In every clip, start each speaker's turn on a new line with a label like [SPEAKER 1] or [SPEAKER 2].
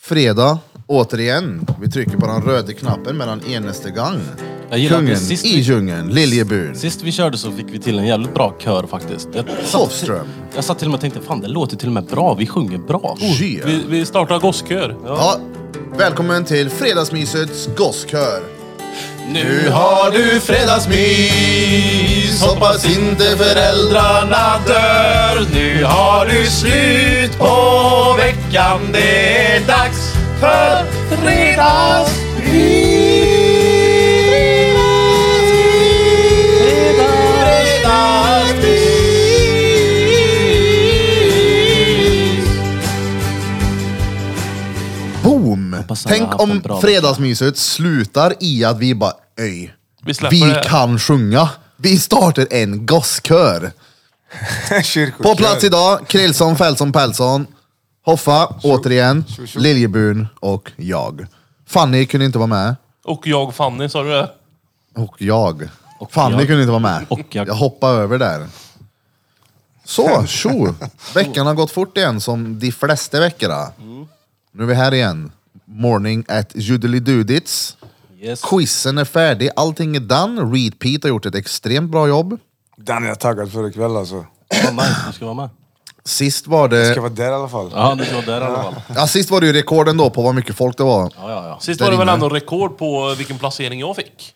[SPEAKER 1] Fredag, återigen. Vi trycker på den röda knappen med den enaste gång.
[SPEAKER 2] Jag gillar
[SPEAKER 1] Kungen
[SPEAKER 2] att sist
[SPEAKER 1] i
[SPEAKER 2] vi,
[SPEAKER 1] djungeln, Liljebyn.
[SPEAKER 2] sist vi körde så fick vi till en jävligt bra kör faktiskt. Jag satt,
[SPEAKER 1] Hofström.
[SPEAKER 2] jag satt till och med och tänkte, fan det låter till och med bra, vi sjunger bra. Oh,
[SPEAKER 1] Yeah.
[SPEAKER 3] Vi, vi startar gosskör. Ja.
[SPEAKER 1] Ja, välkommen till Fredagsmysets gosskör.
[SPEAKER 2] Nu
[SPEAKER 1] har du fredagsmys, hoppas inte
[SPEAKER 2] föräldrarna dör, nu har du slut på veckan, det är dags för
[SPEAKER 1] Boom!
[SPEAKER 2] Hoppas alla
[SPEAKER 1] Tänk
[SPEAKER 2] haft en
[SPEAKER 1] om
[SPEAKER 2] bra
[SPEAKER 1] fredagsmyset slutar i att vi bara öj,
[SPEAKER 3] Vi släpper
[SPEAKER 1] vi
[SPEAKER 3] det.
[SPEAKER 1] kan sjunga. Vi startar en gosskör.
[SPEAKER 4] Kyrkokör.
[SPEAKER 1] På plats idag, Krillson, Fältson, Pälsson, Hoffa, återigen,
[SPEAKER 4] tjo.
[SPEAKER 1] Liljebun och jag. Fanny kunde inte vara med.
[SPEAKER 3] Och jag Fanny, sa du det?
[SPEAKER 1] Och jag.
[SPEAKER 2] Och
[SPEAKER 1] Fanny
[SPEAKER 2] jag.
[SPEAKER 1] kunde inte vara med.
[SPEAKER 2] Och jag.
[SPEAKER 1] hoppade över där. Så, tjo! Veckan har gått fort igen som de flesta veckorna. Nu är vi här igen. Morning at Judelidudits.
[SPEAKER 2] Yes.
[SPEAKER 1] Quizen är färdig, allting är done. Reed Pete har gjort ett extremt bra jobb.
[SPEAKER 4] Den är jag taggad för ikväll alltså.
[SPEAKER 2] Kom med, Du ska vara med.
[SPEAKER 1] Sist var det,
[SPEAKER 4] Ska vara där i alla fall.
[SPEAKER 2] Ja, du ska vara där i alla fall.
[SPEAKER 1] ja, sist var det ju rekorden då på vad mycket folk det var.
[SPEAKER 2] Ja, ja, ja.
[SPEAKER 3] Sist
[SPEAKER 1] Där
[SPEAKER 3] var det väl
[SPEAKER 1] inne.
[SPEAKER 3] ändå rekord på vilken placering jag fick.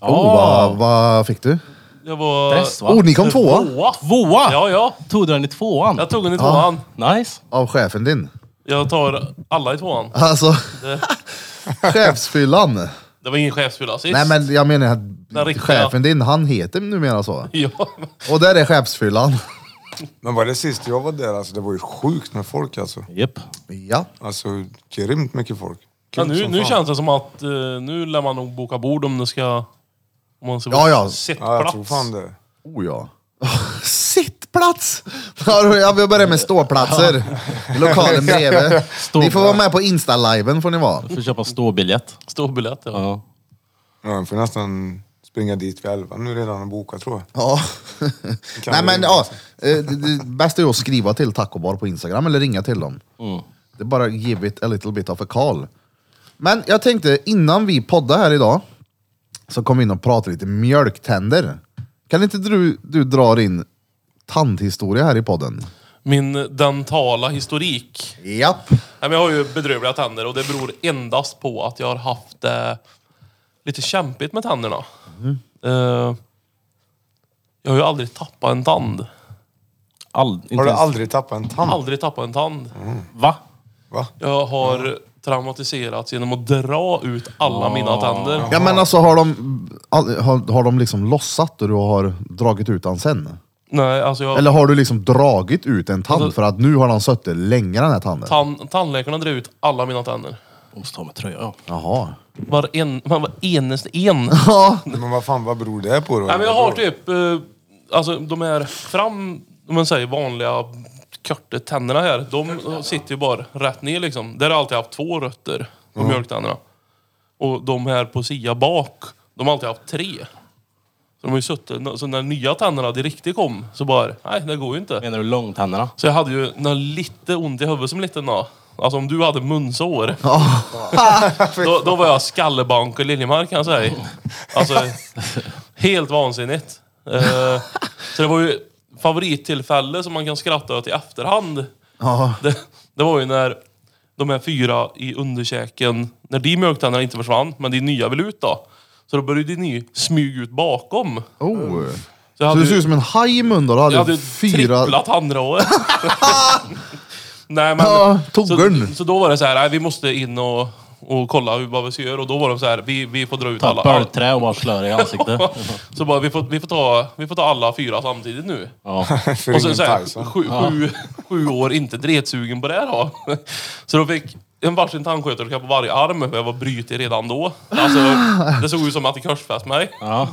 [SPEAKER 1] Oh, vad, vad fick du?
[SPEAKER 3] Jag var...
[SPEAKER 2] Press, va?
[SPEAKER 1] Oh, ni kom tvåa
[SPEAKER 3] Tvåa!
[SPEAKER 2] Tvåa!
[SPEAKER 3] Ja, ja.
[SPEAKER 2] Tog du den i tvåan?
[SPEAKER 3] Jag tog den i tvåan.
[SPEAKER 2] Nice.
[SPEAKER 1] av chefen din.
[SPEAKER 3] Jag tar alla i tvåan.
[SPEAKER 1] Alltså,
[SPEAKER 3] Det,
[SPEAKER 1] chefsfyllan.
[SPEAKER 3] det var ingen chefsfylla sist.
[SPEAKER 1] Nej men jag menar att
[SPEAKER 3] riktiga.
[SPEAKER 1] chefen din, han heter numera så.
[SPEAKER 3] Ja,
[SPEAKER 1] Och där är chefsfyllan.
[SPEAKER 4] Men var det sist jag var där alltså, det var ju sjukt med folk alltså.
[SPEAKER 2] Japp.
[SPEAKER 1] Ja.
[SPEAKER 4] Alltså grymt mycket folk. Kul
[SPEAKER 3] men nu,
[SPEAKER 4] som
[SPEAKER 3] nu
[SPEAKER 4] fan.
[SPEAKER 3] känns det som att eh, nu lär man nog boka bord om det ska... Om man ska
[SPEAKER 1] Ja, ja.
[SPEAKER 3] Sitt
[SPEAKER 4] Ja, jag
[SPEAKER 3] plats.
[SPEAKER 4] tror fan det.
[SPEAKER 1] Oh ja. Sittplats! Ja, då- ja, vi börjar med ståplatser. I Lokalen bredvid. Ni får vara med på Insta-liven får ni vara.
[SPEAKER 2] Får köpa en ståbiljett.
[SPEAKER 3] Stor biljett, ja.
[SPEAKER 2] Ja.
[SPEAKER 4] Ja, jag får nästan springa dit vid elva nu redan och boka tror jag.
[SPEAKER 1] Ja.
[SPEAKER 4] kan
[SPEAKER 1] Nej
[SPEAKER 4] vi
[SPEAKER 1] men
[SPEAKER 4] ringa.
[SPEAKER 1] ja, eh, det- det bästa är att skriva till Taco Bar på Instagram eller ringa till dem.
[SPEAKER 2] Mm.
[SPEAKER 1] Det är bara give it a little bit of a call. Men jag tänkte innan vi poddar här idag så kom vi in och pratade lite mjölktänder. Kan inte du, du dra din tandhistoria här i podden?
[SPEAKER 3] Min dentala historik.
[SPEAKER 1] Japp.
[SPEAKER 3] Nej, men jag har ju bedrövliga tänder och det beror endast på att jag har haft eh, lite kämpigt med tänderna. Eh, jag har ju aldrig tappat en tand.
[SPEAKER 2] All, inte
[SPEAKER 4] Har du
[SPEAKER 2] ens-
[SPEAKER 4] aldrig tappat en tand?
[SPEAKER 3] Aldrig tappat en tand.
[SPEAKER 2] Va?
[SPEAKER 4] Va?
[SPEAKER 3] Jag har traumatiserats genom att dra ut alla mina tänder.
[SPEAKER 1] Ja men alltså har de, all- har, har de liksom lossat och du har dragit ut den sen?
[SPEAKER 3] Nej, alltså jag,
[SPEAKER 1] Eller har du liksom dragit ut en
[SPEAKER 3] Alltså-
[SPEAKER 1] tand för att nu har den suttit längre den här tanden?
[SPEAKER 3] tan, tandläkarna drar ut alla mina tänder.
[SPEAKER 2] Jag måste ta med tröja. Ja.
[SPEAKER 1] Jaha.
[SPEAKER 3] Varen, var enaste en.
[SPEAKER 1] Ja.
[SPEAKER 4] Men vad fan, vad beror det på då?
[SPEAKER 3] Nej, men jag har typ, eh, alltså de här fram, om man säger vanliga korta tänderna här, de sitter ju bara rätt ner liksom. Där har jag alltid haft två rötter, på mjölktänderna. Och de här på sia bak, de har alltid haft tre. Så de har ju suttit, så när nya tänderna, det riktigt kom, så bara, nej det går ju inte.
[SPEAKER 2] Menar du långtänderna?
[SPEAKER 3] Så jag hade ju nå lite ont i huvudet som liten då. Alltså om du hade munsår. då, då var jag skallebank i Liljemark kan jag säga. Alltså, helt vansinnigt. Eh, så det var ju favorittillfälle som man kan skratta åt i efterhand.
[SPEAKER 1] Ja.
[SPEAKER 3] Det, det var ju när de här fyra i underkäken, när de mjölktänderna inte försvann, men de nya vill ut då. Så då började de ny smyga ut bakom.
[SPEAKER 1] Oh.
[SPEAKER 3] jag
[SPEAKER 1] Så
[SPEAKER 3] hade
[SPEAKER 1] du
[SPEAKER 3] ju-
[SPEAKER 1] ser ut som en haj i munnen då? Du hade,
[SPEAKER 3] jag hade ju
[SPEAKER 1] fyra...
[SPEAKER 3] tripplat handdraget. nej men...
[SPEAKER 1] Ja, toggeln.
[SPEAKER 3] så, så då var det så här, nej, vi måste in och, och kolla hur, vad vi ska göra. Och då var de så här, vi, vi får dra ut
[SPEAKER 2] Ta
[SPEAKER 3] alla.
[SPEAKER 2] ett bölträ och bara slå dig i ansiktet.
[SPEAKER 3] Så bara, vi får, vi, får ta, vi får ta alla fyra samtidigt nu.
[SPEAKER 2] Ja.
[SPEAKER 4] För
[SPEAKER 3] Och så,
[SPEAKER 4] ingen
[SPEAKER 3] så här,
[SPEAKER 4] Tyson.
[SPEAKER 3] sju, sju, sju år inte dretsugen på det här då. Så då fick en varsin tandsköterska på varje arm, för jag var brytig redan då. Alltså, det såg ut som att det korsfäst mig.
[SPEAKER 2] ja.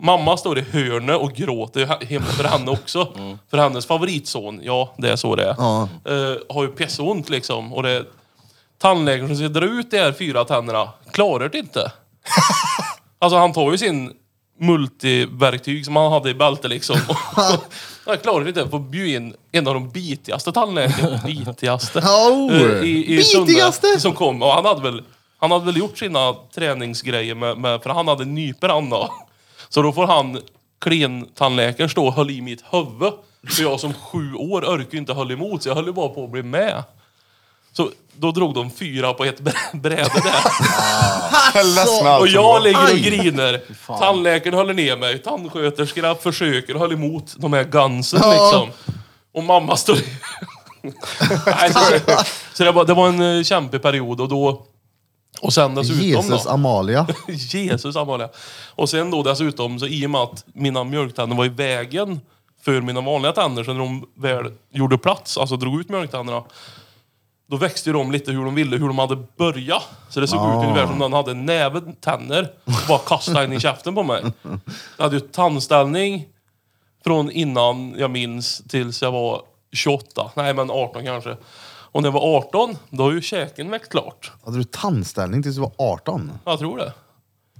[SPEAKER 3] Mamma står i hörnet och gråter he- hemma för henne också. För hennes favoritson, ja det är så det är,
[SPEAKER 1] Ja.
[SPEAKER 3] eh, har ju pissont liksom. Och det tandläkaren som ska dra ut de här fyra tänderna klarar det inte. alltså han tar ju sin multiverktyg som han hade i bältet liksom. Och jag klarade inte att få bjuda in en av de bitigaste tandläkarna, bitigaste,
[SPEAKER 1] Oh,
[SPEAKER 3] eh, i, i Sunne
[SPEAKER 1] bitigaste?
[SPEAKER 3] som kom. Och han hade väl, han hade väl gjort sina träningsgrejer med, med för han hade nyper han då. Så då får han klentandläkaren stå och höll i mitt huvud. För jag som sju år orkade ju inte höll emot så jag höll ju bara på att bli med. Så då drog de fyra på ett brä- bräde där.
[SPEAKER 1] Alltså,
[SPEAKER 4] Ledsen allt
[SPEAKER 3] Och
[SPEAKER 4] som
[SPEAKER 3] jag
[SPEAKER 4] var.
[SPEAKER 3] ligger och
[SPEAKER 1] Aj.
[SPEAKER 3] griner. Tandläkaren håller ner mig, tandsköterskorna försöker och håller emot de här gansen liksom. Och mamma står... Nej, så så det, var, det var en eh, kämpig period och då... Och sen dessutom
[SPEAKER 1] Jesus
[SPEAKER 3] då.
[SPEAKER 1] Amalia.
[SPEAKER 3] Jesus Amalia. Och sen då dessutom, så i och med att mina mjölktänder var i vägen för mina vanliga tänder, så när de väl gjorde plats, alltså drog ut mjölktänderna, då växte ju de lite hur de ville, hur de hade börjat. Så det såg
[SPEAKER 1] Ah.
[SPEAKER 3] ut ungefär som någon hade en näve tänder och bara kastade in i käften på mig. Jag hade ju tandställning från innan jag minns tills jag var 28, nej men 18 kanske. Och när jag var 18, då har ju käken växt klart.
[SPEAKER 1] Hade du tandställning tills du var 18?
[SPEAKER 3] Jag tror det.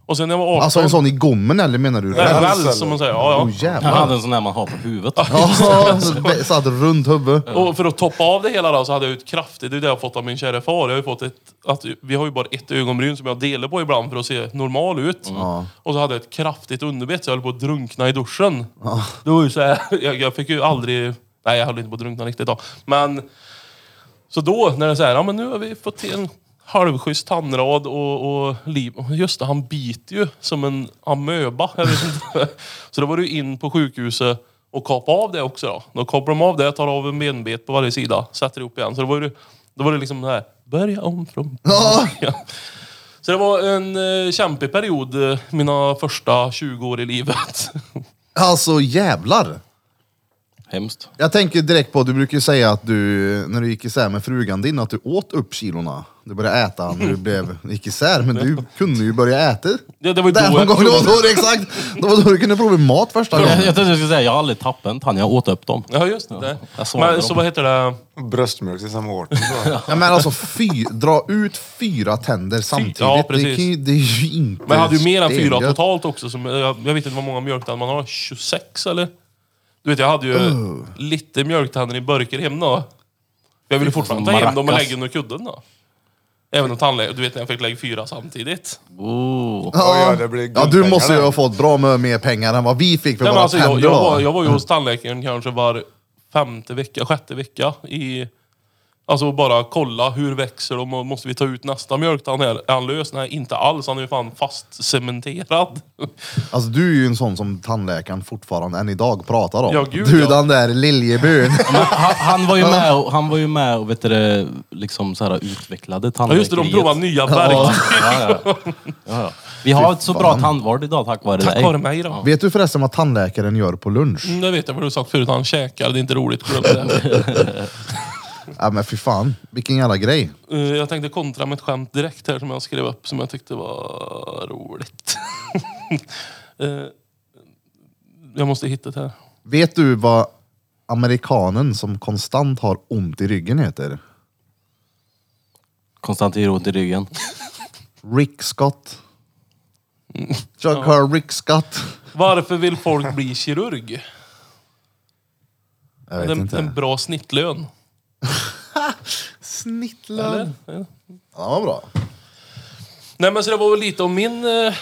[SPEAKER 3] Och sen när jag var 18...
[SPEAKER 1] Alltså en sån i gommen eller menar du?
[SPEAKER 3] Nej,
[SPEAKER 4] Räls,
[SPEAKER 3] väl, som
[SPEAKER 4] eller?
[SPEAKER 3] man säger. Ja,
[SPEAKER 1] Oh,
[SPEAKER 3] ja.
[SPEAKER 1] jävlar. Alltså,
[SPEAKER 5] Jag hade en sån där man har på huvudet.
[SPEAKER 1] Ja, satt runt huvud.
[SPEAKER 3] Och för att toppa av det hela då, så hade jag ju ett kraftigt, det är det jag har fått av min kära far. Jag har ju fått ett, att vi har ju bara ett ögonbryn som jag delar på ibland för att se normal ut. Och så hade jag ett kraftigt underbett så jag höll på att drunkna i duschen. Det var ju så här, jag, jag fick ju aldrig, nej jag höll inte på att drunkna riktigt då. Men, så då när det är så här, ja men nu har vi fått till en halvschysst tandrad och, och liv. Just det, han biter ju som en amöba. Jag vet inte. Så då var du in på sjukhuset och kapa av det också då. Då kopplar de av det, tar av en benbit på varje sida, sätter ihop igen. Så då var det, då var det liksom det här, börja om från början. Så det var en eh, kämpig period, eh, mina första 20 år i livet.
[SPEAKER 1] Alltså jävlar.
[SPEAKER 5] Hemskt.
[SPEAKER 1] Jag tänker direkt på, du brukar ju säga att du, när du gick isär med frugan din, att du åt upp kilorna. Du började äta när du blev, gick isär, men du kunde ju börja äta.
[SPEAKER 3] Ja, det var ju då
[SPEAKER 1] Där någon
[SPEAKER 3] jag
[SPEAKER 1] gång, det var
[SPEAKER 3] provade-
[SPEAKER 1] då, det exakt. Det var då du kunde prova mat första
[SPEAKER 5] Jag,
[SPEAKER 1] gången.
[SPEAKER 5] jag tänkte jag skulle säga, jag har aldrig tappat en tand, jag åt upp dem.
[SPEAKER 3] Ja, just det.
[SPEAKER 5] jag såg dem.
[SPEAKER 3] Men så vad heter det?
[SPEAKER 4] Bröstmjölk till samma år. Så.
[SPEAKER 1] Ja, men alltså, fy, dra ut fyra tänder samtidigt.
[SPEAKER 3] ja,
[SPEAKER 1] det,
[SPEAKER 3] precis.
[SPEAKER 1] kan ju, det är ju inte
[SPEAKER 3] Men jag hade ju mer än fyra
[SPEAKER 1] stengött.
[SPEAKER 3] totalt också. Som, jag, jag vet inte vad många mjölktänder man har. 26 eller? Du vet, jag hade ju
[SPEAKER 1] Oh.
[SPEAKER 3] lite mjölktänder i burkar hemma. då. Jag ville fortfarande ta hem dem och
[SPEAKER 5] maracas.
[SPEAKER 3] lägga under kudden då. Även om tandläkaren, du vet när jag fick lägga fyra samtidigt.
[SPEAKER 5] Oh.
[SPEAKER 1] Ja,
[SPEAKER 4] Oj, ja, det blir
[SPEAKER 1] ja, du
[SPEAKER 4] guldpengar
[SPEAKER 1] måste ju
[SPEAKER 4] där.
[SPEAKER 1] ha fått bra med mer pengar än vad vi fick för
[SPEAKER 3] Nej, men
[SPEAKER 1] våra
[SPEAKER 3] alltså, jag,
[SPEAKER 1] tänder.
[SPEAKER 3] jag,
[SPEAKER 1] då.
[SPEAKER 3] var, jag var ju hos tandläkaren kanske var femte vecka, sjätte vecka i... Alltså bara kolla, hur växer de och måste vi ta ut nästa mjölktand här? Är han lös? Nej, inte alls. Han är ju fan fastcementerad.
[SPEAKER 1] Alltså du är ju en sån som tandläkaren fortfarande än idag pratar om.
[SPEAKER 3] Ja, gud,
[SPEAKER 1] du
[SPEAKER 3] ja.
[SPEAKER 1] den där liljebyn.
[SPEAKER 5] Men Han, han var ju med och, han var ju med och vet du, det, liksom så här, utvecklade
[SPEAKER 3] Ja
[SPEAKER 5] tandläkeriet.
[SPEAKER 3] just det, de provar nya verktyg.
[SPEAKER 5] Ja, ja. Ja, ja. Vi har ett så bra tandvård idag tack vare
[SPEAKER 3] Tack
[SPEAKER 5] dig.
[SPEAKER 3] vare mig då.
[SPEAKER 1] Vet du förresten vad tandläkaren gör på lunch?
[SPEAKER 3] Mm, Det vet jag vad du har sagt förut, han käkar, det är inte roligt. Glöm det.
[SPEAKER 1] Ja men fy fan, vilken jävla grej.
[SPEAKER 3] Eh, Jag tänkte kontra med ett skämt direkt här som jag skrev upp som jag tyckte var roligt. Eh, jag måste hitta det här.
[SPEAKER 1] Vet du vad amerikanen som konstant har ont i ryggen heter?
[SPEAKER 5] Konstantin ont i ryggen.
[SPEAKER 1] Rick Scott.
[SPEAKER 3] Mm.
[SPEAKER 1] Chuck ja. Rick Scott.
[SPEAKER 3] Varför vill folk bli kirurg?
[SPEAKER 1] Jag vet
[SPEAKER 3] En,
[SPEAKER 1] inte.
[SPEAKER 3] en bra snittlön.
[SPEAKER 1] Snittlön. Ja, det var bra.
[SPEAKER 3] Nej men så det var väl lite om min... Eh,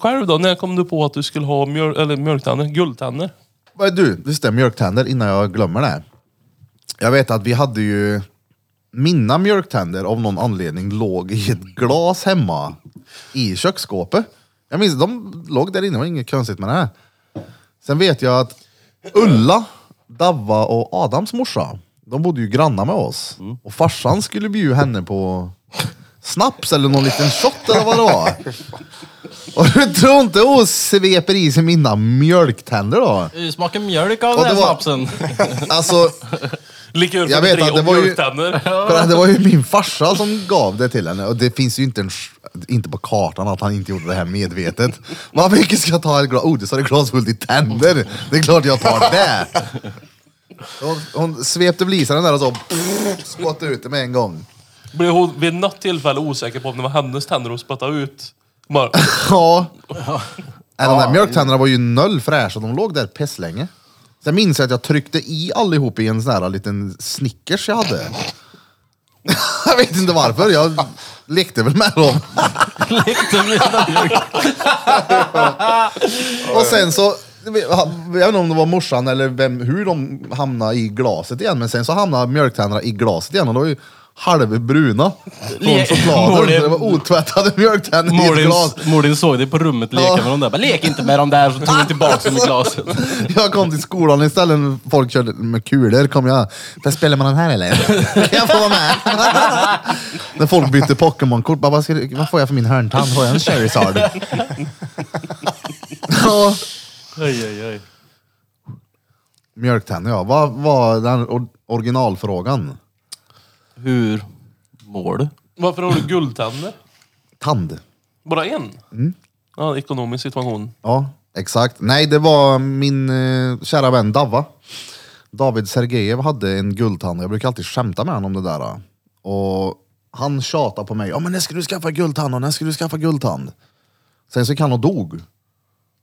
[SPEAKER 3] själv då, när kom du på att du skulle ha mjöl, eller mjölktänder? Guldtänder?
[SPEAKER 1] Men Du, just det, mjölktänder innan jag glömmer det. här. Jag vet att vi hade ju, mina mjölktänder av någon anledning låg i ett glas hemma i köksskåpet. Jag minns, de låg där inne, det var inget konstigt med det. Här. Sen vet jag att Ulla, Davva och Adams morsa, de bodde ju grannar med oss. Och farsan skulle bjuda henne på snaps eller någon liten shot eller vad det var. Och du tror inte hon sveper i sig mina mjölktänder då?
[SPEAKER 5] Du smakar mjölk av
[SPEAKER 1] Och
[SPEAKER 5] den här
[SPEAKER 1] det var-
[SPEAKER 5] snapsen.
[SPEAKER 1] Alltså,
[SPEAKER 3] Lika
[SPEAKER 1] Jag vet att det
[SPEAKER 3] och
[SPEAKER 1] var ju-
[SPEAKER 3] mjölktänder.
[SPEAKER 1] för att det var ju min farsa som gav det till henne och det finns ju inte, en, inte på kartan att han inte gjorde det här medvetet. Vad mycket ska jag ta ett glas? Oh, det sa det glas fullt i tänder. Det är klart jag tar det. Hon, hon svepte väl i sig den där och så pff, skottade ut det med en gång.
[SPEAKER 3] Blev hon vid något tillfälle osäker på om det var hennes tänder hon spottade ut? Bara,
[SPEAKER 1] Ja. Nej, de där mjölktänderna var ju noll fräscha, de låg där pisslänge. Sen minns jag att jag tryckte i allihop i en sån här liten Snickers jag hade. jag vet inte varför, jag lekte väl med dem.
[SPEAKER 5] Lekte med mjölk.
[SPEAKER 1] Och sen så, jag vet inte om det var morsan eller vem, hur de hamnade i glaset igen, men sen så hamnade mjölktänderna i glaset igen och då var ju halvbruna från
[SPEAKER 5] Le-
[SPEAKER 1] chokladen.
[SPEAKER 5] Malin-
[SPEAKER 1] Det var otvättade mjölktänder i ett
[SPEAKER 5] Mordin,
[SPEAKER 1] glas.
[SPEAKER 5] Mordin såg dig på rummet leka
[SPEAKER 1] Ja.
[SPEAKER 5] med de där. Bara, lek inte med de där, så tog du tillbaka dem i glaset.
[SPEAKER 1] Jag kom till skolan istället när folk körde med kulor kom jag. Där spelar man den här eller? Kan jag få vara med? när folk bytte Pokémon-kort. bara, Vad, ska du- vad får jag för min hörntand? Får jag en Charizard? Ja,
[SPEAKER 5] Oj, oj, oj.
[SPEAKER 1] Mjölktänder ja. Vad var den or- originalfrågan?
[SPEAKER 5] Hur mår du?
[SPEAKER 3] Varför har du guldtänder?
[SPEAKER 1] Tand.
[SPEAKER 3] Bara en? Ja, ekonomisk situation.
[SPEAKER 1] Ja, exakt. Nej, det var min eh, kära vän Dava. David Sergejev hade en guldtand. Jag brukar alltid skämta med honom om det där. eh. Och han tjatade på mig. Ja, men när ska du skaffa guldtand? Och när ska du skaffa guldtand? Sen så gick han och dog.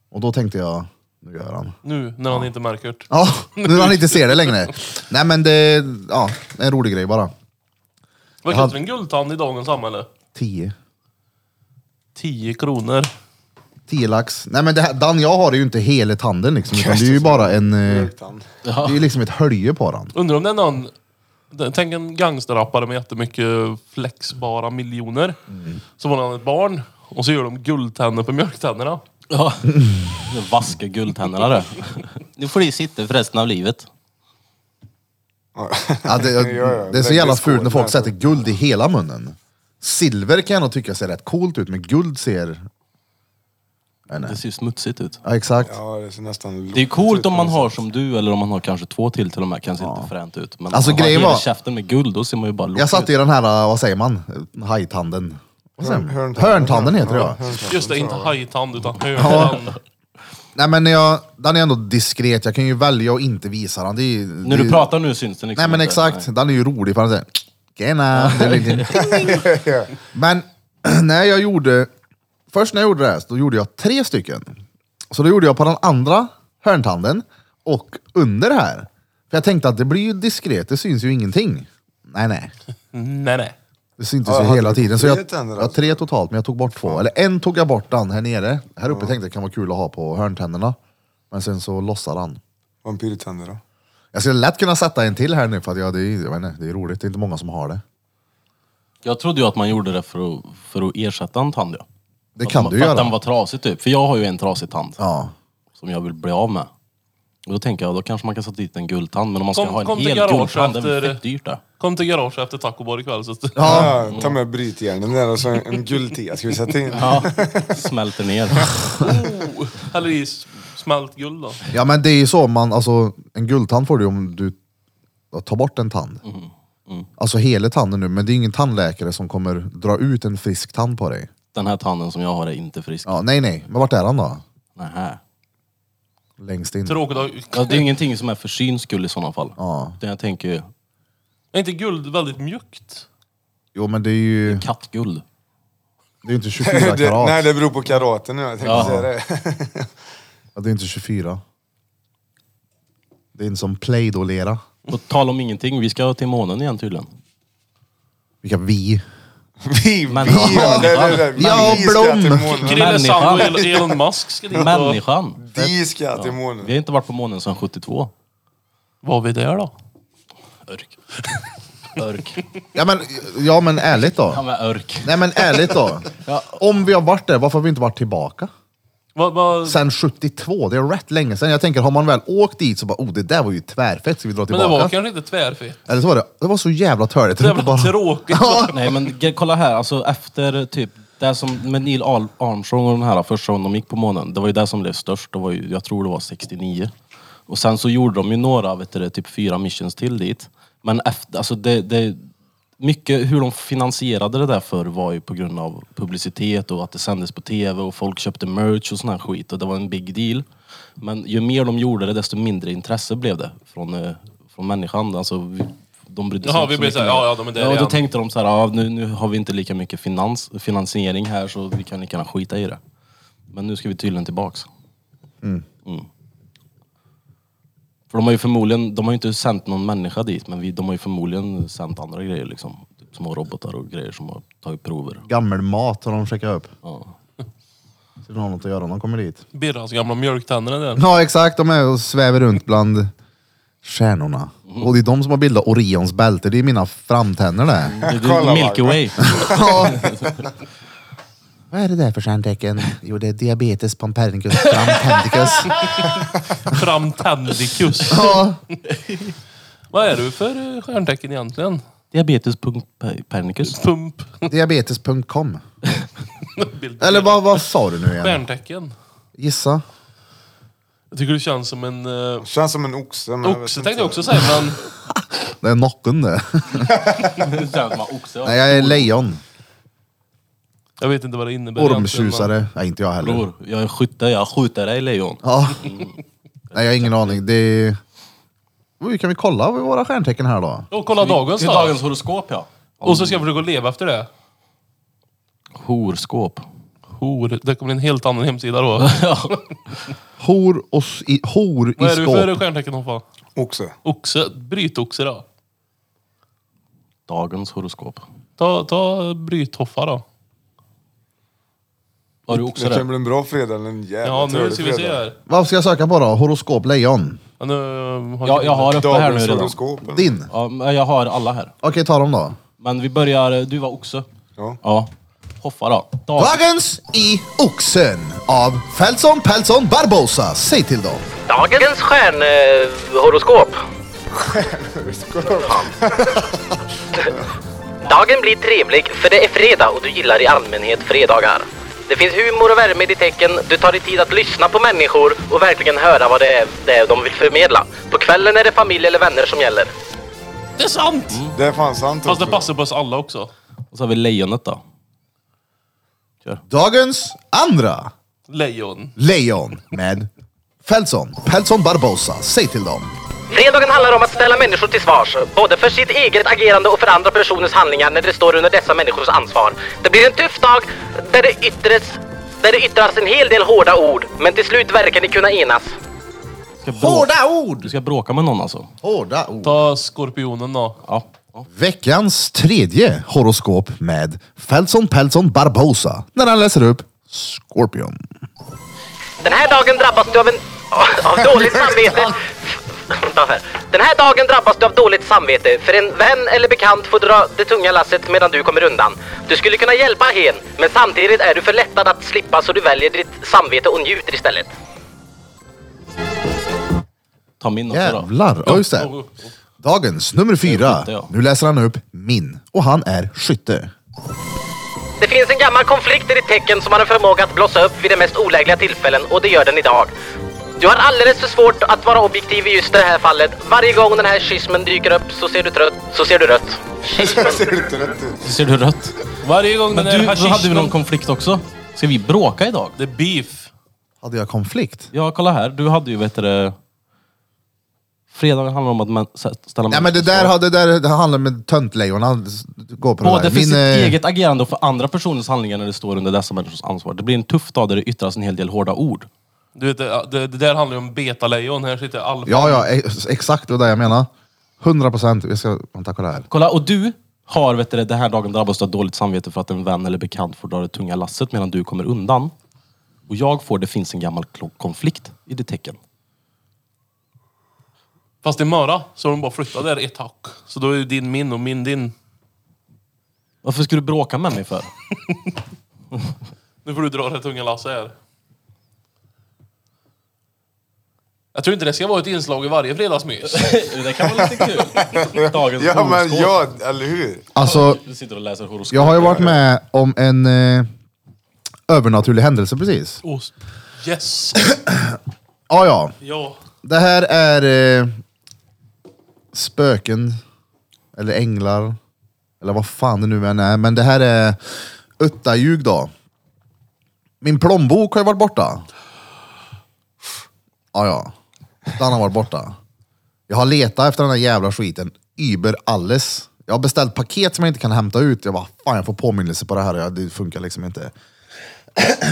[SPEAKER 1] Och då tänkte jag, nu gör han.
[SPEAKER 3] Nu, när han inte märker det.
[SPEAKER 1] Ja, nu han inte ser det längre. Nej, men det ja, en rolig grej bara.
[SPEAKER 3] Vad
[SPEAKER 1] hade-
[SPEAKER 3] kostar en guldtand i dagens samhälle?
[SPEAKER 1] 10.
[SPEAKER 3] 10 kronor.
[SPEAKER 1] 10 lax. Nej, men det här, Dan, jag har ju inte hela tanden liksom. Utan det är ju bara en... eh,
[SPEAKER 4] Mjölktand.
[SPEAKER 1] Det är ju liksom ett hölje på den.
[SPEAKER 3] Undrar om det är någon... Tänk en gangsterrappare med jättemycket flexbara miljoner. Så var han ett barn och så gör de guldtänder på mjölktänderna.
[SPEAKER 5] Ja. Vaska guldtänderna du. Nu får du sitta för resten av livet.
[SPEAKER 4] Ja.
[SPEAKER 1] Ja, det,
[SPEAKER 4] Ja, ja,
[SPEAKER 1] det är så
[SPEAKER 4] lägg
[SPEAKER 1] jävla
[SPEAKER 4] i skål
[SPEAKER 1] fult när folk
[SPEAKER 4] med.
[SPEAKER 1] sätter guld i hela munnen. Silver kan jag nog tycka ser rätt coolt ut, men guld ser... Nej,
[SPEAKER 5] Det
[SPEAKER 1] nej.
[SPEAKER 5] ser ju smutsigt ut.
[SPEAKER 1] Ja, exakt.
[SPEAKER 4] Ja, det ser nästan... typ
[SPEAKER 5] Det är ju coolt om man har som du, eller om man har kanske två till till och med. Kan se lite fränt ut. Men
[SPEAKER 1] Alltså,
[SPEAKER 5] om man
[SPEAKER 1] grejen
[SPEAKER 5] har hela
[SPEAKER 1] var-
[SPEAKER 5] käften med guld, då ser man ju bara
[SPEAKER 1] Jag
[SPEAKER 5] lockig
[SPEAKER 1] satt
[SPEAKER 5] ut.
[SPEAKER 1] i den här, äh, vad säger man, hajtanden. Vad säger man?
[SPEAKER 4] Hörntanden.
[SPEAKER 1] Hörntanden heter jag.
[SPEAKER 4] hörntanden.
[SPEAKER 3] Just det, inte hajtand utan högtand.
[SPEAKER 1] Nej men när jag, den är ändå diskret, jag kan ju välja att inte visa den. Det är, ju-
[SPEAKER 5] När
[SPEAKER 1] det-
[SPEAKER 5] du pratar nu syns det liksom
[SPEAKER 1] Nej men
[SPEAKER 5] inte.
[SPEAKER 1] exakt, den är ju rolig för den säger Tjena! Det är lite- men när jag gjorde, först när jag gjorde det här, så då gjorde jag tre stycken. Så då gjorde jag på den andra hörntanden och under här. För jag tänkte att det blir ju diskret, det syns ju ingenting. Nej nej,
[SPEAKER 3] Nej, nej.
[SPEAKER 1] det syntes
[SPEAKER 4] Ja,
[SPEAKER 1] ju
[SPEAKER 4] hade
[SPEAKER 1] hela
[SPEAKER 4] du
[SPEAKER 1] tiden. Så
[SPEAKER 4] tre
[SPEAKER 1] jag,
[SPEAKER 4] tänder
[SPEAKER 1] jag har
[SPEAKER 4] alltså?
[SPEAKER 1] tre totalt, men jag tog bort två. Eller en tog jag bort den här nere. Här uppe tänkte jag kan vara kul att ha på hörntänderna. Men sen så lossade han.
[SPEAKER 4] Vampyrtänder då?
[SPEAKER 1] Jag skulle lätt kunna sätta en till här nu för att ja, det, är, jag vet inte, det är roligt, det är inte många som har det.
[SPEAKER 5] Jag trodde ju att man gjorde det för att, för att ersätta en tand. Ja.
[SPEAKER 1] Det kan
[SPEAKER 5] att,
[SPEAKER 1] du
[SPEAKER 5] för
[SPEAKER 1] göra.
[SPEAKER 5] att den var trasig typ. För jag har ju en trasig tand
[SPEAKER 1] Ja.
[SPEAKER 5] som jag vill bli av med. Och då tänker jag, då kanske man kan sätta dit en guldtand. Men om man ska
[SPEAKER 3] Kom-
[SPEAKER 5] ha en
[SPEAKER 3] kom till
[SPEAKER 5] hel
[SPEAKER 3] garaget
[SPEAKER 5] guldtand, det är
[SPEAKER 3] efter-
[SPEAKER 5] väl fett dyrt det.
[SPEAKER 3] Kom till garaget efter taco bar ikväll. Så att...
[SPEAKER 4] Ja. ta med brytjärnen där och så en, en guldtia ska vi sätta in.
[SPEAKER 5] Ja, smälter ner.
[SPEAKER 3] oh, häller i s- smält guld då.
[SPEAKER 1] ja men det är ju så, man, alltså, en guldtand får du om du tar bort en tand. Alltså hela tanden nu, men det är ingen tandläkare som kommer dra ut en frisk tand på dig.
[SPEAKER 5] Den här tanden som jag har är inte frisk.
[SPEAKER 1] Ja, nej nej, men vart är han då?
[SPEAKER 5] Nähä.
[SPEAKER 1] Längst in.
[SPEAKER 3] Tråkigt att
[SPEAKER 5] Ja, det är ju ingenting som är för syns skull i sådana fall.
[SPEAKER 1] Ja.
[SPEAKER 5] Utan jag tänker ju
[SPEAKER 3] Är inte guld väldigt mjukt?
[SPEAKER 1] Jo men det är ju
[SPEAKER 5] kattguld.
[SPEAKER 1] det är inte 24 karat.
[SPEAKER 4] det, nej, det beror på karaten nu. Jag tänkte
[SPEAKER 5] Ja.
[SPEAKER 4] säga det.
[SPEAKER 1] Ja, det är inte 24. Det är inte som Play-Doh-lera.
[SPEAKER 5] På tal om ingenting, vi ska till månen igen tydligen.
[SPEAKER 1] Vilka vi?
[SPEAKER 4] Vi,
[SPEAKER 5] Men-
[SPEAKER 4] vi, ja, det, det, det.
[SPEAKER 1] Ja,
[SPEAKER 4] vi ska
[SPEAKER 1] Blom.
[SPEAKER 4] till månen.
[SPEAKER 3] Krille
[SPEAKER 5] Människan.
[SPEAKER 3] Sand och El- Elon Musk ska dit och...
[SPEAKER 5] Människan!
[SPEAKER 4] Vi ska till månen.
[SPEAKER 5] Vi har inte varit på månen sedan 72.
[SPEAKER 3] Var vi där då?
[SPEAKER 5] Örk. Örk.
[SPEAKER 1] Ja men, ja men ärligt
[SPEAKER 5] Han
[SPEAKER 1] då.
[SPEAKER 5] var örk.
[SPEAKER 1] Nej men ärligt då. Om vi har varit där, varför har vi inte varit tillbaka?
[SPEAKER 3] Va, va...
[SPEAKER 1] sen 72, det är rätt länge sedan. Jag tänker, har man väl åkt dit så bara, oh det där var ju tvärfett, ska vi dra
[SPEAKER 3] Men
[SPEAKER 1] tillbaka?
[SPEAKER 3] det var kanske inte tvärfett.
[SPEAKER 1] Eller så var det, det var så jävla törligt.
[SPEAKER 3] Det var tråkigt.
[SPEAKER 5] Nej men ge- kolla här, alltså efter typ det som med Neil Al- Armstrong och den här första gången de gick på månen. Det var ju det som blev störst. Det var ju, jag tror det var 69. Och sen så gjorde de ju några, vet du, det, typ fyra missions till dit. Men efter, alltså det, det, mycket hur de finansierade det där för var ju på grund av publicitet och att det sändes på tv och folk köpte merch och sån här skit och det var en big deal. Men ju mer de gjorde det desto mindre intresse blev det från, eh, från människan. Alltså, vi, de brydde sig
[SPEAKER 3] Jaha,
[SPEAKER 5] inte
[SPEAKER 3] vi
[SPEAKER 5] så
[SPEAKER 3] blir
[SPEAKER 5] mycket
[SPEAKER 3] såhär,
[SPEAKER 5] mer.
[SPEAKER 3] ja, ja, de är där
[SPEAKER 5] ja, och då
[SPEAKER 3] igen.
[SPEAKER 5] tänkte de så här, ja, nu, nu har vi inte lika mycket finans, finansiering här så vi kan lika gärna skita i det. Men nu ska vi tydligen tillbaks. Mm. För de har ju förmodligen, de har ju inte sänt någon människa dit, men vi, de har ju förmodligen sänt andra grejer liksom. Typ små robotar och grejer som har tagit prover.
[SPEAKER 1] Gammal mat har de skickat upp.
[SPEAKER 5] Ja.
[SPEAKER 1] Så de har något att göra när de kommer dit.
[SPEAKER 3] Birras gamla mjölktänder där.
[SPEAKER 1] Ja exakt, de är och svävar runt bland stjärnorna.
[SPEAKER 3] Mhm.
[SPEAKER 1] Och det är de som har bildat Orions bälte, det är mina framtänder det.
[SPEAKER 5] Det- det-
[SPEAKER 4] Kolla,
[SPEAKER 5] Milky Way.
[SPEAKER 1] Ja. Vad är det där för stjärntecken? Jo det är diabetes pompernicus framtendicus.
[SPEAKER 3] Framtendicus.
[SPEAKER 1] Ja.
[SPEAKER 3] Vad är du för eh, stjärntecken egentligen?
[SPEAKER 5] Diabetes.pernicus.
[SPEAKER 3] Pump.
[SPEAKER 1] Diabetes.com. Eller vad, vad sa du nu igen?
[SPEAKER 3] Stjärntecken.
[SPEAKER 1] Gissa.
[SPEAKER 3] Jag tycker du känns som en... Uh,
[SPEAKER 4] Känns som en oxe. Men jag vet
[SPEAKER 3] oxe
[SPEAKER 4] inte.
[SPEAKER 3] tänkte jag också säga, men...
[SPEAKER 1] Det är nocken det. Nej jag är lejon.
[SPEAKER 3] Jag vet inte vad det innebär egentligen,
[SPEAKER 1] Ormtjusare. Nej inte jag heller.
[SPEAKER 5] Bror, jag är skytte, jag skjuter dig lejon.
[SPEAKER 1] Ja. Nej jag har ingen aning. Det... Oj, Kan vi kolla våra stjärntecken här då?
[SPEAKER 3] men- Och kolla dagens
[SPEAKER 5] Det
[SPEAKER 3] då.
[SPEAKER 5] är dagens horoskop ja.
[SPEAKER 3] Och så ska jag försöka leva efter det.
[SPEAKER 5] Horskåp.
[SPEAKER 3] Hor. Oh, Det kommer en helt annan hemsida då.
[SPEAKER 1] Hor, och s- i, hor i
[SPEAKER 3] Vad är du
[SPEAKER 1] skåp.
[SPEAKER 3] för stjärntecken Hoffa?
[SPEAKER 4] Oxe.
[SPEAKER 3] Oxe. Brytoxe då.
[SPEAKER 5] Dagens horoskop.
[SPEAKER 3] Ta, ta brythoffa då.
[SPEAKER 5] Har du också
[SPEAKER 4] Det kan
[SPEAKER 5] det?
[SPEAKER 4] bli en bra fredag eller en jävla
[SPEAKER 3] Ja, nu
[SPEAKER 4] trevlig
[SPEAKER 3] ska vi se
[SPEAKER 4] fredag.
[SPEAKER 3] här.
[SPEAKER 1] Vad ska jag söka på då? Horoskop lejon.
[SPEAKER 3] Ja, nu, har
[SPEAKER 5] Ja, jag har uppe här nu
[SPEAKER 4] Dagens
[SPEAKER 5] redan.
[SPEAKER 4] horoskopen.
[SPEAKER 1] Din.
[SPEAKER 5] Ja, men jag har alla här.
[SPEAKER 1] Okej, ta dem då.
[SPEAKER 5] Men vi börjar, du var oxe.
[SPEAKER 4] Ja.
[SPEAKER 5] Ja. Hoffa då. Dag.
[SPEAKER 1] Dagens i oxen av Feltson Peltson Barbosa. Säg till dem.
[SPEAKER 6] Dagens eh, stjärnhoroskop. Dagen blir trevlig för det är fredag och du gillar i allmänhet fredagar. Det finns humor och värme i ditt tecken, du tar dig tid att lyssna på människor och verkligen höra vad det är, det är de vill förmedla. På kvällen är det familj eller vänner som gäller.
[SPEAKER 3] Det är sant!
[SPEAKER 4] Det är fan sant
[SPEAKER 3] Fast det
[SPEAKER 4] också.
[SPEAKER 3] passar på oss alla också.
[SPEAKER 5] Och så har vi lejonet då.
[SPEAKER 1] Dagens andra
[SPEAKER 3] Lejon.
[SPEAKER 1] lejon med Feltson Peltson Barbosa. Säg till dem.
[SPEAKER 6] Fredagen handlar om att ställa människor till svars, både för sitt eget agerande och för andra personers handlingar när det står under dessa människors ansvar. Det blir en tuff dag där det yttres där det yttras en hel del hårda ord, men till slut verkar ni kunna enas.
[SPEAKER 5] Ska bråka-
[SPEAKER 1] Hårda ord!
[SPEAKER 5] Du ska bråka med någon alltså?
[SPEAKER 1] Hårda ord.
[SPEAKER 3] Ta skorpionen då.
[SPEAKER 5] Ja. ja.
[SPEAKER 1] Veckans tredje horoskop med Feltson Peltson Barbosa. När han läser upp Scorpion.
[SPEAKER 6] Den här dagen drabbas du av en... av dåligt samvete. Vänta här. Den här dagen drabbas du av dåligt samvete, för en vän eller bekant får dra det tunga lasset medan du kommer undan. Du skulle kunna hjälpa hen, men samtidigt är du för lättad att slippa så du väljer ditt samvete och njuter istället.
[SPEAKER 5] Ta min också då.
[SPEAKER 1] Jävlar. Ja, just det.
[SPEAKER 3] Och- och-
[SPEAKER 1] Dagens nummer fyra.
[SPEAKER 5] skytte, ja.
[SPEAKER 1] Nu läser han upp min. Och han är skytte.
[SPEAKER 6] Det finns en gammal konflikt i ditt tecken som har en förmåga att blossa upp vid de mest olägliga tillfällen och det gör den idag. Du har alldeles för svårt att vara objektiv i just det här fallet. Varje gång den här schismen dyker upp så ser du trött, så ser du rött.
[SPEAKER 4] Det ser inte rätt ut.
[SPEAKER 5] Ser du rött?
[SPEAKER 3] Varje gång
[SPEAKER 5] Men
[SPEAKER 3] den
[SPEAKER 5] du,
[SPEAKER 3] är
[SPEAKER 5] då hade vi någon
[SPEAKER 3] hashish...
[SPEAKER 5] konflikt också. Ska vi bråka idag?
[SPEAKER 3] Det är beef.
[SPEAKER 1] Hade jag konflikt?
[SPEAKER 5] Ja, kolla här. Du hade ju, vet du det... Fredagen handlar om att man, ställa
[SPEAKER 1] Nej men det där, har- det där det handlar med töntlejonen. Gå på det
[SPEAKER 5] Både
[SPEAKER 1] där.
[SPEAKER 5] för sitt
[SPEAKER 1] eh,
[SPEAKER 5] eget agerande och för andra personers handlingar när det står under dessa människors ansvar. Det blir en tuff dag där det yttras en hel del hårda ord.
[SPEAKER 3] Du vet, det, det det där handlar ju om betalejon. Här sitter alfa.
[SPEAKER 1] Ja, ja, ex- exakt det där jag menar. 100 procent. Jag ska, vänta, kolla här.
[SPEAKER 5] Kolla, och du har, vet du det, den här dagen drabbas du av dåligt samvete för att en vän eller bekant får dra det tunga lasset medan du kommer undan. Och jag får, det finns en gammal klo- konflikt i det tecken.
[SPEAKER 3] Fast i Möra så har de bara flyttat där ett hack. Så då är ju din min och min din.
[SPEAKER 5] Varför ska du bråka med mig för?
[SPEAKER 3] Nu får du dra det tunga lasset här. Jag tror inte det ska vara ett inslag i varje fredagsmys.
[SPEAKER 5] det kan vara lite kul. Dagens
[SPEAKER 4] Ja men
[SPEAKER 5] horoskop.
[SPEAKER 4] ja, eller hur?
[SPEAKER 1] Alltså,
[SPEAKER 5] Du sitter och läser horoskop.
[SPEAKER 1] jag har ju varit med om en eh, övernaturlig händelse precis.
[SPEAKER 3] Åh, yes!
[SPEAKER 1] Ja, ja.
[SPEAKER 3] Ja.
[SPEAKER 1] Det här är eh, spöken, eller änglar, eller vad fan det nu än är. Men det här är uttaljug då. Min plånbok har ju varit borta. Ja, ja. Den har varit borta. Jag har letat efter den där jävla skiten, über alles. Jag har beställt paket som jag inte kan hämta ut. Jag bara, fan jag får påminnelse på det här. Ja, Det funkar liksom inte.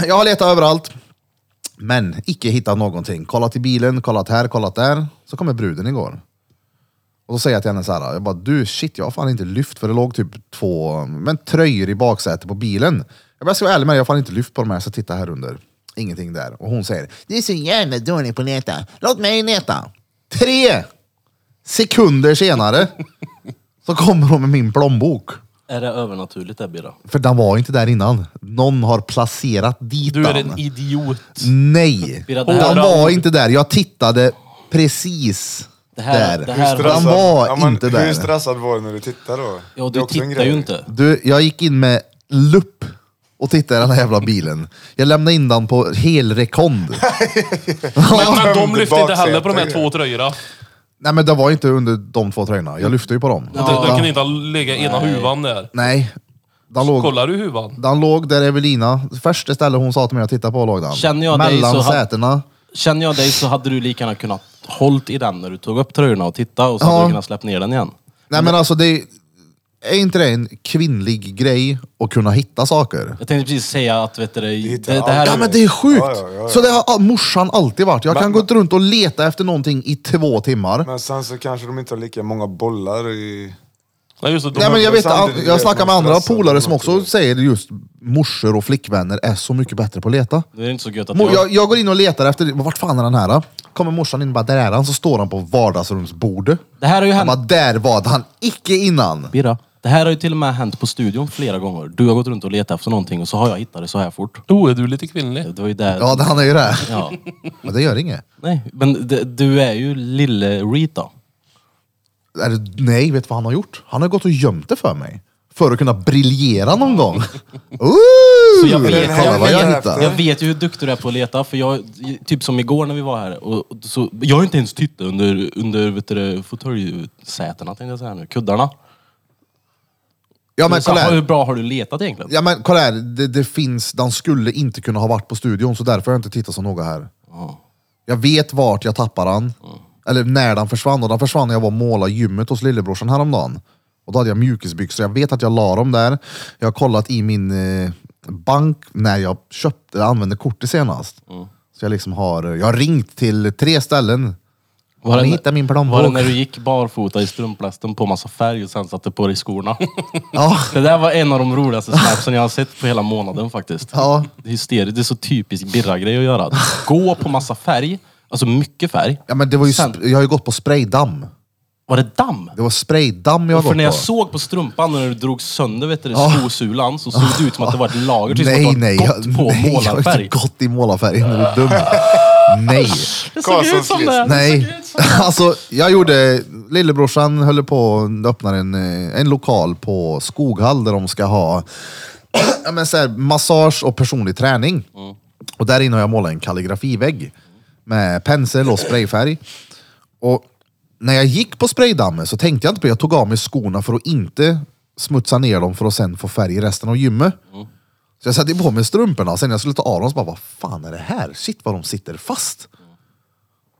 [SPEAKER 1] Jag har letat överallt. Men icke hittat någonting. Kollat i bilen, kollat här, kollat där. Så kommer bruden igår. Och så säger jag till henne så här, jag bara du shit jag har fan inte lyft för det låg typ två men tröjor i baksätet på bilen. Jag bara ska vara ärlig med dig, jag har fan inte lyft på de här så titta här under. Ingenting där. Och hon säger, du är så jävla dålig på att leta. Låt mig leta. Tre sekunder senare så kommer hon med min plånbok.
[SPEAKER 5] Är det övernaturligt det Birra?
[SPEAKER 1] För den var inte där innan. Någon har placerat dit
[SPEAKER 3] Du är
[SPEAKER 1] den.
[SPEAKER 3] en idiot.
[SPEAKER 1] Nej,
[SPEAKER 5] Birra, det här-
[SPEAKER 1] den var inte där. Jag tittade precis
[SPEAKER 5] Det här-
[SPEAKER 1] där.
[SPEAKER 5] det här- Hur
[SPEAKER 1] den
[SPEAKER 5] stressad-
[SPEAKER 1] var
[SPEAKER 4] Ja, men
[SPEAKER 1] inte
[SPEAKER 4] Hur
[SPEAKER 1] där.
[SPEAKER 4] stressad var du när du tittade då?
[SPEAKER 5] Ja,
[SPEAKER 4] Det är
[SPEAKER 5] du
[SPEAKER 4] också en
[SPEAKER 5] tittar ju
[SPEAKER 4] grej.
[SPEAKER 5] inte.
[SPEAKER 1] Du, jag gick in med lupp och tittade i den här jävla bilen. Jag lämnade in den på helrekond.
[SPEAKER 3] Men, men de
[SPEAKER 4] Tömde
[SPEAKER 3] lyfte inte heller på de här
[SPEAKER 4] baksätet.
[SPEAKER 3] två tröjorna.
[SPEAKER 1] Nej men det var inte under de två tröjorna. Jag lyfte ju på dem.
[SPEAKER 3] Ja. De, de kunde inte ha legat ena huvan där.
[SPEAKER 1] Nej. Den låg,
[SPEAKER 3] Kollar du huvan?
[SPEAKER 1] den låg där Evelina, första stället hon sa till mig att titta på låg den.
[SPEAKER 5] Känner jag dig
[SPEAKER 1] Mellan
[SPEAKER 5] så ha-
[SPEAKER 1] sätena.
[SPEAKER 5] Känner jag dig så hade du lika gärna kunnat hållt i den när du tog upp tröjorna och tittade och så hade
[SPEAKER 1] Ja.
[SPEAKER 5] du kunnat släppt ner den igen.
[SPEAKER 1] Nej men alltså det är inte det en kvinnlig grej att kunna hitta saker?
[SPEAKER 5] Jag tänkte precis säga att vet du, det,
[SPEAKER 4] hittar
[SPEAKER 5] det, det här
[SPEAKER 1] Ja
[SPEAKER 4] aldrig.
[SPEAKER 1] men det är sjukt!
[SPEAKER 4] Ja, ja, ja, ja.
[SPEAKER 1] Så det har ah, morsan alltid varit. Jag
[SPEAKER 4] Men-
[SPEAKER 1] kan gå runt och leta efter någonting i två timmar.
[SPEAKER 4] Men sen så kanske de inte har lika många bollar i...
[SPEAKER 3] Nej, just det, de,
[SPEAKER 1] Nej, men jag, vet,
[SPEAKER 4] Samtidigt
[SPEAKER 1] jag-
[SPEAKER 4] vet man
[SPEAKER 1] jag snackar med andra
[SPEAKER 4] stressen
[SPEAKER 1] polare
[SPEAKER 4] och
[SPEAKER 1] som också
[SPEAKER 4] något.
[SPEAKER 1] säger just morsor och flickvänner är så mycket bättre på att leta.
[SPEAKER 5] det är inte så gött att
[SPEAKER 1] Mo-
[SPEAKER 5] jag...
[SPEAKER 1] Jag, jag går in och letar efter, vart fan är den här? Då? Kommer morsan in och bara, där är han, så står han på vardagsrumsbordet.
[SPEAKER 5] Det här har ju
[SPEAKER 1] Han
[SPEAKER 5] hänt...
[SPEAKER 1] bara, där var han icke innan.
[SPEAKER 5] Birra, det här har ju till och med hänt på studion flera gånger. Du har gått runt och letat efter någonting och så har jag hittat det så här fort.
[SPEAKER 3] Oh, är du lite kvinnlig?
[SPEAKER 5] Det var ju där...
[SPEAKER 1] Ja, det, han är ju det.
[SPEAKER 5] Ja.
[SPEAKER 1] Men det gör inget.
[SPEAKER 5] Nej, men det, du är ju lille Rita.
[SPEAKER 1] Är det- Nej, vet du vad han har gjort? Han har gått och gömt det för mig. För att kunna briljera någon gång. Ooh,
[SPEAKER 5] Så jag vet-
[SPEAKER 1] Mm. kolla vad jag
[SPEAKER 4] jag vet-
[SPEAKER 1] hittade.
[SPEAKER 5] Jag vet ju hur duktig du är på att leta, för jag, typ som igår när vi var här, och, och så, jag har inte ens tittat under, under vet du, det, fåtöljsätena tänkte jag säga nu, kuddarna.
[SPEAKER 1] Ja men
[SPEAKER 5] så,
[SPEAKER 1] kolla
[SPEAKER 5] hur
[SPEAKER 1] här.
[SPEAKER 5] bra har du letat egentligen?
[SPEAKER 1] Ja men kolla här, det, det finns, den skulle inte kunna ha varit på studion så därför har jag inte tittat så noga här. Jag vet vart jag tappar den. Eller när den försvann. Och den försvann när jag var och målade gymmet hos lillebrorsan häromdagen. Och då hade jag mjukisbyxor. Jag vet att jag la dem där. Jag har kollat i min eh, bank när jag köpte, eller använde kortet senast. Så jag liksom har, jag har ringt till tre ställen.
[SPEAKER 5] Var
[SPEAKER 1] Ni
[SPEAKER 5] när-
[SPEAKER 1] hittar min
[SPEAKER 5] Var det
[SPEAKER 1] plånbok.
[SPEAKER 5] när du gick barfota i strumplästen på massa färg och sen satte på dig skorna?
[SPEAKER 1] Ja.
[SPEAKER 5] Det där var en av de roligaste snapsen jag har sett på hela månaden faktiskt.
[SPEAKER 1] Ja.
[SPEAKER 5] Det är Hysteriskt, det är så typisk Birra-grej att göra. Gå på massa färg, alltså mycket färg.
[SPEAKER 1] Ja men det var ju,
[SPEAKER 5] Sen-
[SPEAKER 1] sp- jag har ju gått på spraydamm.
[SPEAKER 5] Var det damm?
[SPEAKER 1] Det var spraydamm jag har
[SPEAKER 5] För
[SPEAKER 1] gått
[SPEAKER 5] när jag
[SPEAKER 1] på.
[SPEAKER 5] såg på strumpan när du drog sönder vet du,
[SPEAKER 1] Ja.
[SPEAKER 5] skosulan så såg det ut som att det var ett lager, typ
[SPEAKER 1] nej,
[SPEAKER 5] som att
[SPEAKER 1] nej,
[SPEAKER 5] du hade gått
[SPEAKER 1] jag,
[SPEAKER 5] på
[SPEAKER 1] nej, jag har
[SPEAKER 5] målarfärg.
[SPEAKER 1] inte gått i målarfärg. Är du dum? nej.
[SPEAKER 5] Det såg ut som det!
[SPEAKER 1] nej. Alltså, jag gjorde... Lillebrorsan höll på att öppna en, eh, en lokal på Skoghall där de ska ha ja, men så här, massage och personlig träning. Och där inne har jag målat en kalligrafivägg med pensel och sprayfärg. Och när jag gick på spraydammen så tänkte jag inte på det. Jag tog av mig skorna för att inte smutsa ner dem för att sen få färg i resten av gymmet. Så jag satte på mig strumporna, sen när jag skulle ta av dem så bara, vad fan är det här? Shit vad de sitter fast.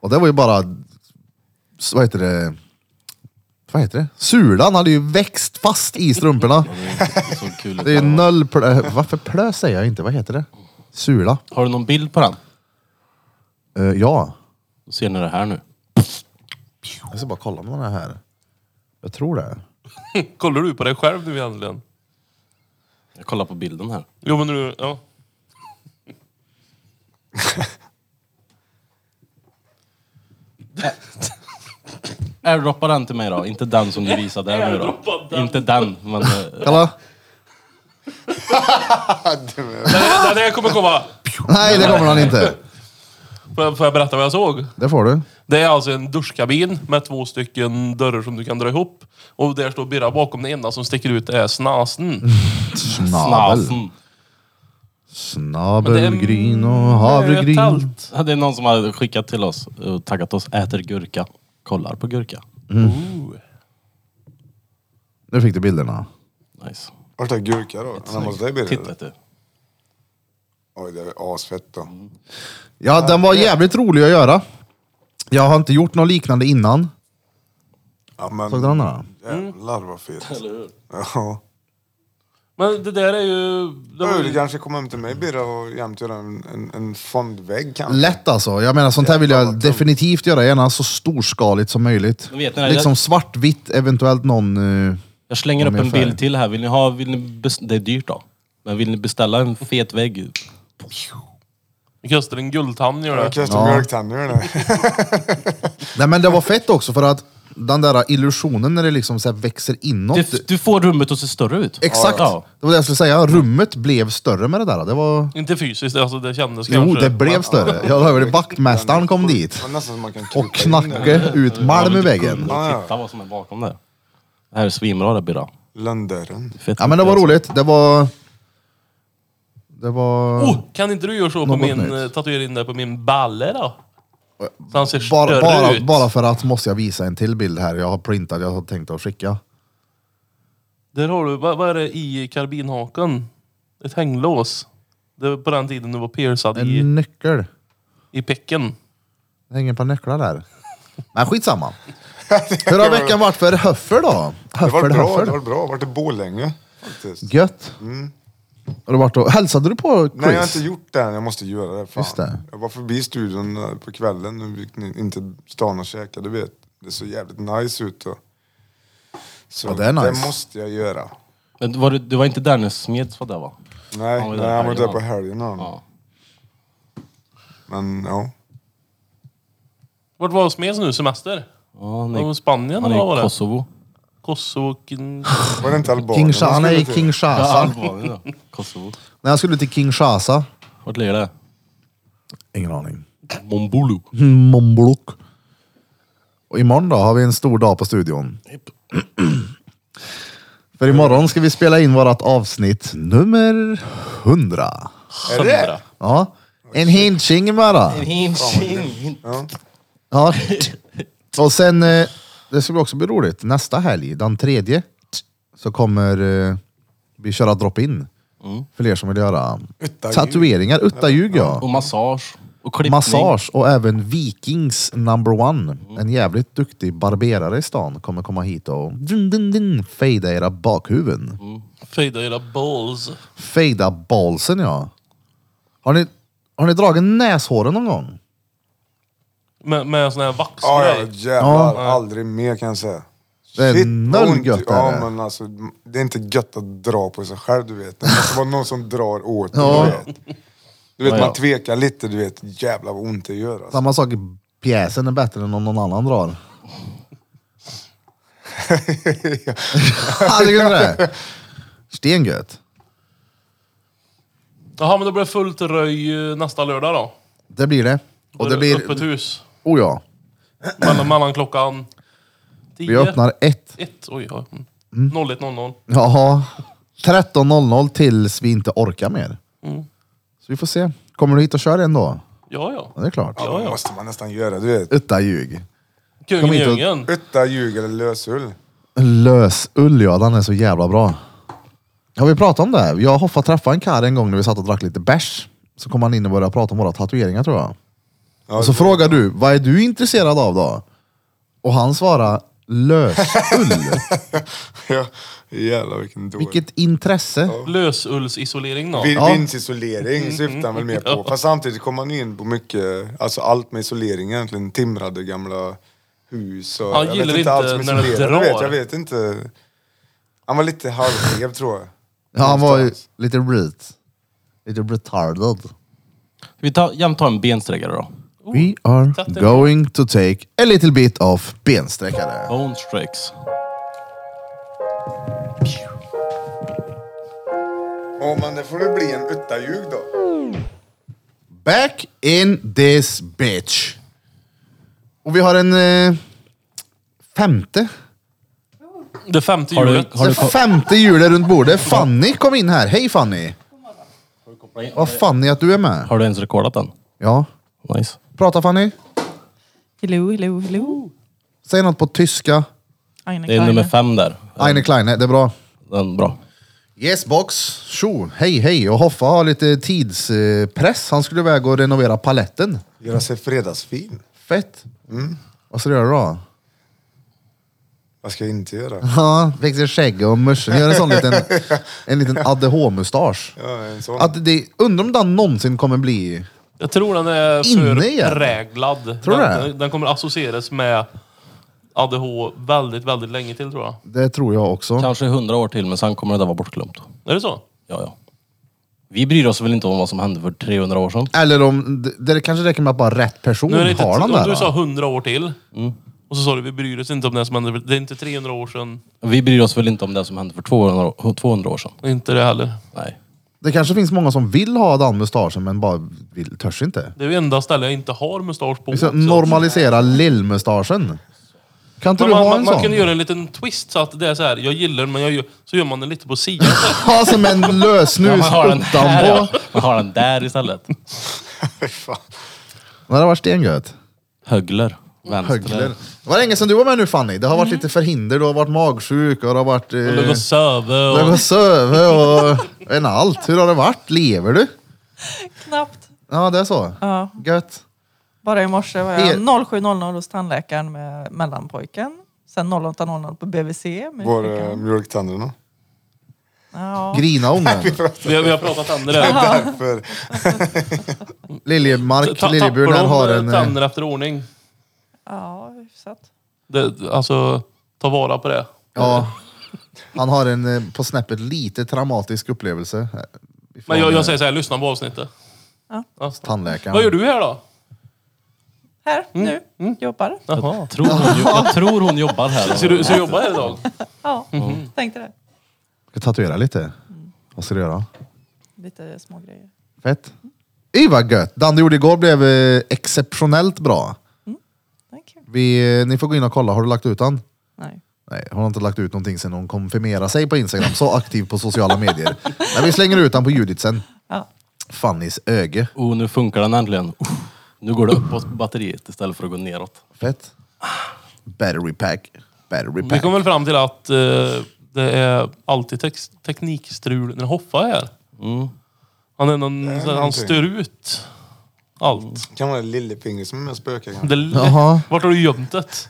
[SPEAKER 1] Och det var ju bara, s- vad heter det? Vad heter det? Sulan hade ju växt fast i strumporna.
[SPEAKER 5] Så kul.
[SPEAKER 1] Det är ju noll plö, varför plö säger jag inte? Vad heter det? Sula.
[SPEAKER 5] Har du någon bild på den?
[SPEAKER 1] Eh, ja.
[SPEAKER 5] Då ser ni det här nu.
[SPEAKER 1] Jag ska bara kolla om den är här. Jag tror det.
[SPEAKER 3] Kollar du på dig själv nu egentligen?
[SPEAKER 5] Jag kollar på bilden här.
[SPEAKER 3] Jo, men nu... Ja.
[SPEAKER 5] Airdroppa den till mig då, inte den som du visade där nu då.
[SPEAKER 3] Airdroppa den.
[SPEAKER 5] Inte den, men... eh,
[SPEAKER 1] Kolla!
[SPEAKER 3] Den här kommer komma...
[SPEAKER 1] Nej, det kommer han inte.
[SPEAKER 3] Får jag, får jag berätta vad jag såg?
[SPEAKER 1] Det får du.
[SPEAKER 3] Det är alltså en duschkabin med två stycken dörrar som du kan dra ihop. Och där står Birra bakom. Den enda som sticker ut är snasen.
[SPEAKER 1] Snabel.
[SPEAKER 5] snasen.
[SPEAKER 3] Men det är-
[SPEAKER 1] Snabelgryn och
[SPEAKER 3] Det är ett
[SPEAKER 1] havregryn.
[SPEAKER 3] tält.
[SPEAKER 5] Ja, Det är någon som har skickat till oss och taggat oss, äter gurka, kollar på gurka.
[SPEAKER 1] Nu fick du bilderna.
[SPEAKER 5] Nice.
[SPEAKER 4] Vart är gurka då? Han har måste dig
[SPEAKER 5] Titta
[SPEAKER 4] bilden.
[SPEAKER 5] vet du.
[SPEAKER 4] Oj, det är asfett då.
[SPEAKER 5] Mm.
[SPEAKER 1] Ja, den var jävligt rolig att göra. Jag har inte gjort något liknande innan.
[SPEAKER 4] Ja, men,
[SPEAKER 1] Såg du den där?
[SPEAKER 5] Mm.
[SPEAKER 4] Jävlar vad fet. Ja.
[SPEAKER 3] Men det där är ju... Det var
[SPEAKER 4] Ja,
[SPEAKER 1] Mm.
[SPEAKER 3] ju
[SPEAKER 4] Du kanske kommer hem till mig Birra och jämte en, en, en fondvägg kanske?
[SPEAKER 1] Lätt alltså. Jag menar sånt här vill jag definitivt göra, gärna så storskaligt som möjligt.
[SPEAKER 5] Men vet ni,
[SPEAKER 1] liksom
[SPEAKER 5] jag-
[SPEAKER 1] svartvitt, eventuellt någon... eh,
[SPEAKER 5] Jag slänger
[SPEAKER 1] Om
[SPEAKER 5] upp en
[SPEAKER 1] ungefär.
[SPEAKER 5] bild till här. Vill ni ha, vill ni bes- det är dyrt då. Men vill ni beställa en fet vägg?
[SPEAKER 3] Det kostar en guldhamn gör
[SPEAKER 4] Jag
[SPEAKER 3] det.
[SPEAKER 4] kastar
[SPEAKER 1] Ja.
[SPEAKER 4] mjölktänder nu.
[SPEAKER 1] Nej men det var fett också för att den där illusionen när det liksom så här växer inåt.
[SPEAKER 5] Du, du får rummet att se större ut.
[SPEAKER 1] Exakt!
[SPEAKER 5] Ja.
[SPEAKER 1] Det var det jag skulle säga. Rummet blev större med det där. Det var...
[SPEAKER 3] Inte fysiskt, alltså det kändes
[SPEAKER 1] Jo,
[SPEAKER 3] kanske.
[SPEAKER 1] det blev större. Jag hörde vaktmästaren kom dit
[SPEAKER 4] Det var nästan som man kan
[SPEAKER 1] och
[SPEAKER 4] krypa in där.
[SPEAKER 1] knackade ut malm i väggen.
[SPEAKER 5] Och titta vad som är bakom där. Det här är svinbra det Birra.
[SPEAKER 4] Lönndörren.
[SPEAKER 5] Fett
[SPEAKER 1] Ja men det var roligt. Det var... Det var...
[SPEAKER 3] Oh, kan inte du göra så på
[SPEAKER 1] Något
[SPEAKER 3] min,
[SPEAKER 1] nytt.
[SPEAKER 3] eh, tatuera in det på min balle då? Så han ser
[SPEAKER 1] Bara,
[SPEAKER 3] större
[SPEAKER 1] bara,
[SPEAKER 3] ut.
[SPEAKER 1] bara för att måste jag visa en till bild här. Jag har printat, jag har tänkt att skicka.
[SPEAKER 3] Där har du, vad, vad är det i karbinhaken? Ett hänglås. Det var på den tiden du var piercad i,
[SPEAKER 1] En nyckel.
[SPEAKER 3] i pecken.
[SPEAKER 1] Det hänger ett par nycklar där. Men skitsamma. Hur har veckan varit för höffer då?
[SPEAKER 4] Det var
[SPEAKER 1] Höffer,
[SPEAKER 4] bra, det var
[SPEAKER 1] höffer.
[SPEAKER 4] bra. Vart det Borlänge faktiskt.
[SPEAKER 1] Gött. Har du varit och... Hälsade du på Chris?
[SPEAKER 4] Nej jag har inte gjort det än, jag måste göra det. Fan.
[SPEAKER 1] Just det.
[SPEAKER 4] Jag var förbi studion eh, på kvällen, nu gick ni in till stan och käkade, du vet. Det såg jävligt nice ut. Och... Så
[SPEAKER 1] Ja, det är nice.
[SPEAKER 4] måste jag göra.
[SPEAKER 5] Men var det, det var inte Dennis Smeds var det va?
[SPEAKER 4] Nej,
[SPEAKER 5] Han var
[SPEAKER 4] han
[SPEAKER 5] där
[SPEAKER 4] nej, han var
[SPEAKER 5] helgen,
[SPEAKER 4] där på
[SPEAKER 5] va?
[SPEAKER 4] helgen han.
[SPEAKER 5] Ja.
[SPEAKER 4] Men ja.
[SPEAKER 3] Vart var Smeds nu? Semester?
[SPEAKER 5] ja han
[SPEAKER 3] Var det
[SPEAKER 5] är,
[SPEAKER 3] i Spanien
[SPEAKER 5] han
[SPEAKER 3] eller vad
[SPEAKER 5] är i
[SPEAKER 3] var det?
[SPEAKER 5] Kosovo.
[SPEAKER 3] Kosovo... Kin-
[SPEAKER 4] Var det inte Albanien?
[SPEAKER 1] Kinshasa,
[SPEAKER 4] de
[SPEAKER 1] nej, i
[SPEAKER 4] skulle
[SPEAKER 5] Ja,
[SPEAKER 4] till?
[SPEAKER 1] Kinshasa.
[SPEAKER 5] Albanien då. Kosovo.
[SPEAKER 1] När jag skulle till Kinshasa.
[SPEAKER 5] Vart ligger det?
[SPEAKER 1] Ingen aning.
[SPEAKER 5] Mombulu.
[SPEAKER 1] Momblok. Och imorgon då har vi en stor dag på studion. För imorgon ska vi spela in vårat avsnitt nummer 100.
[SPEAKER 4] Är det?
[SPEAKER 1] Ja, en hinching bara.
[SPEAKER 4] Ja.
[SPEAKER 1] Ja. Och sen, eh, det ska bli också bli roligt, nästa helg, den tredje, så kommer eh, vi köra drop-in.
[SPEAKER 4] Mm.
[SPEAKER 1] För er som vill göra
[SPEAKER 4] Uttaljug.
[SPEAKER 1] tatueringar, uttaljug ja.
[SPEAKER 5] Och massage. Och klippning.
[SPEAKER 1] Massage och även Vikings number one. En jävligt duktig barberare i stan kommer komma hit och dun, dun, dun, fejda era bakhuvuden.
[SPEAKER 3] Fejda era balls.
[SPEAKER 1] Fejda balsen ja. Har ni, har ni dragit näshåren någon gång?
[SPEAKER 3] Med, med sån här
[SPEAKER 4] Ja, ja,
[SPEAKER 3] vaxgrej.
[SPEAKER 4] jävlar. Aldrig mer kan jag säga.
[SPEAKER 1] Det är
[SPEAKER 4] Shit, vad
[SPEAKER 1] noll
[SPEAKER 4] ont-
[SPEAKER 1] gött, är
[SPEAKER 4] Ja,
[SPEAKER 1] det.
[SPEAKER 4] men alltså, det är inte gött att dra på sig själv, du vet. Det måste vara någon som drar åt
[SPEAKER 1] Ja.
[SPEAKER 4] ja. du vet. Du vet,
[SPEAKER 5] Ja, ja.
[SPEAKER 4] man tvekar lite, du vet. Jävlar vad ont det gör alltså.
[SPEAKER 1] Samma sak i pjäsen är bättre än om någon annan drar. Hade du det? Stengött.
[SPEAKER 3] Jaha, men det blir fullt röj eh, nästa lördag då.
[SPEAKER 1] Det blir det. Och det
[SPEAKER 3] Öppet
[SPEAKER 1] blir...
[SPEAKER 3] hus.
[SPEAKER 1] Oh ja.
[SPEAKER 3] Mellan, mellan klockan... Tio.
[SPEAKER 1] Vi öppnar ett.
[SPEAKER 3] Ett. Oj, ja. Mm. 01.00.
[SPEAKER 1] Jaha. 13.00 tills vi inte orkar mer.
[SPEAKER 3] Mm.
[SPEAKER 1] Så vi får se. Kommer du hit och kör en då?
[SPEAKER 3] Ja, ja.
[SPEAKER 1] Ja, det är klart.
[SPEAKER 4] Ja,
[SPEAKER 3] ja.
[SPEAKER 4] det måste man nästan göra, du vet.
[SPEAKER 1] Utta ljug.
[SPEAKER 3] Kungen
[SPEAKER 1] Kom
[SPEAKER 3] i
[SPEAKER 1] hit och-
[SPEAKER 3] djungeln.
[SPEAKER 4] Utta, ljug eller lösull.
[SPEAKER 1] Lösull ja, den är så jävla bra. Har vi pratat om det? här? Jag och Hoffa träffade en karl en gång när vi satt och drack lite bärs. Så kom han in och började prata om våra tatueringar tror jag.
[SPEAKER 4] Ja,
[SPEAKER 1] Och så frågar du, vad är du intresserad av då? Och han svarar lösull.
[SPEAKER 4] ja. Jävlar vilken dåre.
[SPEAKER 1] Vilket intresse.
[SPEAKER 3] Lösullsisolering då.
[SPEAKER 4] Vin-
[SPEAKER 1] Ja.
[SPEAKER 3] Mm,
[SPEAKER 4] Vindsisolering syftar han väl mer på. Fast samtidigt kommer man ju in på mycket, alltså allt med isolering egentligen. Timrade gamla hus och...
[SPEAKER 3] Han gillar inte
[SPEAKER 4] Jag
[SPEAKER 3] när det
[SPEAKER 4] vet,
[SPEAKER 3] drar.
[SPEAKER 4] jag vet inte. Han var lite halvskev tror jag.
[SPEAKER 1] Ja, han var ju
[SPEAKER 4] Någonstans.
[SPEAKER 1] lite ret. Lite retarded.
[SPEAKER 5] Vi tar, jämt tar en bensträckare då.
[SPEAKER 1] We are
[SPEAKER 3] Satte-
[SPEAKER 1] going to take a little bit of bensträckare.
[SPEAKER 5] Bone strikes.
[SPEAKER 4] Åh men det får det bli en uttaljug då.
[SPEAKER 1] Back in this bitch. Och vi har en eh, femte.
[SPEAKER 3] Det femte
[SPEAKER 5] Har du-
[SPEAKER 3] hjulet.
[SPEAKER 5] har
[SPEAKER 1] Den
[SPEAKER 5] ko-
[SPEAKER 1] femte hjulet runt bordet. Fanny kom in här. Hej Fanny! Vad Fanny att du är med.
[SPEAKER 5] Har du ens rekordat den?
[SPEAKER 1] Ja.
[SPEAKER 5] Nice.
[SPEAKER 1] Prata Fanny.
[SPEAKER 7] Hello, hello, hello.
[SPEAKER 1] Säg något på tyska.
[SPEAKER 7] Aina
[SPEAKER 5] Det är
[SPEAKER 7] Kleine.
[SPEAKER 5] nummer fem där.
[SPEAKER 1] Eine Kleine, det är bra.
[SPEAKER 5] Den bra.
[SPEAKER 1] Yes box. Tjo, hej hej. Och Hoffa har lite tidspress. Han skulle iväg och renovera paletten.
[SPEAKER 4] Göra sig fredagsfin.
[SPEAKER 1] Fett. Vad ska du göra då?
[SPEAKER 4] Vad ska jag inte göra?
[SPEAKER 1] Ja, växer skägg och muschen gör en sån liten, en liten ADH-mustasch.
[SPEAKER 4] Ja, en sån.
[SPEAKER 1] Att det, undrar om den någonsin kommer bli...
[SPEAKER 3] Jag tror den är
[SPEAKER 1] Inne
[SPEAKER 3] för
[SPEAKER 1] igen.
[SPEAKER 3] präglad.
[SPEAKER 1] Tror du det?
[SPEAKER 3] den, den kommer associeras med ADH väldigt, väldigt länge till tror jag.
[SPEAKER 1] Det tror jag också.
[SPEAKER 5] Kanske hundra år till, men sen kommer det där vara bortglömt.
[SPEAKER 3] Är det så?
[SPEAKER 5] Ja, ja. Vi bryr oss väl inte om vad som hände för 300 år sedan.
[SPEAKER 1] Eller om... Det, det kanske räcker med att bara rätt person
[SPEAKER 3] Nu är det inte,
[SPEAKER 1] Mm, har den
[SPEAKER 3] om
[SPEAKER 1] där.
[SPEAKER 3] du sa 100 år till
[SPEAKER 5] Mm.
[SPEAKER 3] och så sa du vi bryr oss inte om det som hände. för- Det är inte 300 år sedan.
[SPEAKER 5] Vi bryr oss väl inte om det som hände för 200, år- 200 år sedan.
[SPEAKER 3] och Inte det heller.
[SPEAKER 5] Nej.
[SPEAKER 1] Det kanske finns många som vill ha den mustaschen men bara vill, törs inte.
[SPEAKER 3] Det är det enda stället jag inte har mustasch på.
[SPEAKER 1] Vi ska
[SPEAKER 3] också.
[SPEAKER 1] normalisera lillmustaschen. Kan inte
[SPEAKER 3] Men
[SPEAKER 1] du
[SPEAKER 3] man,
[SPEAKER 1] ha
[SPEAKER 3] man,
[SPEAKER 1] en
[SPEAKER 3] man
[SPEAKER 1] sån?
[SPEAKER 3] kunde göra en liten twist så att det är så här. jag gillar den men jag gör, så gör man den lite på sidan. så här.
[SPEAKER 1] Ha som en
[SPEAKER 5] Ja, man
[SPEAKER 1] lösnus
[SPEAKER 5] har den här, ja.
[SPEAKER 1] utanpå.
[SPEAKER 5] Man har den där istället.
[SPEAKER 1] Det hade varit stengött.
[SPEAKER 5] Högler. Vänster.
[SPEAKER 1] Högler. Det var länge sedan du var med nu Fanny. Det har varit lite förhinder, du har varit magsjuk och det har varit... Eh,
[SPEAKER 3] Låg och söve
[SPEAKER 1] du har gått
[SPEAKER 3] och...
[SPEAKER 1] och sövit och... en allt. Hur har det varit? Lever du?
[SPEAKER 7] Knappt.
[SPEAKER 1] Ja, det är så.
[SPEAKER 7] Ja.
[SPEAKER 1] Gött.
[SPEAKER 7] Bara i morse var
[SPEAKER 1] Er-
[SPEAKER 7] jag 07.00 hos tandläkaren med mellanpojken. Sen 08.00 på BVC. Med
[SPEAKER 4] Var
[SPEAKER 7] flickan.
[SPEAKER 4] det eh, mjölktänderna?
[SPEAKER 7] ja.
[SPEAKER 1] Grina ungen.
[SPEAKER 3] Vi, har- vi har pratat tänder där.
[SPEAKER 4] Därför.
[SPEAKER 3] Ta-
[SPEAKER 1] Liljemark,
[SPEAKER 3] Tappar
[SPEAKER 1] Liljebjörnen
[SPEAKER 3] de
[SPEAKER 1] har en... eh,
[SPEAKER 3] tänder efter ordning?
[SPEAKER 7] ja, hyfsat.
[SPEAKER 3] Det, alltså, ta vara på det.
[SPEAKER 1] Ja. Han har en eh, på snäppet lite traumatisk upplevelse. eh, ifrån,
[SPEAKER 3] Men jag,
[SPEAKER 1] eh,
[SPEAKER 3] jag säger så här, lyssna på avsnittet.
[SPEAKER 1] Tandläkaren.
[SPEAKER 3] Vad gör du här då?
[SPEAKER 7] Här, nu, jobbar.
[SPEAKER 3] Jaha.
[SPEAKER 5] Tror hon, jo- jag tror hon jobbar här.
[SPEAKER 3] Så du, så du jobbar här idag?
[SPEAKER 7] Ja, Mm. tänkte det.
[SPEAKER 1] Ska tatuera lite. Vad ska du göra?
[SPEAKER 7] Lite små grejer.
[SPEAKER 1] Fett. Ey vad gött! Dan du gjorde igår blev eh, exceptionellt bra.
[SPEAKER 7] Thank you.
[SPEAKER 1] Vi, eh, ni får gå in och kolla, har du lagt ut den?
[SPEAKER 7] Nej.
[SPEAKER 1] Nej, hon har inte lagt ut någonting sen hon konfirmerade sig på Instagram. Så aktiv på sociala medier. Men vi slänger ut den på Judith sen.
[SPEAKER 7] Ja.
[SPEAKER 1] Fannys öge.
[SPEAKER 5] Oh, nu funkar den äntligen. Oh, nu går det uppåt på batteriet istället för att gå neråt.
[SPEAKER 1] Fett. Battery pack. Battery
[SPEAKER 3] Vi
[SPEAKER 1] pack.
[SPEAKER 3] kom väl fram till att eh, det är alltid tex- teknikstrul när Hoffa är här. Han, är någon,
[SPEAKER 4] är
[SPEAKER 3] han
[SPEAKER 4] någonting.
[SPEAKER 3] stör ut allt.
[SPEAKER 4] Kan vara lillefinger som är med och spökar kanske.
[SPEAKER 3] Det,
[SPEAKER 1] Jaha.
[SPEAKER 3] vart har du gömt det?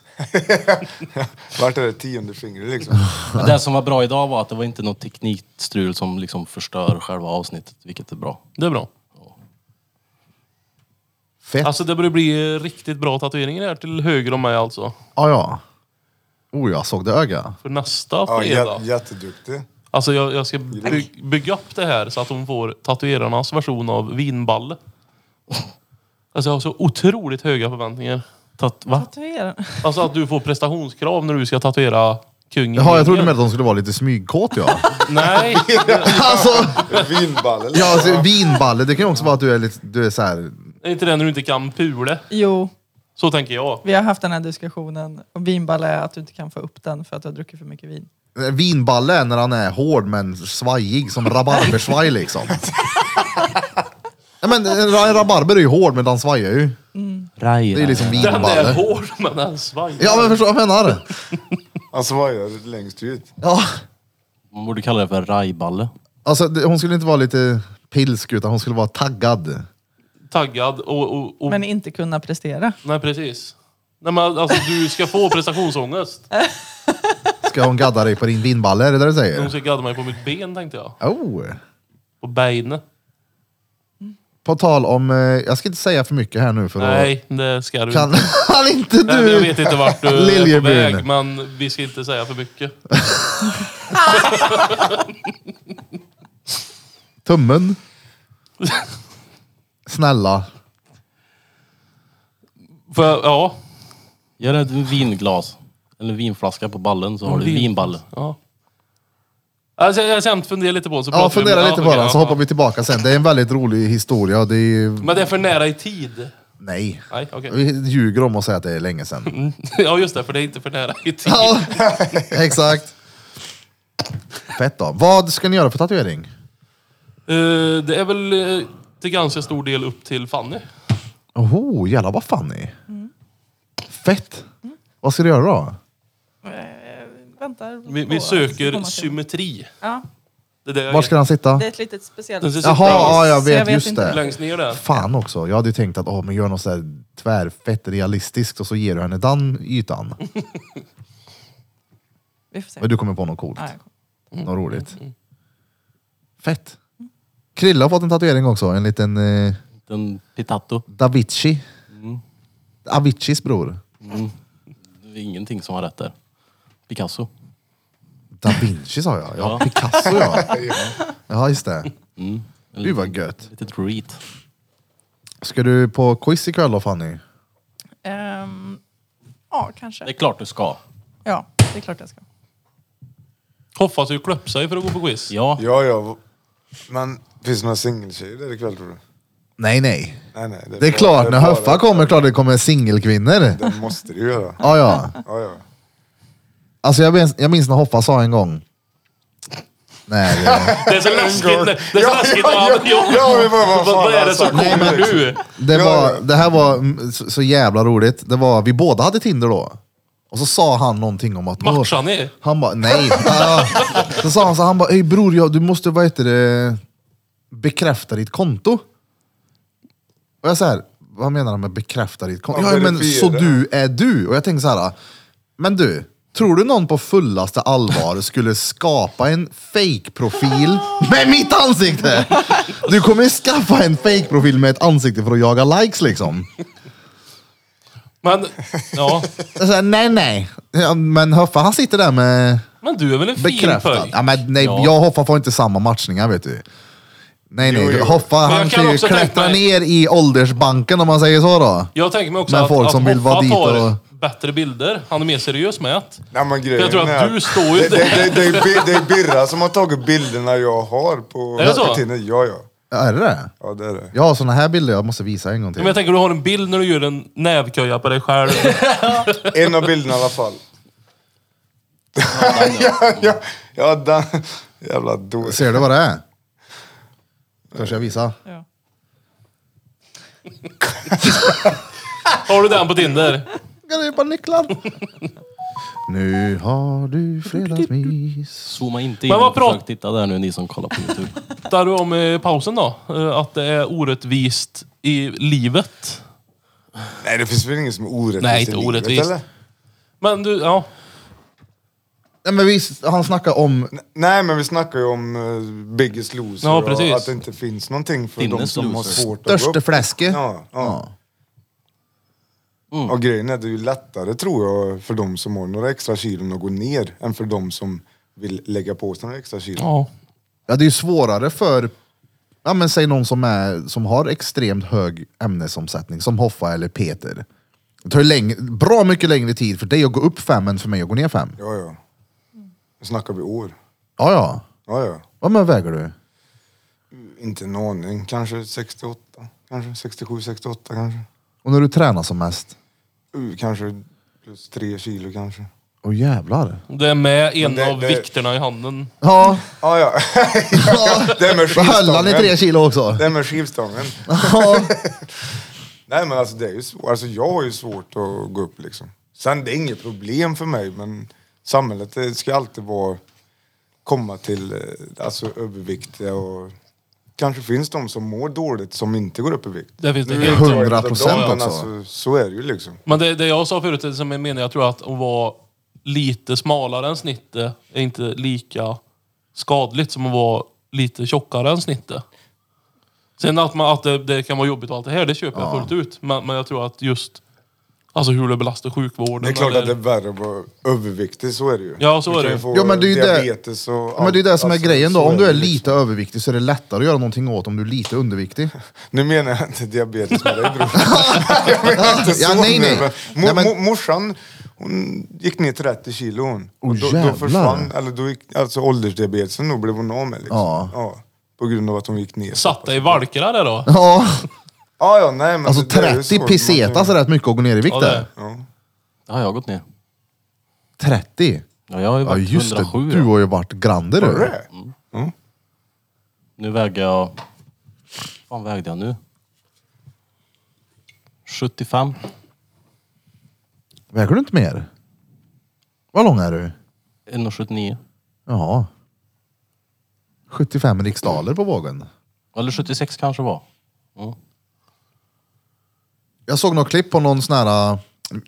[SPEAKER 4] Vart är det tionde fingret liksom?
[SPEAKER 5] Men det som var bra idag var att det var inte något teknikstrul som liksom förstör själva avsnittet, vilket är bra.
[SPEAKER 3] Det är bra.
[SPEAKER 1] Fett.
[SPEAKER 3] Alltså det börjar bli eh, riktigt bra tatueringar här till höger om mig alltså.
[SPEAKER 1] Ah, ja. Oh, jag såg det öga.
[SPEAKER 3] För nästa
[SPEAKER 4] Ja,
[SPEAKER 3] fredag.
[SPEAKER 4] jä- jätteduktig.
[SPEAKER 3] Alltså jag, jag ska by, bygga upp det här så att hon får tatuerarnas version av vinballe. Alltså jag har så otroligt höga förväntningar.
[SPEAKER 5] Tat, va?
[SPEAKER 7] Tatuera.
[SPEAKER 3] Alltså att du får prestationskrav när du ska tatuera kungen.
[SPEAKER 1] Jaha, jag trodde med att de skulle vara lite smygkåt ja.
[SPEAKER 3] Nej,
[SPEAKER 1] alltså,
[SPEAKER 4] Vinball eller?
[SPEAKER 1] ja, alltså, vinballe, det kan ju också vara att du är lite, du är så här.
[SPEAKER 3] det är inte det när du inte kan pule.
[SPEAKER 7] Jo,
[SPEAKER 3] Så tänker jag.
[SPEAKER 7] vi har haft den här diskussionen. Och vinballe är att du inte kan få upp den för att du har druckit för mycket vin.
[SPEAKER 1] Vinballe är när han är hård men svajig som rabarbersvaj liksom. Ja, men en ra- en rabarber är ju hård men den svajar ju.
[SPEAKER 5] Rai,
[SPEAKER 1] Det är liksom
[SPEAKER 3] Den är
[SPEAKER 1] vinballe.
[SPEAKER 3] hård men den svajar.
[SPEAKER 1] Ja men förstår du vad jag menar?
[SPEAKER 4] Alltså vad gör det längst ut?
[SPEAKER 1] Ja.
[SPEAKER 5] Man borde kalla det för rajballe.
[SPEAKER 1] Alltså, det, hon skulle inte vara lite pilsk utan hon skulle vara taggad.
[SPEAKER 3] Taggad och... och, och
[SPEAKER 7] Men inte kunna prestera.
[SPEAKER 3] Nej precis. Nej men alltså du ska få prestationsångest.
[SPEAKER 1] Ska hon gadda dig på din vinballe, är det det du
[SPEAKER 3] De
[SPEAKER 1] säger?
[SPEAKER 3] ska gadda mig på mitt ben tänkte jag.
[SPEAKER 1] Oh.
[SPEAKER 3] På beinet.
[SPEAKER 1] På tal om, eh, jag ska inte säga för mycket här nu för då
[SPEAKER 3] Nej, det ska du
[SPEAKER 1] kan
[SPEAKER 3] inte.
[SPEAKER 1] han inte
[SPEAKER 3] Nej, men jag
[SPEAKER 1] du.
[SPEAKER 3] vet inte vart du är på
[SPEAKER 1] Liljebyn.
[SPEAKER 3] väg, men vi ska inte säga för mycket.
[SPEAKER 1] Tummen. Snälla.
[SPEAKER 3] För, ja,
[SPEAKER 5] Gör ett vinglas, eller vinflaska på ballen så har du
[SPEAKER 3] vin-
[SPEAKER 5] vinballe.
[SPEAKER 3] ja. Alltså, jag har känt fundera lite på det. Så pratar
[SPEAKER 1] Ja,
[SPEAKER 3] vi-
[SPEAKER 1] fundera lite på
[SPEAKER 3] okej,
[SPEAKER 1] den så
[SPEAKER 3] ja.
[SPEAKER 1] hoppar vi tillbaka sen. Det är en väldigt rolig historia. och Det är ju...
[SPEAKER 3] Men det är för nära i tid.
[SPEAKER 1] Nej.
[SPEAKER 3] Nej, okej.
[SPEAKER 1] Vi ljuger om att säga att det är länge sedan.
[SPEAKER 3] Ja, just det, för det är inte för nära i tid.
[SPEAKER 1] Ja, exakt. Fett då. Vad ska ni göra för tatuering?
[SPEAKER 3] Eh, det är väl eh, till ganska stor del upp till Fanny.
[SPEAKER 1] Oho, jävlar vad fan ni
[SPEAKER 7] Mm.
[SPEAKER 1] Fett. Vad ska du göra då?
[SPEAKER 7] Eh, väntar
[SPEAKER 3] Vi,
[SPEAKER 7] på
[SPEAKER 3] vi
[SPEAKER 7] att
[SPEAKER 3] söker
[SPEAKER 7] komma till-
[SPEAKER 3] symmetri.
[SPEAKER 7] Ja,
[SPEAKER 3] Det är det jag
[SPEAKER 1] Var ska den sitta?
[SPEAKER 7] det är ett litet speciellt.
[SPEAKER 3] Den ser så
[SPEAKER 1] Jaha,
[SPEAKER 3] bra
[SPEAKER 1] ja, jag
[SPEAKER 7] Jag
[SPEAKER 1] vet
[SPEAKER 7] vet
[SPEAKER 1] just
[SPEAKER 7] inte.
[SPEAKER 3] ut
[SPEAKER 1] det.
[SPEAKER 3] längst ner där.
[SPEAKER 1] Fan också. Jag hade ju tänkt att åh, men gör något så här tvärfett realistiskt och så ger du henne den ytan.
[SPEAKER 7] Vi får se.
[SPEAKER 1] Men du kommer på något coolt.
[SPEAKER 7] Nej,
[SPEAKER 1] Något roligt. Fett. Krilla har fått en tatuering också. En liten eh,
[SPEAKER 5] Den pitato.
[SPEAKER 1] Davici. Aviciis bror.
[SPEAKER 5] Det är ingenting som var rätt där. Picasso.
[SPEAKER 1] Da Vinci sa jag. Ja,
[SPEAKER 5] Ja.
[SPEAKER 1] Picasso ja. Ja, just det. Gud vad gött.
[SPEAKER 5] Litet reet.
[SPEAKER 1] Ska du på quiz ikväll då Fanny?
[SPEAKER 7] Ehm, ja, kanske.
[SPEAKER 5] Det är klart du ska.
[SPEAKER 7] Ja, det är klart jag ska.
[SPEAKER 3] Hoppas du klöpp sig för att gå på quiz.
[SPEAKER 5] Ja.
[SPEAKER 4] Ja, ja. Men finns det några singeltjejer där ikväll tror du?
[SPEAKER 1] Nej, nej.
[SPEAKER 4] Nej, nej.
[SPEAKER 1] Det är
[SPEAKER 4] bara-
[SPEAKER 1] klart, när
[SPEAKER 4] bara-
[SPEAKER 1] Höffa kommer, klart det kommer singelkvinnor.
[SPEAKER 4] Det måste det ju göra.
[SPEAKER 1] Ja, ja.
[SPEAKER 4] Ja, ja.
[SPEAKER 1] Alltså jag minns, jag minns när Hoppa sa en gång. Nej, det,
[SPEAKER 3] Det är så läskigt. Det det är så
[SPEAKER 4] Ja,
[SPEAKER 3] läskigt.
[SPEAKER 4] ja,
[SPEAKER 3] Ja,
[SPEAKER 4] ja, ja, men vad- vad fan,
[SPEAKER 3] Vad är det
[SPEAKER 4] alltså.
[SPEAKER 3] som
[SPEAKER 4] Nej,
[SPEAKER 3] kommer
[SPEAKER 4] men-
[SPEAKER 3] nu?
[SPEAKER 1] det,
[SPEAKER 4] Ja,
[SPEAKER 1] var,
[SPEAKER 4] ja.
[SPEAKER 1] det här var mm, så, så jävla roligt. Det var, vi båda hade Tinder då. Och så sa han någonting om att...
[SPEAKER 3] Matchar ni?
[SPEAKER 1] Han bara, nej. Ja. så sa han så han bara, "Ey, bror jag, du måste vad heter det, bekräfta ditt konto. Och jag så här, vad menar han med bekräfta ditt konto?
[SPEAKER 4] Ja,
[SPEAKER 1] Ja, men
[SPEAKER 4] verifiera.
[SPEAKER 1] så du är du. Och jag tänkte så här, men du, tror du någon på fullaste allvar skulle skapa en fake-profil med mitt ansikte? Du kommer skaffa en fake-profil med ett ansikte för att jaga likes liksom.
[SPEAKER 3] Men, ja.
[SPEAKER 1] Jag sa, nej, nej. Ja, Men Höffa han sitter där med
[SPEAKER 3] men du är väl en fin
[SPEAKER 1] Bekräftad.
[SPEAKER 3] pöjk?
[SPEAKER 1] Ja, men nej,
[SPEAKER 5] Ja.
[SPEAKER 1] Jag och Hoffa får inte samma matchningar vet du. Nej nej,
[SPEAKER 4] Jo, jo.
[SPEAKER 1] Hoffa
[SPEAKER 3] jag
[SPEAKER 1] han
[SPEAKER 3] kan
[SPEAKER 1] kan ju
[SPEAKER 3] också tänka
[SPEAKER 1] klättra
[SPEAKER 3] mig-
[SPEAKER 1] ner i åldersbanken om man säger så då.
[SPEAKER 3] Jag tänker mig också
[SPEAKER 1] Men
[SPEAKER 3] att,
[SPEAKER 1] folk
[SPEAKER 3] att
[SPEAKER 1] som vill
[SPEAKER 3] Hoffa
[SPEAKER 1] vara dit
[SPEAKER 3] tar
[SPEAKER 1] och-
[SPEAKER 3] bättre bilder. Han är mer seriös med att.
[SPEAKER 4] Nej, men grejen
[SPEAKER 3] Jag tror att
[SPEAKER 4] är
[SPEAKER 3] du står ju
[SPEAKER 4] det, det,
[SPEAKER 3] där.
[SPEAKER 4] det, det, är Bir- det är Birra som har tagit bilderna jag har på...
[SPEAKER 3] Är det så?
[SPEAKER 4] på Tinder. Ja, ja.
[SPEAKER 1] Ja, Är det det?
[SPEAKER 4] Ja, det är det.
[SPEAKER 1] Jag har såna här bilder jag måste visa en gång
[SPEAKER 3] Men jag
[SPEAKER 1] till.
[SPEAKER 3] tänker du har en bild när du gör en nävköja på dig själv.
[SPEAKER 4] En av bilderna i alla fall. ja, ja, ja, den... Jävla dålig.
[SPEAKER 1] Ser du vad det är? Törs jag visa?
[SPEAKER 7] Ja.
[SPEAKER 3] Har du den på Tinder?
[SPEAKER 1] Kan du bara nycklar? nu har du fredagsmys.
[SPEAKER 5] Zooma inte in.
[SPEAKER 3] Men vad
[SPEAKER 5] och försök
[SPEAKER 3] prat-
[SPEAKER 5] titta där nu ni som kollar på Youtube.
[SPEAKER 3] Där du om eh, pausen då? Eh, Att det är orättvist i livet.
[SPEAKER 4] Nej, det finns väl ingen som är orättvist
[SPEAKER 3] Nej, inte
[SPEAKER 4] i livet,
[SPEAKER 3] orättvist.
[SPEAKER 4] eller?
[SPEAKER 3] Men du, ja.
[SPEAKER 1] Nej, men vi, han snackar om...
[SPEAKER 4] Nej, men vi snackar ju om eh, Biggest Loser
[SPEAKER 3] Ja, precis.
[SPEAKER 4] och att det inte finns någonting för
[SPEAKER 5] Tinnes
[SPEAKER 4] de som har
[SPEAKER 5] loser.
[SPEAKER 4] svårt att gå
[SPEAKER 1] Störste
[SPEAKER 4] upp.
[SPEAKER 1] fläske.
[SPEAKER 4] Ja, ja. Och grejen är att det är ju lättare tror jag för de som har några extra kilon att gå ner än för de som vill lägga på sig några extra kilon.
[SPEAKER 3] ja.
[SPEAKER 1] Ja, det är ju svårare för, ja men säg någon som, är, som har extremt hög ämnesomsättning, som Hoffa eller Peter. Det tar ju läng- bra mycket längre tid för dig att gå upp fem än för mig att gå ner fem.
[SPEAKER 4] Ja, ja. Nu snackar vi år.
[SPEAKER 1] Ja, ja.
[SPEAKER 4] Ja, ja.
[SPEAKER 1] Vad men väger du?
[SPEAKER 4] Inte en aning. Kanske 68, kanske 67, 68 kanske.
[SPEAKER 1] Och när du tränar som mest?
[SPEAKER 4] Uh, kanske plus tre kilo kanske.
[SPEAKER 1] Åh jävlar.
[SPEAKER 3] Det är med en
[SPEAKER 4] det-
[SPEAKER 3] av
[SPEAKER 4] det-
[SPEAKER 3] vikterna i handen.
[SPEAKER 1] Ja,
[SPEAKER 4] Ah, ja, ja. Det är med
[SPEAKER 1] vad höll han i tre
[SPEAKER 4] skivstången.
[SPEAKER 1] kilo också?
[SPEAKER 4] Det är med skivstången.
[SPEAKER 1] Ja.
[SPEAKER 4] Nej men alltså det är ju svårt. Alltså jag har ju svårt att gå upp liksom. Sen det är inget problem för mig men samhället det ska alltid vara, komma till eh, alltså, överviktiga och kanske finns de som mår dåligt som inte går upp i vikt.
[SPEAKER 3] Där finns det
[SPEAKER 4] Nu är
[SPEAKER 3] helt
[SPEAKER 4] inte jag
[SPEAKER 1] Hundra
[SPEAKER 4] en av dem,
[SPEAKER 1] procent
[SPEAKER 4] men
[SPEAKER 1] också.
[SPEAKER 4] Alltså, så är det ju liksom.
[SPEAKER 3] Men det, det jag sa förut, det som jag menar, jag tror att att vara lite smalare än snittet är inte lika skadligt som att vara lite tjockare än snittet. Sen att, man, att det, det kan vara jobbigt och allt det här, det köper jag fullt ut. Men, men jag tror att just alltså hur det belastar sjukvården.
[SPEAKER 4] Det är klart
[SPEAKER 3] eller-
[SPEAKER 4] att det är värre att vara överviktig, så är det ju.
[SPEAKER 3] Ja, så
[SPEAKER 4] Du
[SPEAKER 3] är
[SPEAKER 4] kan
[SPEAKER 3] det.
[SPEAKER 4] ju få
[SPEAKER 1] Ja, men det är ju det-
[SPEAKER 4] diabetes och
[SPEAKER 1] Ja, men det är det som är
[SPEAKER 4] allt. Alltså,
[SPEAKER 1] grejen då.
[SPEAKER 4] så
[SPEAKER 1] Om du är
[SPEAKER 4] det ju
[SPEAKER 1] lite överviktig så är det lättare att göra någonting åt om du är lite underviktig.
[SPEAKER 4] Nu menar jag inte diabetes med dig bror. jag menar inte så.
[SPEAKER 1] Ja, nej,
[SPEAKER 4] nu,
[SPEAKER 1] nej.
[SPEAKER 4] men-
[SPEAKER 1] Nej, men-
[SPEAKER 4] Mo- mo- Morsan, hon gick ner 30 kilo hon. Och
[SPEAKER 1] Åh,
[SPEAKER 4] då,
[SPEAKER 1] jävlar.
[SPEAKER 4] då försvann, eller då gick, alltså åldersdiabetesen då blev hon av med liksom.
[SPEAKER 1] Ja.
[SPEAKER 4] På grund av att hon gick ner.
[SPEAKER 3] Satt dig i valkar där då?
[SPEAKER 1] Ja,
[SPEAKER 4] Ja, ja, nej men.
[SPEAKER 1] alltså
[SPEAKER 4] Alltså, det där är ju
[SPEAKER 1] 30
[SPEAKER 4] svårt. Man
[SPEAKER 1] pesetas
[SPEAKER 4] kan-
[SPEAKER 1] är rätt mycket att gå ner i vikt
[SPEAKER 3] Ja, det är.
[SPEAKER 1] där.
[SPEAKER 5] Det har jag gått ner.
[SPEAKER 1] 30?
[SPEAKER 5] Ja, jag har ju
[SPEAKER 1] Ja
[SPEAKER 5] varit
[SPEAKER 1] just det,
[SPEAKER 5] 107.
[SPEAKER 1] du har ju varit grande
[SPEAKER 4] Är
[SPEAKER 1] du.
[SPEAKER 4] det?
[SPEAKER 5] Mm, Nu väger jag... Vad fan vägde jag nu? 75.
[SPEAKER 1] Väger du inte mer? Vad lång är du?
[SPEAKER 5] 1,79.
[SPEAKER 1] Ja. 75 riksdaler på vågen.
[SPEAKER 5] Eller 76 kanske var. Mm.
[SPEAKER 1] Jag såg något klipp på eh, någon sån här,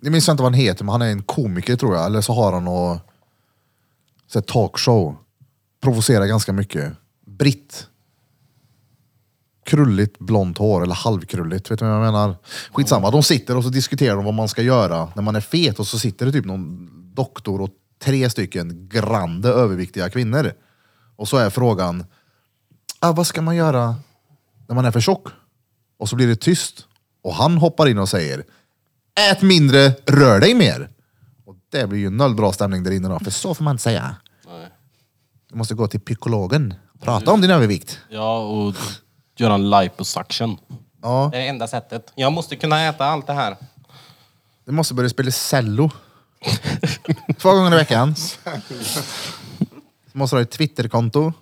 [SPEAKER 1] jag minns inte vad han heter, men han är en komiker tror jag, eller så har han och så här talkshow. Provocerar ganska mycket. Britt. Krulligt blont hår, eller halvkrulligt. Vet du vad jag menar? Skitsamma, de sitter och så diskuterar de vad man ska göra när man är fet och så sitter det typ någon doktor och tre stycken grande överviktiga kvinnor. Och så är frågan, ah, vad ska man göra när man är för tjock? Och så blir det tyst och han hoppar in och säger, ät mindre, rör dig mer. Och det blir ju noll bra stämning där inne då, för så får man inte säga. Du måste gå till psykologen, prata om din övervikt.
[SPEAKER 5] Ja, och göra en liposuction.
[SPEAKER 1] Ja,
[SPEAKER 5] Det är enda sättet. Jag måste kunna äta allt det här.
[SPEAKER 1] du måste börja spela cello. Två gånger i veckan. Du måste ha ett Twitterkonto.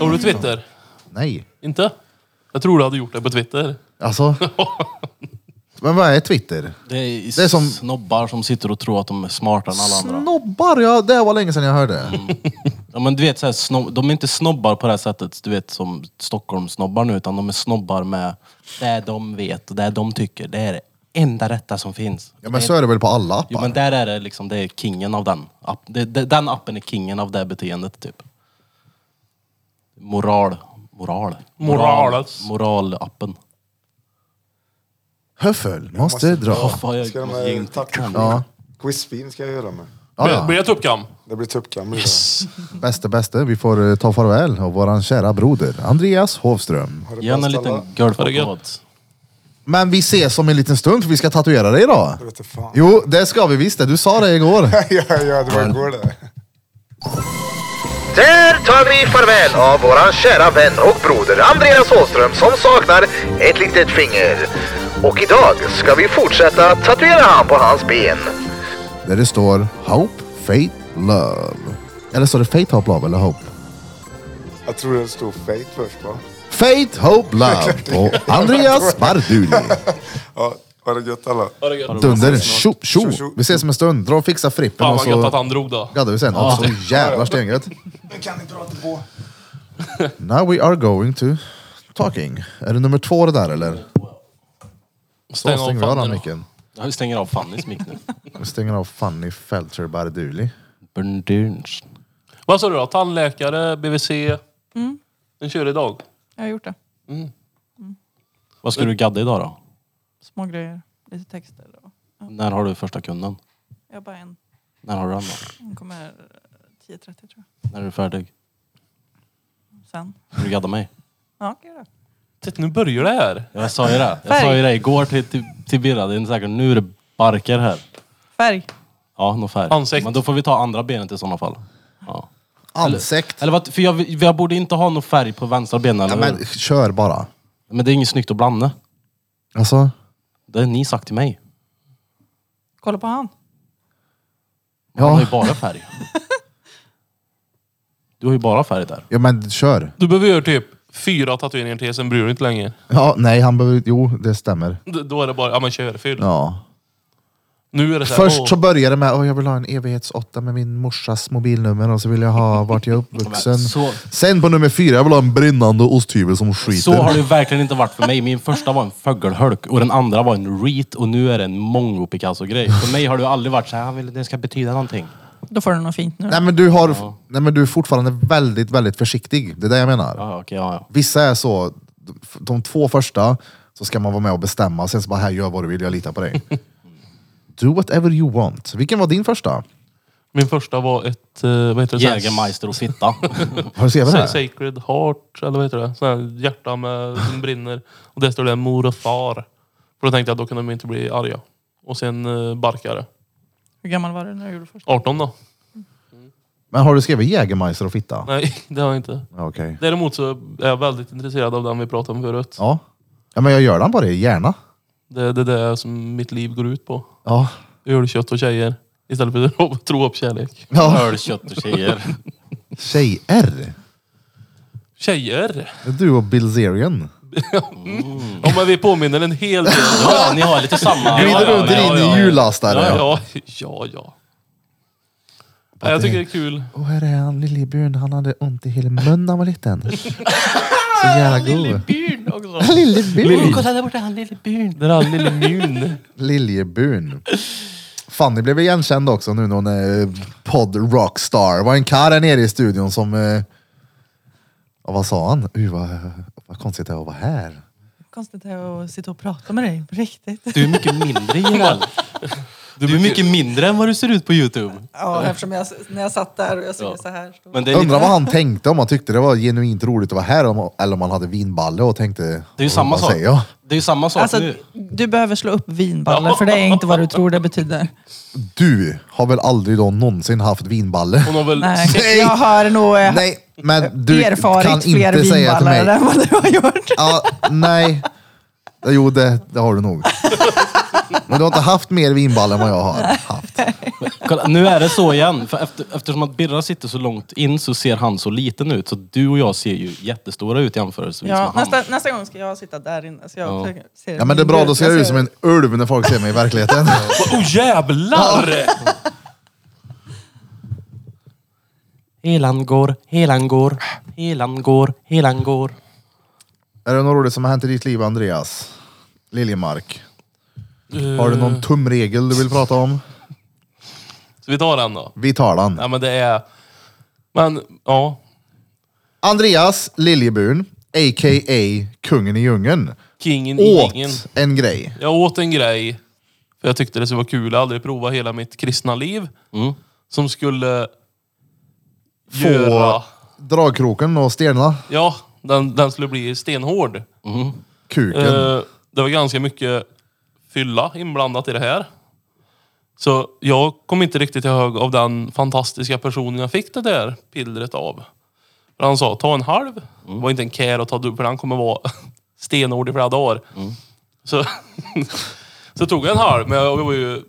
[SPEAKER 3] Har du Twitter?
[SPEAKER 1] Nej,
[SPEAKER 3] Inte? Jag tror du hade gjort det på Twitter.
[SPEAKER 1] alltså. Men vad är Twitter?
[SPEAKER 5] Det är,
[SPEAKER 1] Det är som-
[SPEAKER 5] snobbar som sitter och tror att de är smartare än alla andra.
[SPEAKER 1] Snobbar, ja det var länge sedan jag hörde.
[SPEAKER 5] Ja, men du vet, så här, snob... De är inte snobbar på det här sättet, du vet som Stockholmssnobbar nu, utan de är snobbar med det de vet och det de tycker. Det är det enda rätta som finns.
[SPEAKER 1] Ja, men
[SPEAKER 5] Det är-
[SPEAKER 1] så är det väl på alla appar?
[SPEAKER 5] Jo men där är det liksom, det är kingen av den. App. Det, det, den appen är kingen av det beteendet typ. Moral. Moral.
[SPEAKER 3] Morales.
[SPEAKER 5] Moralappen.
[SPEAKER 1] Höffel, måste dra.
[SPEAKER 5] Fan, jag-
[SPEAKER 4] Ska de
[SPEAKER 5] jag
[SPEAKER 4] här
[SPEAKER 5] inte
[SPEAKER 4] tack-
[SPEAKER 5] kan.
[SPEAKER 1] Ja,
[SPEAKER 4] Quizfin ska jag göra med.
[SPEAKER 1] ja,
[SPEAKER 3] Blir- Blir
[SPEAKER 1] ja.
[SPEAKER 3] det tuppkam?
[SPEAKER 4] Det blir tuppkam
[SPEAKER 1] Bäste, bäste. Vi får eh, ta farväl av våran kära broder Andreas Hovström.
[SPEAKER 4] Har du
[SPEAKER 5] Ge henne en
[SPEAKER 4] bäst alla?
[SPEAKER 5] liten girl
[SPEAKER 3] Har det
[SPEAKER 5] for
[SPEAKER 3] gött.
[SPEAKER 1] Men vi ses om en liten stund för vi ska tatuera dig idag.
[SPEAKER 4] Jag vet inte fan.
[SPEAKER 1] Jo, det ska vi visst det. Du sa det igår.
[SPEAKER 4] ja, ja, det var igår det.
[SPEAKER 6] Där tar vi farväl av våran kära vän och broder Andreas Åström som saknar ett litet finger. Och idag ska vi fortsätta tatuera han på hans ben.
[SPEAKER 1] Där det står Hope, Faith, Love. Eller står det Faith, Hope, Love eller Hope?
[SPEAKER 4] Jag tror det stod Fate först va?
[SPEAKER 1] Faith, Hope, Love på Andreas Barduli.
[SPEAKER 4] Ja, var det gött alla?
[SPEAKER 3] Har det gött.
[SPEAKER 1] Dunder, tjo, tjo.
[SPEAKER 4] Tjo, tjo.
[SPEAKER 1] Vi ses om en stund. Dra och fixa frippen
[SPEAKER 3] Fan
[SPEAKER 1] och
[SPEAKER 3] vad gött att
[SPEAKER 1] så
[SPEAKER 3] han drog då.
[SPEAKER 1] gaddar vi sen. Ja, så jävla stengött.
[SPEAKER 4] Nu kan ni prata på.
[SPEAKER 1] Now we are going to talking. Är det nummer två det där eller? Då
[SPEAKER 3] Stäng av
[SPEAKER 1] stänger vi av den
[SPEAKER 3] fannen.
[SPEAKER 1] micken.
[SPEAKER 5] Ja, Vi stänger av Fannys mick nu.
[SPEAKER 1] Vi stänger av Fanny Felter Barduli.
[SPEAKER 5] Bernduns.
[SPEAKER 3] Vad sa du då? Tandläkare, BVC? Den kör idag?
[SPEAKER 7] Jag har gjort det.
[SPEAKER 5] Vad ska du gadda idag då?
[SPEAKER 7] Små grejer, lite texter. Och.
[SPEAKER 5] När har du första kunden?
[SPEAKER 7] Jag har bara en.
[SPEAKER 5] När har du den då?
[SPEAKER 7] Hon kommer 10.30 tror jag.
[SPEAKER 5] När är du färdig?
[SPEAKER 7] Sen.
[SPEAKER 5] Ska du gadda mig?
[SPEAKER 7] Ja, okej då.
[SPEAKER 3] Titta nu börjar det här.
[SPEAKER 5] Jag sa ju det. Jag
[SPEAKER 7] Färg.
[SPEAKER 5] sa ju det igår till, till, till Birra. Det är inte säkert nu är det barkar här.
[SPEAKER 7] Färg.
[SPEAKER 5] Ja, någon färg.
[SPEAKER 3] Ansikt.
[SPEAKER 5] Men då får vi ta andra benet i sådana fall. Ja.
[SPEAKER 1] Ansikt.
[SPEAKER 5] Eller vad, för jag, vill- jag borde inte ha någon färg på vänstra benet,
[SPEAKER 1] Ja,
[SPEAKER 5] eller
[SPEAKER 1] men
[SPEAKER 5] men...
[SPEAKER 1] kör bara.
[SPEAKER 5] men det är inget snyggt att blanda.
[SPEAKER 1] Alltså,
[SPEAKER 5] Det har ni sagt till mig.
[SPEAKER 7] Kolla på han.
[SPEAKER 5] Han
[SPEAKER 1] ja,
[SPEAKER 5] har ju bara färg. Du har ju bara färg där.
[SPEAKER 1] ja men kör.
[SPEAKER 3] Du behöver göra typ fyra tatueringar till, sen bryr du dig inte längre.
[SPEAKER 1] Ja, nej, han behöver, jo det stämmer.
[SPEAKER 3] D- Då är det bara, ja men kör, fyll.
[SPEAKER 1] Ja.
[SPEAKER 3] Nu är det så här, åh,
[SPEAKER 1] Först så började det med att jag vill ha en evighetsåtta med min morsas mobilnummer och så vill jag ha vart jag är uppvuxen.
[SPEAKER 5] Så-
[SPEAKER 1] Sen på nummer fyra, jag vill ha en brinnande osthyvel som skiter.
[SPEAKER 5] Så har det ju verkligen inte varit för mig. Min första var en fågelholk och den andra var en reet och nu är det en mongo Picasso-grej. För mig har det ju aldrig varit så här, han vill det ska betyda någonting.
[SPEAKER 7] Då får du något fint nu.
[SPEAKER 1] Nej, men du har, nej men du är fortfarande väldigt, väldigt försiktig. Det är det jag menar.
[SPEAKER 5] Ja, okej, ja, ja.
[SPEAKER 1] Vissa är så, de- de två första så ska man vara med och bestämma, sen så bara här gör vad du vill, jag litar på dig. Do whatever you want. Vilken var din första?
[SPEAKER 3] min första var ett, eh, vad heter det? Sån här-
[SPEAKER 5] Jägermeister och fitta.
[SPEAKER 1] Har du CV
[SPEAKER 3] Sa-
[SPEAKER 1] där?
[SPEAKER 3] Sacred Heart, eller vad heter det? Sån här hjärta med, som brinner. Och där står det mor och far. För då tänkte jag att då kan de inte bli arga. Och sen eh, barkare.
[SPEAKER 7] Hur gammal var du när du gjorde första?
[SPEAKER 3] 18 då?
[SPEAKER 1] Men har du skrivit Jägermeister och fitta?
[SPEAKER 3] Nej, det har jag inte.
[SPEAKER 1] Ja, Okej.
[SPEAKER 3] Däremot så är jag väldigt intresserad av den vi pratade om förut.
[SPEAKER 1] Ja. ja, men jag gör den bara, gärna.
[SPEAKER 3] Det, det är det som mitt liv går ut på.
[SPEAKER 1] Ja.
[SPEAKER 3] Ölkött och tjejer. Istället för att tro upp kärlek.
[SPEAKER 1] ja.
[SPEAKER 5] Öl, kött och tjejer.
[SPEAKER 1] Tjej-R.
[SPEAKER 3] Tjejer!
[SPEAKER 1] Du och Bilzerian.
[SPEAKER 3] Ja men vi påminner en hel del.
[SPEAKER 5] Ja, ni har lite samma.
[SPEAKER 1] Glider
[SPEAKER 5] ja,
[SPEAKER 1] runt i
[SPEAKER 5] ja, ja,
[SPEAKER 1] din
[SPEAKER 5] ja.
[SPEAKER 1] jullastare.
[SPEAKER 3] Ja, ja, ja. ja. Nej, jag tycker det är kul.
[SPEAKER 1] Och här är han Lillebjörn, han hade ont i hela munnen när han var liten. Så jävla god.
[SPEAKER 5] Byn också.
[SPEAKER 1] Lillebjörn.
[SPEAKER 5] Kolla där borta, han lille byn.
[SPEAKER 3] Den här lille mun.
[SPEAKER 1] Liljebjörn. Fanny blev igenkänd också nu när hon är podd-rockstar. Det var en karl här nere i studion som... Eh, ja, vad sa han? Uh, vad, vad konstigt det är att vara här.
[SPEAKER 7] Konstigt att sitta och prata med dig, på riktigt.
[SPEAKER 5] Du är mycket mindre IRL. Du är mycket mindre än vad du ser ut på Youtube.
[SPEAKER 7] Ja, eftersom jag, när jag satt där och jag såg så här. Så.
[SPEAKER 5] Men det är, lite,
[SPEAKER 1] Undrar vad han tänkte, om han tyckte det var genuint roligt att vara här om- eller om han hade vinballe och tänkte...
[SPEAKER 5] det är ju samma
[SPEAKER 1] vad
[SPEAKER 5] sak.
[SPEAKER 1] säger jag?
[SPEAKER 5] Det är ju samma sak
[SPEAKER 7] Alltså,
[SPEAKER 5] nu.
[SPEAKER 7] du behöver slå upp vinballen, för det är inte vad du tror det betyder.
[SPEAKER 1] Du har väl aldrig då någonsin haft vinballe?
[SPEAKER 3] Hon har väl...
[SPEAKER 7] Nej,
[SPEAKER 1] Nej.
[SPEAKER 7] jag har nog eh,
[SPEAKER 1] Nej, men du
[SPEAKER 7] erfarit
[SPEAKER 1] kan
[SPEAKER 7] fler
[SPEAKER 1] inte säga till
[SPEAKER 7] vinballar
[SPEAKER 1] mig.
[SPEAKER 7] än vad du har gjort.
[SPEAKER 1] Ja, nej. Jo, det, det har du nog. Men du har inte haft mer vinball än vad jag har haft.
[SPEAKER 5] Kolla, nu är det så igen. För efter, eftersom att Birra sitter så långt in så ser han så liten ut. Så du och jag ser ju jättestora ut jämförelsevis
[SPEAKER 7] Ja,
[SPEAKER 5] med
[SPEAKER 7] nästa,
[SPEAKER 5] han.
[SPEAKER 7] nästa gång ska jag sitta där inne. Så jag försöker- ser
[SPEAKER 1] Ja, men det är bra, då ser jag ut som
[SPEAKER 7] ser-
[SPEAKER 1] en ulv när folk ser mig i verkligheten.
[SPEAKER 3] Åh oh, jävlar!
[SPEAKER 5] Helan går, helan går, helan går, helan går.
[SPEAKER 1] Är det något roligt som har hänt i ditt liv, Andreas? Liljemark? Har du
[SPEAKER 3] Eh.
[SPEAKER 1] någon tumregel du vill prata om?
[SPEAKER 3] Så vi tar den då.
[SPEAKER 1] Vi tar den.
[SPEAKER 3] Nej men det är... Men ja,
[SPEAKER 1] Andreas Liljeburn, a.k.a. kungen i djungeln,
[SPEAKER 3] kingen i ringen.
[SPEAKER 1] åt en grej.
[SPEAKER 3] Jag åt en grej, för jag tyckte det skulle vara kul. Jag har aldrig provat hela mitt kristna liv. Som skulle
[SPEAKER 1] Få
[SPEAKER 3] göra...
[SPEAKER 1] dragkroken och stelna
[SPEAKER 3] Ja, den, den skulle bli stenhård.
[SPEAKER 1] kuken.
[SPEAKER 3] Eh, det var ganska mycket fylla inblandat i det här. Så jag kom inte riktigt ihåg av den fantastiska personen jag fick det där pillret av. För han sa, ta en halv. Det var inte en care att ta dubbel, för han kommer vara stenhård i flera dagar. Så, så tog jag en halv, men jag var ju...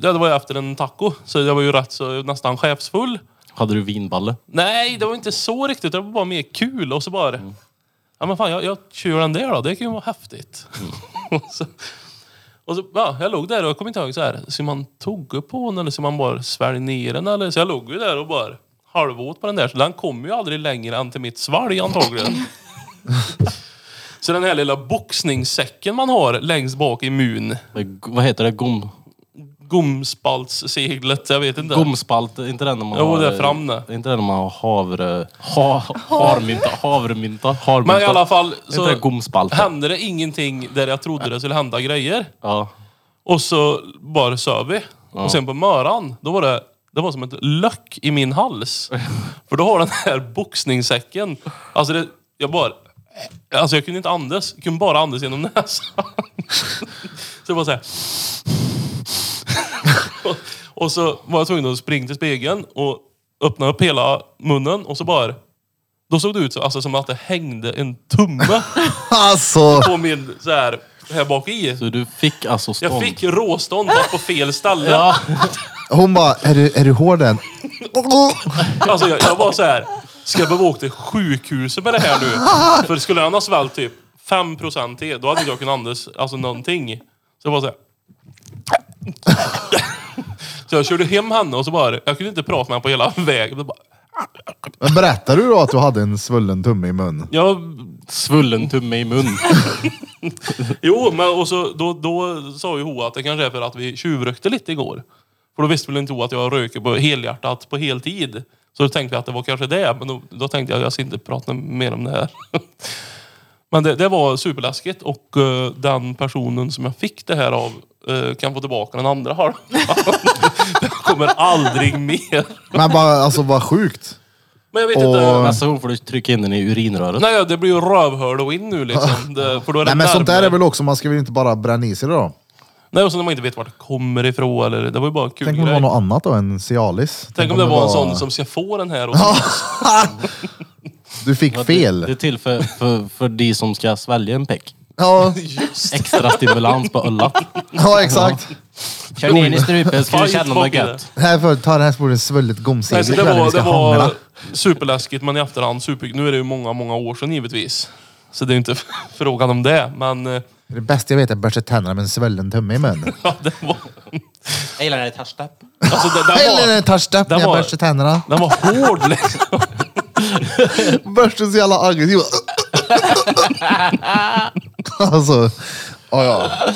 [SPEAKER 3] Ja, det var ju efter en taco, så jag var ju rätt så nästan chefsfull.
[SPEAKER 5] Hade du vinballe?
[SPEAKER 3] Nej, det var inte så riktigt. Det var bara mer kul och så bara... Ja men fan, jag, jag kör den där då. Det kan ju vara häftigt. och så, och så, ja, jag låg där och jag kommer inte ihåg så här. Ska man tugga på den eller ska man bara svälja ner den? Eller? Så jag låg ju där och bara halvåt på den där. Så den kom ju aldrig längre än till mitt svalg antagligen. så den här lilla boxningssäcken man har längst bak i mun.
[SPEAKER 5] Det är g- Vad heter det? Gom,
[SPEAKER 3] Gomspaltsseglet, jag vet inte.
[SPEAKER 5] gomspalt? Är inte det när man
[SPEAKER 3] Jo,
[SPEAKER 5] har...
[SPEAKER 3] det är fram det.
[SPEAKER 5] är inte det när man har havre... Ha, harmynta, havremynta, harmynta.
[SPEAKER 3] Men i alla fall
[SPEAKER 5] Är
[SPEAKER 3] så
[SPEAKER 5] inte det gomspalt?
[SPEAKER 3] hände det ingenting där jag trodde det skulle hända grejer.
[SPEAKER 5] Ja.
[SPEAKER 3] Och så bara söv vi. Och sen på möran, då var det, det var som ett löck i min hals. För då har den här boxningssäcken, alltså det, jag bara... Alltså jag kunde inte andas, jag kunde bara andas genom näsan. Så det var så här. Och, och så var jag tvungen att springa till spegeln och öppna upp hela munnen och så bara... Då såg det ut så, alltså, som att det hängde en tumme
[SPEAKER 1] Alltså,
[SPEAKER 3] på min så här, här bak i.
[SPEAKER 5] Så du fick alltså stånd?
[SPEAKER 3] Jag fick råstånd fast på fel ställe.
[SPEAKER 1] hon bara, är du, är du hård än?
[SPEAKER 3] Alltså jag, jag var så här. ska jag behöva åka till sjukhuset med det här nu? För skulle han ha svällt typ 5% till, då hade inte jag kunnat andas alltså någonting. Så jag bara så här. Så jag körde hem henne och så bara, jag kunde inte prata med henne på hela vägen. Det bara-
[SPEAKER 1] Men berättar du då att du hade en svullen tumme i mun?
[SPEAKER 3] Jag
[SPEAKER 5] Svullen tumme i mun.
[SPEAKER 3] Jo, men och så, då, då sa ju Hoa att det kanske är för att vi tjuvrökte lite igår. För då visste väl inte Hoa att jag röker på helhjärtat på heltid. Så då tänkte vi att det var kanske det, men då, då tänkte jag att jag ska inte prata mer om det här. men det, det var superläskigt och eh, den personen som jag fick det här av eh, kan få tillbaka den andra halvan. jag kommer aldrig mer.
[SPEAKER 1] Men bara, alltså vad sjukt.
[SPEAKER 3] Men jag vet
[SPEAKER 1] Och-
[SPEAKER 3] inte.
[SPEAKER 5] Nästa gång får du trycka in den i urinröret.
[SPEAKER 3] Nej, det blir ju rövhål och in nu liksom. Det, för då är det
[SPEAKER 1] Nej men sånt där
[SPEAKER 3] närmare.
[SPEAKER 1] är väl också, man ska väl inte bara bränna i sig det då?
[SPEAKER 3] Nej, och så när man inte vet vart det kommer ifrån. Eller, det var ju bara en kul
[SPEAKER 1] Tänk om det
[SPEAKER 3] grej.
[SPEAKER 1] var något annat då än Cialis?
[SPEAKER 3] Tänk om det var en sån som ska få den här. Och
[SPEAKER 1] Du fick
[SPEAKER 5] Det är
[SPEAKER 1] fel.
[SPEAKER 5] till för, för, för de som ska svälja en peck.
[SPEAKER 1] Ja,
[SPEAKER 5] Extra stimulans på öllat.
[SPEAKER 1] ja exakt.
[SPEAKER 5] Kör ner den i strupen så ska du
[SPEAKER 3] Fight
[SPEAKER 5] känna något
[SPEAKER 3] bak i det.
[SPEAKER 5] gött.
[SPEAKER 1] Här för, ta det här så borde en svullet
[SPEAKER 3] Nej,
[SPEAKER 1] gomsegel
[SPEAKER 3] så det
[SPEAKER 1] ikväll när vi
[SPEAKER 3] var,
[SPEAKER 1] ska
[SPEAKER 3] det var
[SPEAKER 1] hångla.
[SPEAKER 3] superläskigt, men i efterhand super... Nu är det ju många, många år sedan givetvis. Så det är ju inte frågan om det, men... eh,
[SPEAKER 1] Det bästa jag vet är att börsta tänderna med en svullen tumme i munnen.
[SPEAKER 3] Ja, det var...
[SPEAKER 5] Jag gillar när det är touchstep.
[SPEAKER 3] Alltså, det, den,
[SPEAKER 1] Eller
[SPEAKER 3] var,
[SPEAKER 1] en touchstep när
[SPEAKER 3] det
[SPEAKER 1] jag
[SPEAKER 3] var-
[SPEAKER 1] borstar tänderna.
[SPEAKER 3] den var hård liksom.
[SPEAKER 1] Börsten så jävla aggressiv. Alltså, ja ja.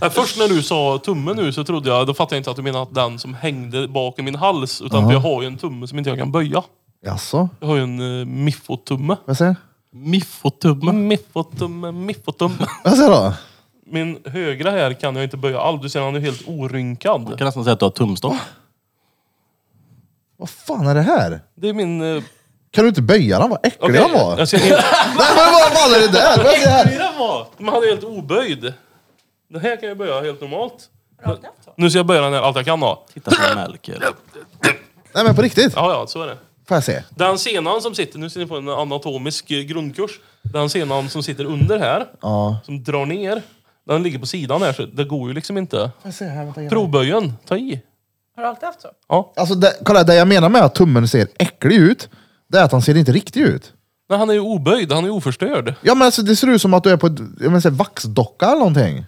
[SPEAKER 3] Nej, först när du sa tummen nu så trodde jag, då fattade jag inte att du menade att den som hängde bak i min hals. Utan för jag har ju en tumme som inte jag kan böja.
[SPEAKER 1] Jaså?
[SPEAKER 3] Jag har ju en uh, miffotumme.
[SPEAKER 1] Vad säger du?
[SPEAKER 5] Miffotummen.
[SPEAKER 3] Miffotumme, miffotumme.
[SPEAKER 1] Vad säger du då?
[SPEAKER 3] Min högra här kan jag inte böja alls. Du ser han är helt
[SPEAKER 5] Jag
[SPEAKER 3] orynkad.
[SPEAKER 5] kan nästan säga att du har tumstock.
[SPEAKER 1] Vad fan är det här?
[SPEAKER 3] Det är min... eh,
[SPEAKER 1] Kan du inte böja den? Vad äcklig
[SPEAKER 3] okej,
[SPEAKER 1] han var!
[SPEAKER 3] Jag ser helt,
[SPEAKER 1] Nej men vad fan är det där? Vad är det här?
[SPEAKER 3] men han är helt oböjd. Den här kan jag böja helt normalt. Nu ska jag böja den här allt jag kan då.
[SPEAKER 5] Titta på Melker.
[SPEAKER 1] Nej men på riktigt?
[SPEAKER 3] Ja, ja, så är det.
[SPEAKER 1] Får jag se?
[SPEAKER 3] Den senan som sitter, nu ser ni på en anatomisk eh, grundkurs. Den senan som sitter under här,
[SPEAKER 1] Ja.
[SPEAKER 3] som drar ner, den ligger på sidan här så det går ju liksom inte.
[SPEAKER 1] Får jag se här? Vänta,
[SPEAKER 3] Provböjen, ta i.
[SPEAKER 7] Har du alltid haft så?
[SPEAKER 1] Alltså det, kolla, det jag menar med att tummen ser äcklig ut, det är att han ser inte riktig ut.
[SPEAKER 3] Nej, han är ju oböjd, han är ju oförstörd.
[SPEAKER 1] Ja men alltså det ser ut som att du är på ett, jag menar, så här, vaxdocka eller någonting.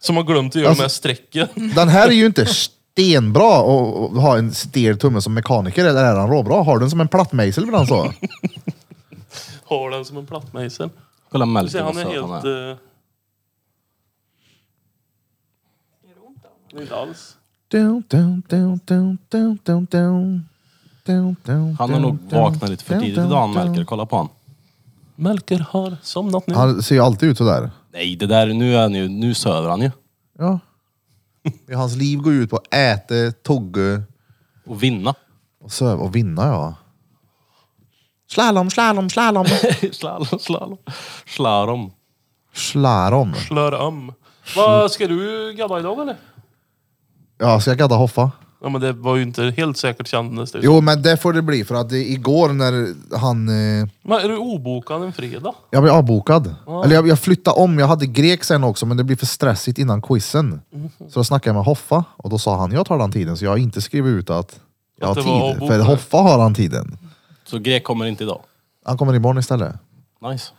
[SPEAKER 3] Som har glömt att göra
[SPEAKER 1] Alltså-
[SPEAKER 3] med strecken.
[SPEAKER 1] Den här är ju inte stenbra att att ha en stel tumme som mekaniker, eller är han råbra? Har du den som en plattmejsel ibland så?
[SPEAKER 3] Har den som en plattmejsel.
[SPEAKER 5] Kolla
[SPEAKER 3] Du
[SPEAKER 5] Melker
[SPEAKER 3] ser,
[SPEAKER 5] vad
[SPEAKER 3] han är
[SPEAKER 5] söt han
[SPEAKER 3] helt...
[SPEAKER 5] är.
[SPEAKER 3] Eh... Inte alls.
[SPEAKER 1] Dun, dun, dun, dun, dun, dun, dun. Dun, dun,
[SPEAKER 5] Han har
[SPEAKER 1] dun,
[SPEAKER 5] nog
[SPEAKER 1] dun,
[SPEAKER 5] vaknat lite för
[SPEAKER 1] dun,
[SPEAKER 5] tidigt
[SPEAKER 1] dun,
[SPEAKER 5] idag
[SPEAKER 1] dun.
[SPEAKER 5] Melker. Kolla på han.
[SPEAKER 3] Melker har somnat nu.
[SPEAKER 1] Han ser ju alltid ut sådär.
[SPEAKER 5] Nej, det där, nu är han ju, nu söver han ju.
[SPEAKER 1] Ja. Hans liv går ju ut på att äta, tugga
[SPEAKER 5] Och vinna.
[SPEAKER 1] och söva och vinna ja. Slalom, slalom, slalom.
[SPEAKER 5] slalom, slalom. Slalom.
[SPEAKER 1] Slalom.
[SPEAKER 3] Slör om.
[SPEAKER 1] Mm.
[SPEAKER 3] Vad ska du gadda idag eller?
[SPEAKER 1] Ja, ska jag gadda Hoffa?
[SPEAKER 3] Ja men det var ju inte helt säkert kändes det.
[SPEAKER 1] Jo, men det får det bli för att det, igår när han... Eh,
[SPEAKER 3] Men är du obokad en fredag?
[SPEAKER 1] jag blev avbokad. Eller jag, jag flyttade om, jag hade grek sen också men det blev för stressigt innan quizen. Så då snackade jag med Hoffa och då sa han jag tar den tiden så jag har inte skrivit ut att jag har
[SPEAKER 3] Att det var
[SPEAKER 1] tid. För
[SPEAKER 3] avbokat.
[SPEAKER 1] Hoffa har han tiden.
[SPEAKER 5] Så Grek kommer inte idag.
[SPEAKER 1] Han kommer imorgon istället.
[SPEAKER 5] Nice.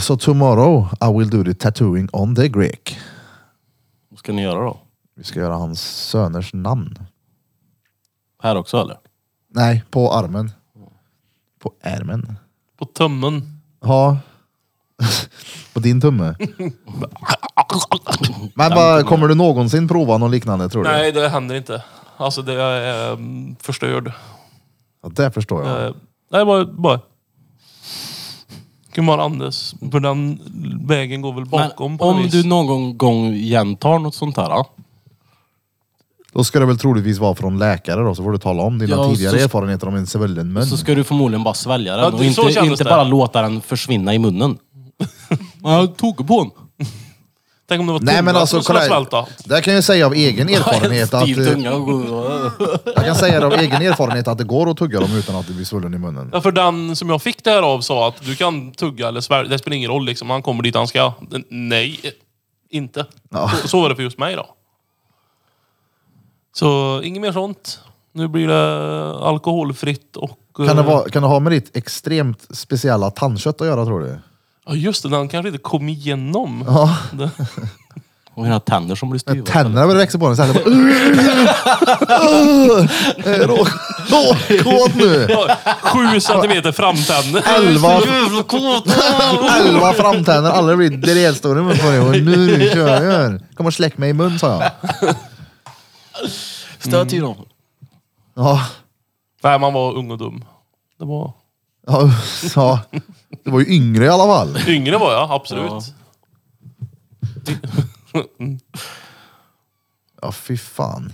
[SPEAKER 1] Så tomorrow I will do the tattooing on the Greek.
[SPEAKER 5] Vad ska ni göra då?
[SPEAKER 1] Vi ska göra hans söners namn.
[SPEAKER 5] Här också eller?
[SPEAKER 1] Nej, på armen. På ärmen.
[SPEAKER 3] På tömmen.
[SPEAKER 1] Ja. på din tumme. Men vad, kommer du någonsin prova något liknande tror du?
[SPEAKER 3] Nej det händer inte. Alltså det är ehm, förstörd.
[SPEAKER 1] Ja, det förstår jag.
[SPEAKER 3] Eh, nej bara... bara. Gumman Anders, på den vägen går väl
[SPEAKER 5] Men
[SPEAKER 3] bakom på något
[SPEAKER 5] om
[SPEAKER 3] vis.
[SPEAKER 5] du någon gång igen tar något sånt här. ja.
[SPEAKER 1] Då ska det väl troligtvis vara från läkare då, så får du tala om dina
[SPEAKER 5] Ja,
[SPEAKER 1] tidigare
[SPEAKER 5] så-
[SPEAKER 1] erfarenheter om en svullen mun.
[SPEAKER 5] Så ska du förmodligen bara svälja den
[SPEAKER 3] Mm. Ja,
[SPEAKER 5] och
[SPEAKER 3] det- så
[SPEAKER 5] inte,
[SPEAKER 3] kändes
[SPEAKER 5] inte
[SPEAKER 3] det.
[SPEAKER 5] bara låta den försvinna i munnen. Men jag tog på den.
[SPEAKER 3] Tänk om det var
[SPEAKER 1] Nej men
[SPEAKER 3] tunga
[SPEAKER 1] alltså
[SPEAKER 3] som skulle
[SPEAKER 1] kolla.
[SPEAKER 3] svälta.
[SPEAKER 1] här. Det här kan jag säga av egen erfarenhet att,
[SPEAKER 5] Stiv
[SPEAKER 1] eh,
[SPEAKER 5] tunga och gå-
[SPEAKER 1] jag kan säga det av egen erfarenhet att det går att tugga dem utan att det blir svullen i munnen.
[SPEAKER 3] Ja, för den som jag fick det här av sa att du kan tugga eller svär, det spelar ingen roll liksom. Han kommer dit han ska. Den- Nej, eh, inte.
[SPEAKER 1] Ja.
[SPEAKER 3] Så, så var det för just mig då. Så inget mer sånt. Nu blir det alkoholfritt och...
[SPEAKER 1] Kan det,
[SPEAKER 3] eh,
[SPEAKER 1] vara, kan det ha med ditt extremt speciella tandkött att göra tror du?
[SPEAKER 3] Ja just det, den kanske inte kom igenom.
[SPEAKER 1] Ja.
[SPEAKER 3] Det-
[SPEAKER 5] Och mina tänder som blir styva.
[SPEAKER 1] Tänderna börjar växa på den så här. det bara, "Ugh, eh, rå- Råkåt nu!
[SPEAKER 3] Sju centimeter framtänder.
[SPEAKER 1] Elva, elva framtänder, alla blir dretstora i munnen på dig. Och nu kör jag. Kom och släck mig i mun sa jag.
[SPEAKER 5] Stöt i dem.
[SPEAKER 1] Ja,
[SPEAKER 3] Nej, man var ung och dum. Det var...
[SPEAKER 1] ja, ja. Du var ju yngre i alla fall.
[SPEAKER 3] Yngre var jag, absolut.
[SPEAKER 1] Ja, fy fan.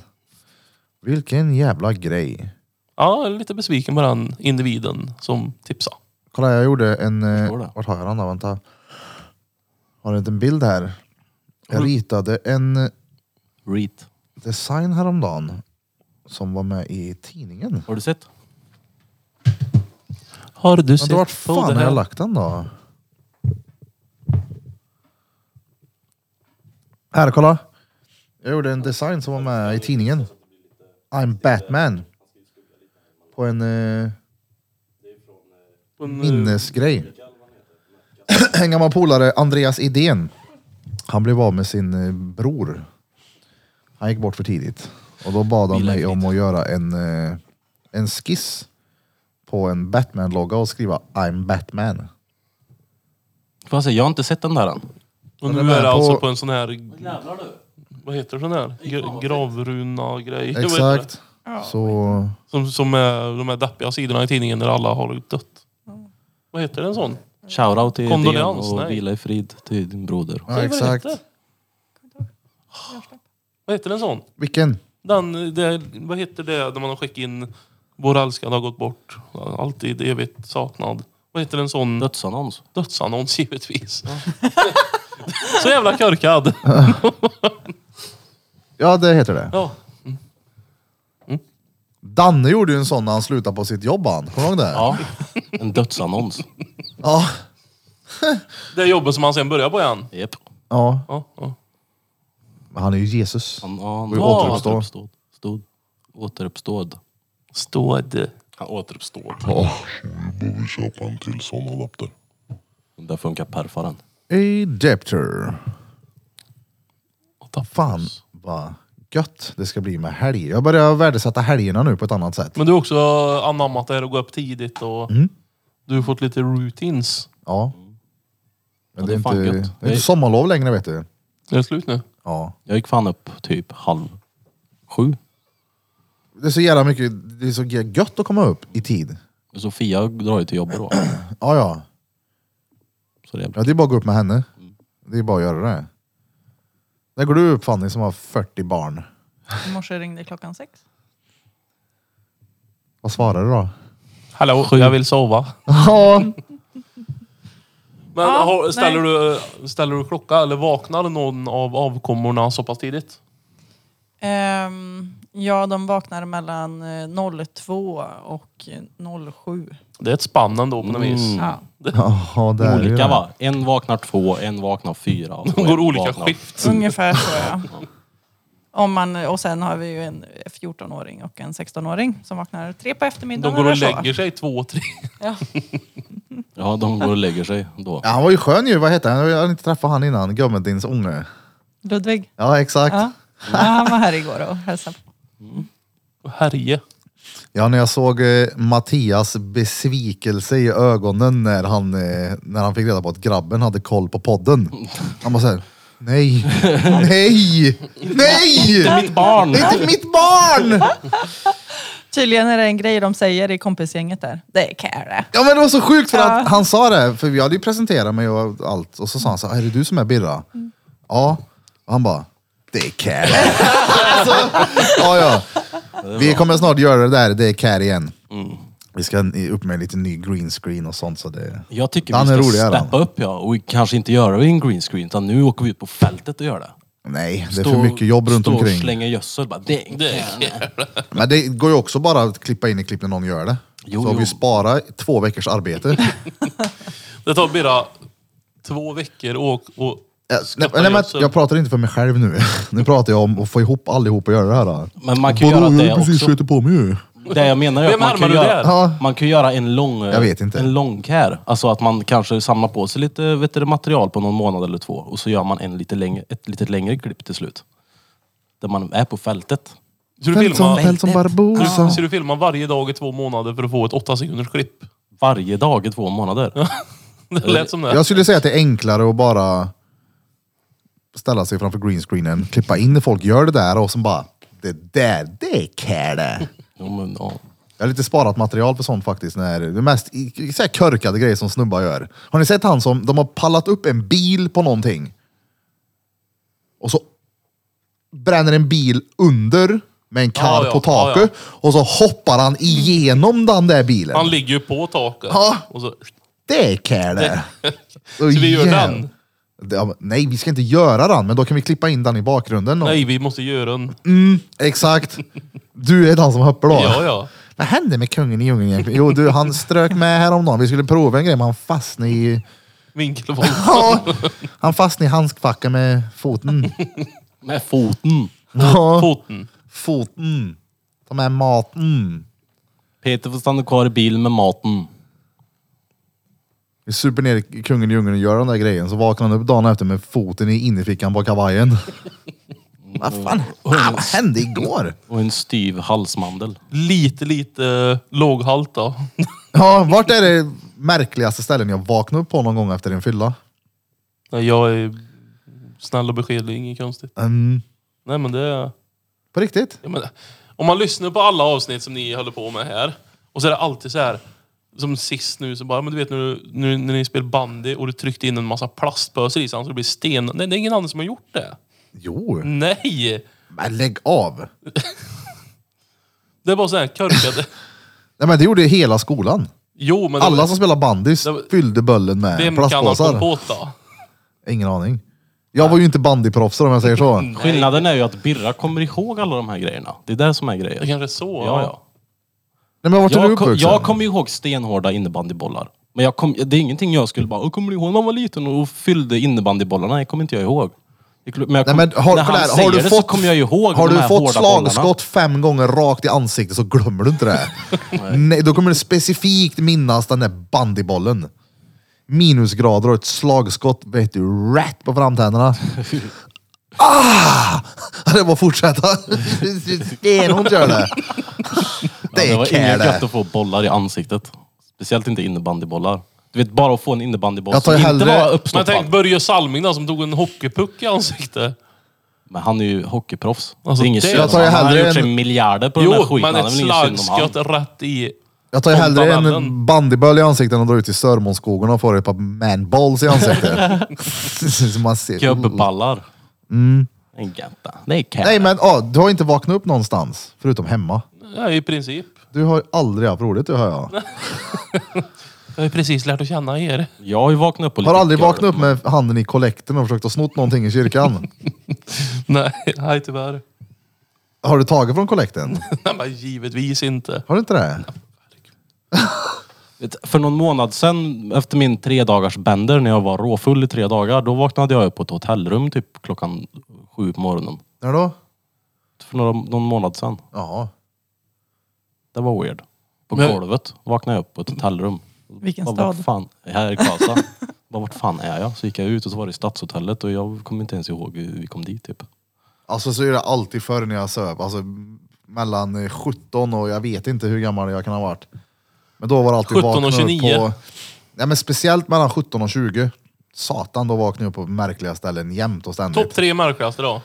[SPEAKER 1] Vilken jävla grej.
[SPEAKER 3] Ja, jag är lite besviken på den individen som tipsade.
[SPEAKER 1] Kolla, jag gjorde en... eh,
[SPEAKER 5] Förstår det.
[SPEAKER 1] Vart har jag den då? Vänta. Har du inte en bild här? Jag ritade en
[SPEAKER 5] Reet.
[SPEAKER 1] design häromdagen som var med i tidningen.
[SPEAKER 5] Har du sett?
[SPEAKER 3] Har du
[SPEAKER 1] Men då vart fan har jag lagt den då? Här, kolla. Jag gjorde en design som var med i tidningen. I'm Batman. På en eh, minnesgrej. En gammal polare, Andreas Idén. Han blev av med sin eh, bror. Han gick bort för tidigt. Och då bad han
[SPEAKER 5] Vila i
[SPEAKER 1] mig
[SPEAKER 5] frid.
[SPEAKER 1] om att göra en, eh, en skiss på en Batman-logga och skriva I'm Batman.
[SPEAKER 5] Får jag säga, jag har inte sett den där än.
[SPEAKER 3] Och
[SPEAKER 1] Den
[SPEAKER 3] nu
[SPEAKER 1] är
[SPEAKER 3] är
[SPEAKER 1] på-
[SPEAKER 3] det alltså på en sån här,
[SPEAKER 5] Jävlar du.
[SPEAKER 3] vad heter sån här? Gra- Gravruna grej.
[SPEAKER 1] Exakt. Så...
[SPEAKER 3] Som, som är de här deppiga sidorna i tidningen där alla har dött. Vad heter den sån?
[SPEAKER 5] Shoutout till DN
[SPEAKER 3] Kondoleans, nej.
[SPEAKER 5] och vila i frid till din broder.
[SPEAKER 1] Ja, exakt.
[SPEAKER 3] Vad heter? Vad heter den sån?
[SPEAKER 1] Vilken?
[SPEAKER 3] Den, det, vad heter det när man har skickat in Vår älskade har gått bort. Alltid evigt saknad. Vad heter en sån?
[SPEAKER 5] Dödsannons.
[SPEAKER 3] Dödsannons givetvis. Så jävla körkad.
[SPEAKER 1] Ja, det heter det.
[SPEAKER 3] Ja.
[SPEAKER 1] Danne gjorde ju en sån när han slutade på sitt jobb han. Kommer du ihåg det?
[SPEAKER 5] Ja, en dödsannons.
[SPEAKER 1] Ja.
[SPEAKER 3] Det jobbet som han sen började på igen.
[SPEAKER 5] Japp.
[SPEAKER 1] ja.
[SPEAKER 3] Ja, ja.
[SPEAKER 1] Men han är ju Jesus.
[SPEAKER 5] Han, han
[SPEAKER 1] Vi återuppstår.
[SPEAKER 5] återuppstod. Stod. Återuppståd.
[SPEAKER 3] Ståd.
[SPEAKER 5] Han återuppstår.
[SPEAKER 8] borde köpa en till sån adapter.
[SPEAKER 5] Det funkar perfaren.
[SPEAKER 1] Adapter. Fan vad gött det ska bli med helg. Jag börjar värdesätta helgerna nu på ett annat sätt.
[SPEAKER 3] Men du har också anammat det här att gå upp tidigt och
[SPEAKER 1] Mm.
[SPEAKER 3] du har fått lite routines.
[SPEAKER 1] Ja. Men
[SPEAKER 5] Ja,
[SPEAKER 1] det är,
[SPEAKER 5] det är
[SPEAKER 1] inte,
[SPEAKER 5] fan gött.
[SPEAKER 1] det är
[SPEAKER 5] Det är-
[SPEAKER 1] inte sommarlov längre vet du.
[SPEAKER 3] Är det slut nu?
[SPEAKER 1] Ja.
[SPEAKER 5] Jag gick fan upp typ halv sju.
[SPEAKER 1] Det är så jävla mycket, det är så gött att komma upp i tid.
[SPEAKER 5] Sofia drar ju till jobbet då.
[SPEAKER 1] Ja, ja.
[SPEAKER 5] Så det är bra.
[SPEAKER 1] ja det är bara att gå upp med henne.
[SPEAKER 5] Mm.
[SPEAKER 1] Det är bara att göra det. När går du upp Fanny som har 40 barn?
[SPEAKER 7] I morse ringde klockan sex.
[SPEAKER 1] Vad svarar du då?
[SPEAKER 3] Hallå, jag vill sova.
[SPEAKER 1] Ja,
[SPEAKER 3] Men
[SPEAKER 7] Ja,
[SPEAKER 3] har, ställer,
[SPEAKER 7] nej.
[SPEAKER 3] du, ställer du klocka eller vaknar någon av avkommorna så pass tidigt?
[SPEAKER 7] Ehm, ja, de vaknar mellan eh, 02 och eh, 07.
[SPEAKER 3] Det är ett spann ändå på något vis.
[SPEAKER 7] Ja.
[SPEAKER 1] ja det är ju
[SPEAKER 5] Olika
[SPEAKER 1] det.
[SPEAKER 5] va? En vaknar två, en vaknar fyra. och
[SPEAKER 3] De
[SPEAKER 5] en
[SPEAKER 3] går olika
[SPEAKER 5] vaknar-
[SPEAKER 3] skift.
[SPEAKER 7] Ungefär så ja. Om man, och sen har vi ju en 14-åring och en 16-åring som vaknar tre på
[SPEAKER 3] De
[SPEAKER 7] eftermiddagen.
[SPEAKER 3] går och
[SPEAKER 7] eller så.
[SPEAKER 3] lägger sig två, tre.
[SPEAKER 7] Ja.
[SPEAKER 5] Ja, de går och lägger sig då.
[SPEAKER 1] Ja, han var ju skön ju, vad hette han? Jag har inte träffat han innan, Gummedins unge.
[SPEAKER 7] Ludvig.
[SPEAKER 1] Ja exakt.
[SPEAKER 7] Ja.
[SPEAKER 1] Ja.
[SPEAKER 7] ja, han var här igår och hälsade på.
[SPEAKER 3] Herje.
[SPEAKER 1] när jag såg eh, Mattias besvikelse i ögonen när han, eh, när han fick reda på att grabben hade koll på podden. Han bara såhär, nej, nej, nej!
[SPEAKER 5] Mitt barn!
[SPEAKER 1] Det är inte mitt barn!
[SPEAKER 7] Tydligen är det en grej de säger i kompisgänget där. Det är Care.
[SPEAKER 1] Ja men det var så sjukt för
[SPEAKER 7] Ja.
[SPEAKER 1] att han sa det, för vi hade ju presenterat mig och allt. Och så sa han så här, är det du som är Birra? Ja. Och han bara, det är Care. alltså, ja, ja. Vi kommer snart göra det där, det är Care igen. Vi ska upp med lite ny green screen och sånt. Så det...
[SPEAKER 5] Jag tycker
[SPEAKER 1] Dan är
[SPEAKER 5] vi
[SPEAKER 1] rolig,
[SPEAKER 5] ska
[SPEAKER 1] är han.
[SPEAKER 5] steppa upp ja, och kanske inte göra det i en green screen utan nu åker vi ut på fältet och gör det.
[SPEAKER 1] Nej, det är
[SPEAKER 5] Stå-
[SPEAKER 1] för mycket jobb runt
[SPEAKER 5] stå
[SPEAKER 1] omkring.
[SPEAKER 5] och slänga gödsel bara. Det, det.
[SPEAKER 1] Men det går ju också bara att klippa in i klipp när någon gör det.
[SPEAKER 5] Jo,
[SPEAKER 1] så har vi
[SPEAKER 5] jo.
[SPEAKER 1] sparat två veckors arbete. Eh,
[SPEAKER 3] Det tar bara två veckor och... och
[SPEAKER 1] Ja, nej,
[SPEAKER 3] skaffa
[SPEAKER 1] nej, men
[SPEAKER 3] gödsel.
[SPEAKER 1] jag pratar inte för mig själv nu. nu pratar jag om att få ihop allihop och göra det här. Då.
[SPEAKER 5] Men man kan ju
[SPEAKER 1] Vadå,
[SPEAKER 5] göra
[SPEAKER 1] jag
[SPEAKER 5] det
[SPEAKER 1] har precis
[SPEAKER 5] också.
[SPEAKER 1] skjutit på mig ju.
[SPEAKER 5] Det jag menar är
[SPEAKER 3] Vem
[SPEAKER 5] att man
[SPEAKER 3] härmar
[SPEAKER 5] kan,
[SPEAKER 3] du där?
[SPEAKER 1] Ja.
[SPEAKER 5] göra, man kan göra en lång...
[SPEAKER 1] Jag vet inte.
[SPEAKER 5] En lång care. Alltså att man kanske samlar på sig lite vet du, material på någon månad eller två och så gör man en lite längre, ett lite längre klipp till slut. Där man är på fältet.
[SPEAKER 3] Så du
[SPEAKER 1] Fält som,
[SPEAKER 3] filmar,
[SPEAKER 1] fält som Barbosa.
[SPEAKER 3] så du filmar varje dag i två månader för att få ett åtta sekunders klipp?
[SPEAKER 5] Varje dag i två månader.
[SPEAKER 3] Det lät som det.
[SPEAKER 1] Jag skulle säga att det är enklare att bara ställa sig framför greenscreenen, klippa in när folk gör det där och sen bara, det där, det är kärle.
[SPEAKER 5] Jo, men, ja.
[SPEAKER 1] Jag har lite sparat material för sånt faktiskt. När det mest i- i- så här körkade grejer som snubbar gör. Har ni sett han som, de har pallat upp en bil på någonting. Och så bränner en bil under med en kar
[SPEAKER 3] Ja, ja,
[SPEAKER 1] på
[SPEAKER 3] ja,
[SPEAKER 1] taket. Och så hoppar han igenom den där bilen.
[SPEAKER 3] Han ligger ju på taket.
[SPEAKER 1] Ja.
[SPEAKER 3] Och så,
[SPEAKER 1] Det är kärle. Så
[SPEAKER 3] vi gör den?
[SPEAKER 1] Ja, men- nej, vi ska inte göra den, men då kan vi klippa in den i bakgrunden. Och,
[SPEAKER 3] nej, vi måste göra en...
[SPEAKER 1] Exakt. Du är den som hoppar då.
[SPEAKER 3] Ja, ja.
[SPEAKER 1] Vad hände med kungen i djungeln egentligen? Jo du, han strök med häromdagen. Vi skulle prova en grej men han fastnade i...
[SPEAKER 3] Vinkelvolt.
[SPEAKER 1] Ja, han fastnade i handskfacken med foten.
[SPEAKER 5] Med foten.
[SPEAKER 1] Ja,
[SPEAKER 3] Foten.
[SPEAKER 1] foten. Ta med maten.
[SPEAKER 5] Peter får stanna kvar i bilen med maten.
[SPEAKER 1] Vi super ner i kungen i djungeln och gör den där grejen. Så vaknar han upp dagen efter med foten i innerfickan på kavajen. Vad fan ah, vad hände igår?
[SPEAKER 5] Och en styv halsmandel.
[SPEAKER 3] Lite, lite eh, låghalt då.
[SPEAKER 1] Ja, vart är det märkligaste ställen jag vaknade upp på någon gång efter en fylla?
[SPEAKER 3] Nej, Jag är Snäll och beskedlig, inget konstigt.
[SPEAKER 1] Mm.
[SPEAKER 3] Nej men det är...
[SPEAKER 1] På riktigt?
[SPEAKER 3] Ja, men, om man lyssnar på alla avsnitt som ni håller på med här, och så är det alltid så här som sist nu så bara, men du vet när, du, nu, när ni spelar bandy och du tryckte in en massa plastpöser i så att det blir sten. Nej, det är ingen annan som har gjort det.
[SPEAKER 1] Jo.
[SPEAKER 3] Nej!
[SPEAKER 1] Men lägg av!
[SPEAKER 3] Det är bara så här korkade...
[SPEAKER 1] Nej, men det gjorde ju hela skolan.
[SPEAKER 3] Jo, men... det-
[SPEAKER 1] Alla som spelade bandy fyllde böllen med
[SPEAKER 3] Vem kan ha kommit
[SPEAKER 1] plastpåsar.
[SPEAKER 3] på det då?
[SPEAKER 1] Ingen aning. Jag var ju inte bandyproffs om jag säger så.
[SPEAKER 3] Mm.
[SPEAKER 5] Skillnaden är ju att Birra kommer ihåg alla de här grejerna. Det är det som är
[SPEAKER 3] Det
[SPEAKER 5] grejen.
[SPEAKER 3] kanske är så.
[SPEAKER 5] Ja, ja.
[SPEAKER 1] Nej, men vart är du
[SPEAKER 5] Jag, kom,
[SPEAKER 1] uppvuxen?
[SPEAKER 5] jag kommer ihåg stenhårda innebandybollar. Men jag kom, det är ingenting jag skulle bara, "Åh, kommer du ihåg när man var liten och fyllde innebandybollarna? Nej, kommer inte jag ihåg. Det är klart- Men,
[SPEAKER 1] Nej,
[SPEAKER 5] jag kom,
[SPEAKER 1] men har,
[SPEAKER 5] när han
[SPEAKER 1] kolla här,
[SPEAKER 5] säger
[SPEAKER 1] har du
[SPEAKER 5] det
[SPEAKER 1] fått,
[SPEAKER 5] så kommer jag ihåg
[SPEAKER 1] har
[SPEAKER 5] de
[SPEAKER 1] du
[SPEAKER 5] här
[SPEAKER 1] fått
[SPEAKER 5] hårda
[SPEAKER 1] slagskott
[SPEAKER 5] bollarna.
[SPEAKER 1] fem gånger rakt i ansiktet så glömmer du inte det. Nej. då kommer du specifikt minnas den där bandybollen. Minusgrader och ett slagskott vet du rätt på framtänderna. ah! Det är bara att fortsätta. Stenhårt gör det.
[SPEAKER 5] Ja,
[SPEAKER 1] Det
[SPEAKER 5] det
[SPEAKER 1] är
[SPEAKER 5] var inget
[SPEAKER 1] kär
[SPEAKER 5] gött
[SPEAKER 1] det.
[SPEAKER 5] att få bollar i ansiktet. Speciellt inte innebandybollar. Du vet, bara att få en innebandyboll
[SPEAKER 1] Jag tar
[SPEAKER 5] som
[SPEAKER 1] ju
[SPEAKER 5] inte
[SPEAKER 1] hellre-
[SPEAKER 5] var
[SPEAKER 3] Eh, Men
[SPEAKER 5] uppstoppad.
[SPEAKER 3] tänk Börje Salming då, som tog en hockeypuck i ansiktet.
[SPEAKER 5] Men han är ju hockeyproffs.
[SPEAKER 3] Alltså,
[SPEAKER 5] det är inget
[SPEAKER 3] det-
[SPEAKER 5] synd.
[SPEAKER 3] Jag
[SPEAKER 1] tar ju
[SPEAKER 5] Han har
[SPEAKER 1] hellre
[SPEAKER 5] gjort sig
[SPEAKER 1] en-
[SPEAKER 5] miljarder på den här
[SPEAKER 3] Jo,
[SPEAKER 5] skiten.
[SPEAKER 3] men
[SPEAKER 5] Det är
[SPEAKER 3] ett
[SPEAKER 5] väl inget synd om han.
[SPEAKER 3] slagskott rätt i...
[SPEAKER 1] Jag tar ju hellre en
[SPEAKER 3] Fontanellen.
[SPEAKER 1] bandyboll i ansiktet än att dra ut i Sörmånsskogarna och få ett par manballs i ansiktet. Så man ser-
[SPEAKER 5] Gubbeballar. En gata. Det är cat.
[SPEAKER 1] Mm. Nej men ah, du har inte vaknat upp någonstans, förutom hemma.
[SPEAKER 3] Ja, i princip.
[SPEAKER 1] Du har aldrig haft roligt, det hör jag.
[SPEAKER 3] Jag har ju precis lärt att känna er.
[SPEAKER 5] Jag har ju vaknat upp på lite
[SPEAKER 1] Har aldrig
[SPEAKER 5] gör-
[SPEAKER 1] vaknat upp med handen i kollekten och försökt att snott någonting i kyrkan.
[SPEAKER 3] Nej, nej tyvärr.
[SPEAKER 1] Har du tagit från kollekten?
[SPEAKER 3] Nej, men givetvis inte.
[SPEAKER 1] Har du inte det?
[SPEAKER 5] Vet, För någon månad sedan, efter min tre dagars bender när jag var råfull i tre dagar, då vaknade jag upp på ett hotellrum typ klockan sju på morgonen.
[SPEAKER 1] När då?
[SPEAKER 5] För några, någon månad sedan.
[SPEAKER 1] Jaha.
[SPEAKER 5] Det var weird. På
[SPEAKER 3] Men-
[SPEAKER 5] golvet vaknade jag upp på ett hotellrum.
[SPEAKER 7] Vilken
[SPEAKER 5] Bara, vart
[SPEAKER 7] stad?
[SPEAKER 5] Fan, här i Karlstad. Bara, vart fan är jag? Så gick jag ut och så var det Stadshotellet och jag kommer inte ens ihåg hur vi kom dit typ.
[SPEAKER 1] Alltså så är det alltid förr när jag söp. Alltså mellan eh, 17 och jag vet inte hur gammal jag kan ha varit. Men då var det alltid
[SPEAKER 3] 17 och
[SPEAKER 1] vakna upp
[SPEAKER 3] 29.
[SPEAKER 1] På, nej men speciellt mellan 17 och 20. Satan, då vaknade jag upp på märkliga ställen jämt och ständigt.
[SPEAKER 3] Topp tre märkligaste då?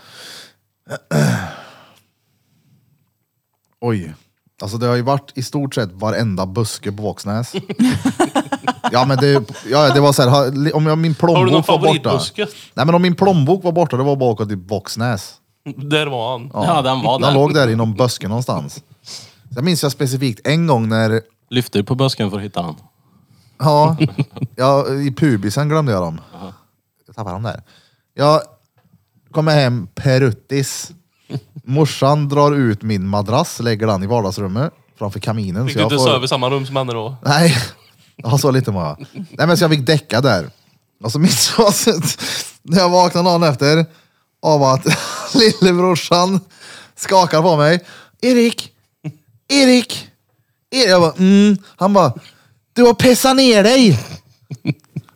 [SPEAKER 1] Oj. Alltså det har ju varit i stort sett varenda buske på Våxnäs. ja men det, ja, det var så här, ha- om jag, min
[SPEAKER 3] Har du någon
[SPEAKER 1] plånbok var borta.
[SPEAKER 3] favoritbuske?
[SPEAKER 1] Nej men om min plånbok var borta, det var bakåt i Våxnäs.
[SPEAKER 3] Där var han.
[SPEAKER 5] Ja, den var
[SPEAKER 1] Den
[SPEAKER 5] där.
[SPEAKER 1] låg där i någon buske någonstans. Jag minns jag specifikt en gång när,
[SPEAKER 5] Lyfte på busken för att hitta den.
[SPEAKER 1] ja, jag, i pubisen glömde jag dem. Jag tappade dem där. Jag kommer hem peruttis. Morsan drar ut min madrass, lägger den i vardagsrummet framför kaminen.
[SPEAKER 3] Fick du inte
[SPEAKER 1] får-
[SPEAKER 3] sova i samma rum som henne då?
[SPEAKER 1] Nej, ja, så lite var jag. Nej men så jag fick däcka där. Och så minns jag att när jag vaknade dagen efter av att lillebrorsan skakar på mig. Erik, Erik, Erik. Jag bara, mm. Han bara, du har pissat ner dig.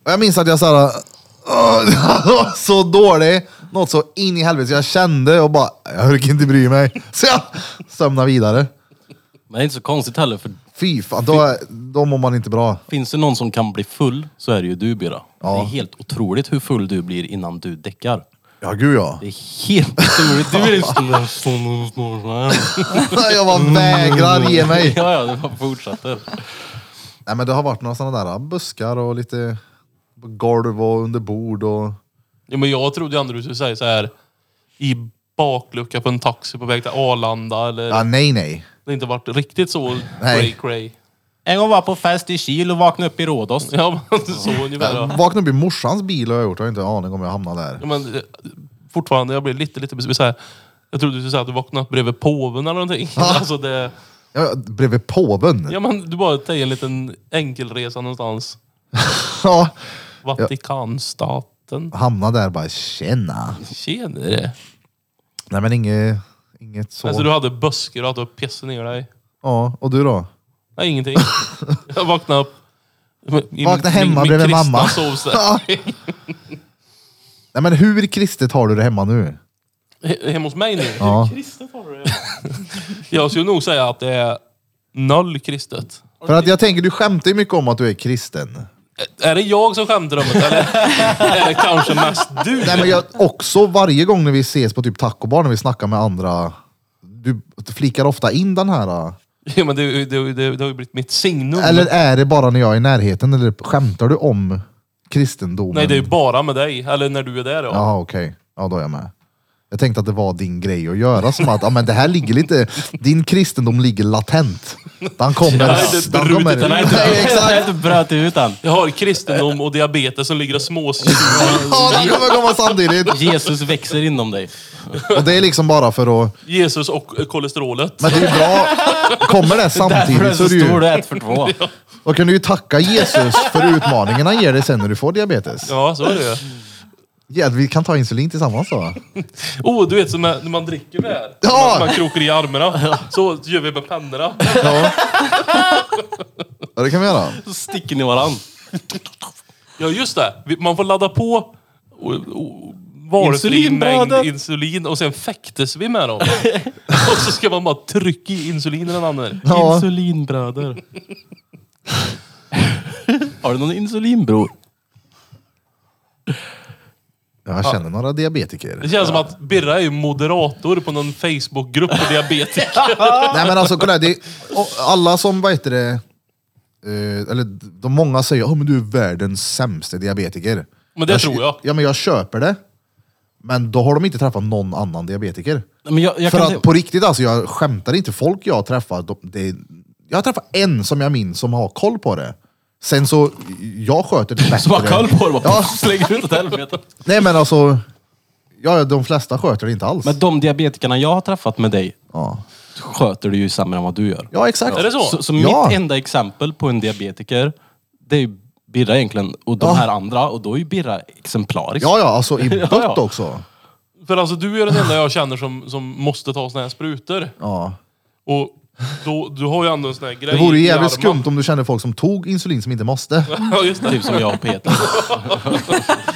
[SPEAKER 1] Och jag minns att jag såhär, var så dålig. Något så in i helvete. Så jag kände och bara, jag orkar inte bry mig. Så jag sömnade vidare.
[SPEAKER 5] Men det är inte så konstigt heller för
[SPEAKER 1] Fy fan, då, då mår man inte bra.
[SPEAKER 5] finns det någon som kan bli full så är det ju du Bira. Det
[SPEAKER 1] Ja.
[SPEAKER 5] är helt otroligt hur full du blir innan du däckar.
[SPEAKER 1] Ja, gud ja.
[SPEAKER 5] Det är helt otroligt. Du är ju sån där sån- sån- sån-
[SPEAKER 1] Jag bara vägrar ge mig.
[SPEAKER 3] Mm.
[SPEAKER 5] Ja, ja, du bara fortsätter.
[SPEAKER 1] Nej, men det har varit några sådana där buskar och lite på golv och under bord och...
[SPEAKER 3] Ja, men jag trodde ju ändå du skulle säga så här i baklucka på en taxi på väg till Arlanda eller...
[SPEAKER 1] Ja, nej, nej.
[SPEAKER 3] Det har inte varit riktigt så
[SPEAKER 1] Nej.
[SPEAKER 3] cray cray.
[SPEAKER 5] En gång var jag på fest i Kil och vaknade upp i Rhodos.
[SPEAKER 3] Ja, men så ungefär. Ja.
[SPEAKER 1] Vaknade upp i morsans bil har jag gjort. Jag har inte en aning om jag hamnade där.
[SPEAKER 3] Ja, men, eh, fortfarande, jag blir lite, lite besviken. Så här, Jag trodde du skulle säga att du vaknade upp bredvid påven eller någonting. Alltså det,
[SPEAKER 1] Jag, bredvid påven.
[SPEAKER 3] ja, men du bara tar en liten enkelresa någonstans.
[SPEAKER 1] Ja.
[SPEAKER 3] Vatikanstaten.
[SPEAKER 1] Hamnade där bara, tjena.
[SPEAKER 3] Tjenare.
[SPEAKER 1] Nej, men inget, inget så.
[SPEAKER 3] Alltså du hade buskar och att du pissade ner dig.
[SPEAKER 1] Ja, och du då?
[SPEAKER 3] Nej, ingenting. Jag vaknade upp. I
[SPEAKER 1] Vakna
[SPEAKER 3] min-
[SPEAKER 1] hemma
[SPEAKER 3] min
[SPEAKER 1] bredvid
[SPEAKER 3] kristna
[SPEAKER 1] mamma.
[SPEAKER 3] sovsäck.
[SPEAKER 1] Ja. Nej, men hur kristet har du det hemma nu?
[SPEAKER 3] He- Hemma hos mig nu.
[SPEAKER 1] Ja.
[SPEAKER 3] Jag skulle nog säga att det är noll kristet.
[SPEAKER 1] För att jag tänker, du skämtar ju mycket om att du är kristen.
[SPEAKER 3] Är det jag som skämtar om det eller är det kanske mest du?
[SPEAKER 1] Nej, men jag, också varje gång när vi ses på typ tacobar, när vi snackar med andra, du flikar ofta in den här. äh,
[SPEAKER 3] Ja, men det, det, det, det har ju blivit mitt signum.
[SPEAKER 1] Eller är det bara när jag är i närheten, eller skämtar du om kristendomen?
[SPEAKER 3] Nej, det är ju bara med dig. Eller när du är där. Ja.
[SPEAKER 1] Jaha, okej. Ja, då är jag med. Jag tänkte att det var din grej att göra, som att ja, men det här ligger lite, din kristendom ligger latent. Den kommer...
[SPEAKER 3] har inte
[SPEAKER 1] den
[SPEAKER 3] brutit den, har inte-
[SPEAKER 1] nej,
[SPEAKER 5] Jag har
[SPEAKER 1] exakt.
[SPEAKER 5] inte bröt ut den.
[SPEAKER 3] Jag har kristendom och diabetes som ligger och småsuger.
[SPEAKER 1] Ja, den kommer komma samtidigt.
[SPEAKER 5] Jesus växer inom dig.
[SPEAKER 1] Och det är liksom bara för att...
[SPEAKER 3] Jesus och eh, kolesterolet.
[SPEAKER 1] Men det är ju bra. Kommer det
[SPEAKER 5] Därför är
[SPEAKER 1] samtidigt
[SPEAKER 5] du
[SPEAKER 1] så är
[SPEAKER 5] så
[SPEAKER 1] det ju...
[SPEAKER 5] stor, du är ett för två.
[SPEAKER 1] Då kan du ju tacka Jesus för utmaningen han ger dig sen när du får diabetes.
[SPEAKER 3] Ja, så är det ju.
[SPEAKER 1] Ja, vi kan ta insulin tillsammans då.
[SPEAKER 3] Oh, du vet som när när man dricker med här.
[SPEAKER 1] Ja!
[SPEAKER 3] Man, man krokar i armarna. Så gör vi med pennorna.
[SPEAKER 1] Ja, ja det kan vi göra.
[SPEAKER 5] Så sticker ni varann.
[SPEAKER 3] Ja, just det. Vi- Man får ladda på och- och- valfri mängd
[SPEAKER 5] Insulinbladet.
[SPEAKER 3] insulin och sen fäktes vi med dem. och så ska man bara trycka i insulin i den andra.
[SPEAKER 1] Ja.
[SPEAKER 5] Insulinbröder. Har du någon insulinbror?
[SPEAKER 1] Jag känner några diabetiker.
[SPEAKER 3] Det känns som att Birra är ju moderator på någon Facebookgrupp för diabetiker.
[SPEAKER 1] Nej men alltså kolla, här, det är, och alla som, vad heter det, eh, eller de många säger att men du är världens sämsta diabetiker.
[SPEAKER 3] Men det tror jag.
[SPEAKER 1] Ja men jag köper det. Men då har de inte träffat någon annan diabetiker.
[SPEAKER 5] Men jag, jag
[SPEAKER 1] För
[SPEAKER 5] kan
[SPEAKER 1] att på riktigt alltså, jag skämtar inte. Folk jag träffar, de, det, jag har träffat en som jag minns som har koll på det. Sen så, jag sköter det bättre.
[SPEAKER 5] Som har koll på det bara.
[SPEAKER 1] Ja.
[SPEAKER 5] Slänger ut åt helvete.
[SPEAKER 1] Nej men alltså, ja, de flesta sköter det inte alls.
[SPEAKER 5] Men de diabetikerna jag har träffat med dig
[SPEAKER 1] ja.
[SPEAKER 5] sköter du ju sämre än vad du gör.
[SPEAKER 1] ja exakt.
[SPEAKER 3] Är det så?
[SPEAKER 5] Så, så
[SPEAKER 1] Ja.
[SPEAKER 5] mitt enda exempel på en diabetiker, det är ju Birra egentligen och de
[SPEAKER 1] Ja.
[SPEAKER 5] här andra och då är ju Birra exemplarisk.
[SPEAKER 1] Ja ja, alltså i
[SPEAKER 5] Ja,
[SPEAKER 1] bött
[SPEAKER 5] ja.
[SPEAKER 1] också.
[SPEAKER 3] För alltså du är den enda jag känner som, som måste ta såna här sprutor.
[SPEAKER 1] Ja.
[SPEAKER 3] Och då, du har ju ändå en sån här grej
[SPEAKER 1] Det vore ju
[SPEAKER 3] i
[SPEAKER 1] jävligt
[SPEAKER 3] armen.
[SPEAKER 1] skumt om du kände folk som tog insulin som inte måste.
[SPEAKER 3] Ja, just det.
[SPEAKER 5] Typ som jag och Peter.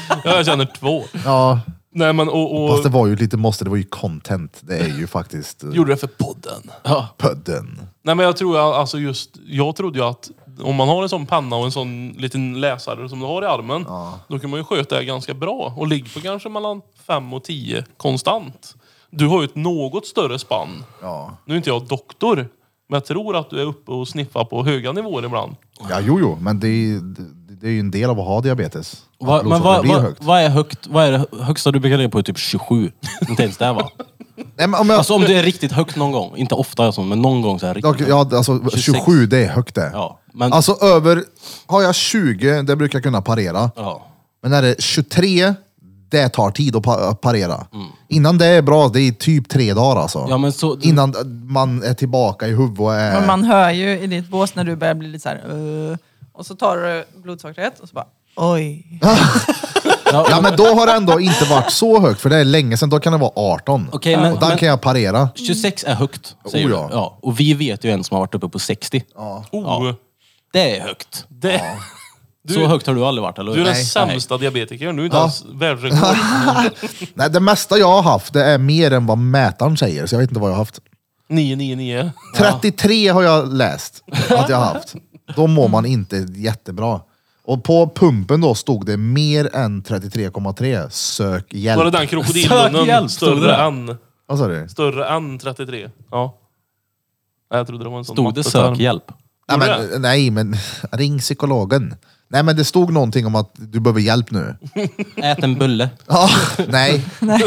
[SPEAKER 3] Ja, jag känner två.
[SPEAKER 1] Ja,
[SPEAKER 3] Nej men och... och
[SPEAKER 1] fast det var ju lite måste, det var ju content. Det är ju faktiskt eh,
[SPEAKER 3] Gjorde det för podden.
[SPEAKER 1] pudden.
[SPEAKER 3] Nej men jag tror jag, alltså just, jag trodde ju att om man har en sån penna och en sån liten läsare som du har i armen, då kan man ju sköta det ganska bra och ligga på kanske mellan 5 och 10 konstant. Du har ju ett något större spann.
[SPEAKER 1] Ja.
[SPEAKER 3] Nu är inte jag doktor, men jag tror att du är uppe och sniffar på höga nivåer ibland.
[SPEAKER 1] ja, jo jo, men det är, ju- det, det är ju en del av att ha diabetes. Att
[SPEAKER 5] Va, men
[SPEAKER 1] blodsockret
[SPEAKER 5] vad
[SPEAKER 1] blir
[SPEAKER 5] va,
[SPEAKER 1] högt.
[SPEAKER 5] vad är högt? Vad är det högsta du brukar ligga på? är Typ 27? Inte ens det va?
[SPEAKER 1] Nej, men om jag,
[SPEAKER 5] Alltså om det är riktigt högt någon gång. Inte ofta alltså, men någon gång så här riktigt.
[SPEAKER 1] Okej, ja, alltså 27, det är högt det.
[SPEAKER 5] Ja, men-
[SPEAKER 1] Alltså över, har jag 20, det brukar jag kunna parera.
[SPEAKER 5] Ja.
[SPEAKER 1] Men är det 23, det tar tid att pa- parera. Innan det är bra, det är typ tre dagar alltså.
[SPEAKER 5] Mm. Ja, men så-
[SPEAKER 1] Innan man är tillbaka i huvudet och är...
[SPEAKER 7] Men man hör ju i ditt bås när du börjar bli lite så här. "Ugh." och så tar du blodsockret och så bara oj.
[SPEAKER 1] Ja men då har det ändå inte varit så högt, för det är länge sedan. Då kan det vara 18.
[SPEAKER 5] Okej, men-
[SPEAKER 1] och där
[SPEAKER 5] men-
[SPEAKER 1] kan jag parera.
[SPEAKER 5] 26 är högt, säger
[SPEAKER 1] Oh,
[SPEAKER 5] du.
[SPEAKER 1] ja.
[SPEAKER 5] Ja. Och vi vet ju en som har varit uppe på 60.
[SPEAKER 3] Oh,
[SPEAKER 5] Det är högt.
[SPEAKER 3] det, Du-
[SPEAKER 5] så högt har du aldrig varit, eller
[SPEAKER 3] du
[SPEAKER 5] hur?
[SPEAKER 3] är den
[SPEAKER 1] Nej.
[SPEAKER 3] sämsta diabetikern. Du är inte ens världsrekord.
[SPEAKER 1] Nej, det mesta jag har haft, det är mer än vad mätaren säger, så jag vet inte vad jag har haft.
[SPEAKER 3] 999.
[SPEAKER 1] 33 har jag läst att jag har haft. Då mår man inte jättebra. Och på pumpen då stod det mer än 33,3. Sök hjälp.
[SPEAKER 3] Var det den
[SPEAKER 5] Sök
[SPEAKER 3] krokodilmunnen?
[SPEAKER 5] hjälp, stod
[SPEAKER 3] Större
[SPEAKER 5] det.
[SPEAKER 3] än,
[SPEAKER 1] Vad sa du?
[SPEAKER 3] större än 33. Ja. Nej, jag trodde det var en sån
[SPEAKER 5] Stod det
[SPEAKER 3] matteterm.
[SPEAKER 5] sök hjälp?
[SPEAKER 1] Nej
[SPEAKER 3] Gjorde
[SPEAKER 1] men, nej men ring psykologen. Nej men det stod någonting om att du behöver hjälp nu.
[SPEAKER 5] Ät en bulle.
[SPEAKER 1] Ja, nej,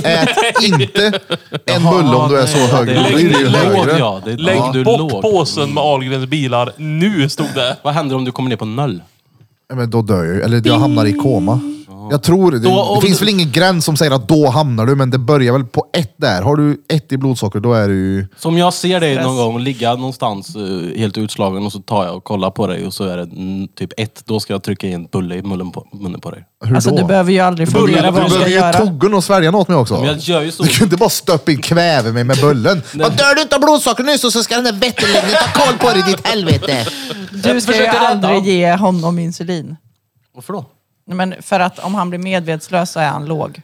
[SPEAKER 1] ät inte en bulle om du är så hög.
[SPEAKER 5] Det
[SPEAKER 1] Då
[SPEAKER 5] är
[SPEAKER 1] blir det ju
[SPEAKER 5] lägg- lägg-
[SPEAKER 1] högre.
[SPEAKER 5] ja, det är-
[SPEAKER 3] Lägg
[SPEAKER 5] ja. du
[SPEAKER 3] bort
[SPEAKER 5] låg.
[SPEAKER 3] påsen med Ahlgrens bilar nu, stod det.
[SPEAKER 5] Vad händer om du kommer ner på noll?
[SPEAKER 1] Ja, Men då dör jag ju, eller jag hamnar i koma. Jag tror det.
[SPEAKER 5] Då- om
[SPEAKER 1] det finns
[SPEAKER 5] du-
[SPEAKER 1] väl ingen gräns som säger att då hamnar du, men det börjar väl på ett där. Har du ett i blodsocker, då är du ju...
[SPEAKER 5] Som jag ser dig
[SPEAKER 7] Stress.
[SPEAKER 5] någon gång ligga någonstans eh, helt utslagen och så tar jag och kollar på dig och så är det mm, typ ett, då ska jag trycka i en bulle i munnen på, munnen på dig.
[SPEAKER 1] Hur
[SPEAKER 7] Alltså
[SPEAKER 1] då?
[SPEAKER 7] du behöver ju aldrig
[SPEAKER 1] du
[SPEAKER 7] fundera vad du
[SPEAKER 1] behöver
[SPEAKER 7] ska
[SPEAKER 1] ju
[SPEAKER 7] göra.
[SPEAKER 1] tuggen och svälja något med också.
[SPEAKER 5] Men jag gör ju så.
[SPEAKER 1] Du kan inte bara stöppa in kväve mig med bullen. Vad dör du inte av blodsocker nu så så ska den där vetterläggningen ta koll på dig, ditt helvete.
[SPEAKER 7] Du ska ju
[SPEAKER 5] försöker rädda
[SPEAKER 7] aldrig
[SPEAKER 5] honom.
[SPEAKER 7] ge honom insulin.
[SPEAKER 5] Varför då?
[SPEAKER 7] Men för att om han blir medvetslös så är han låg.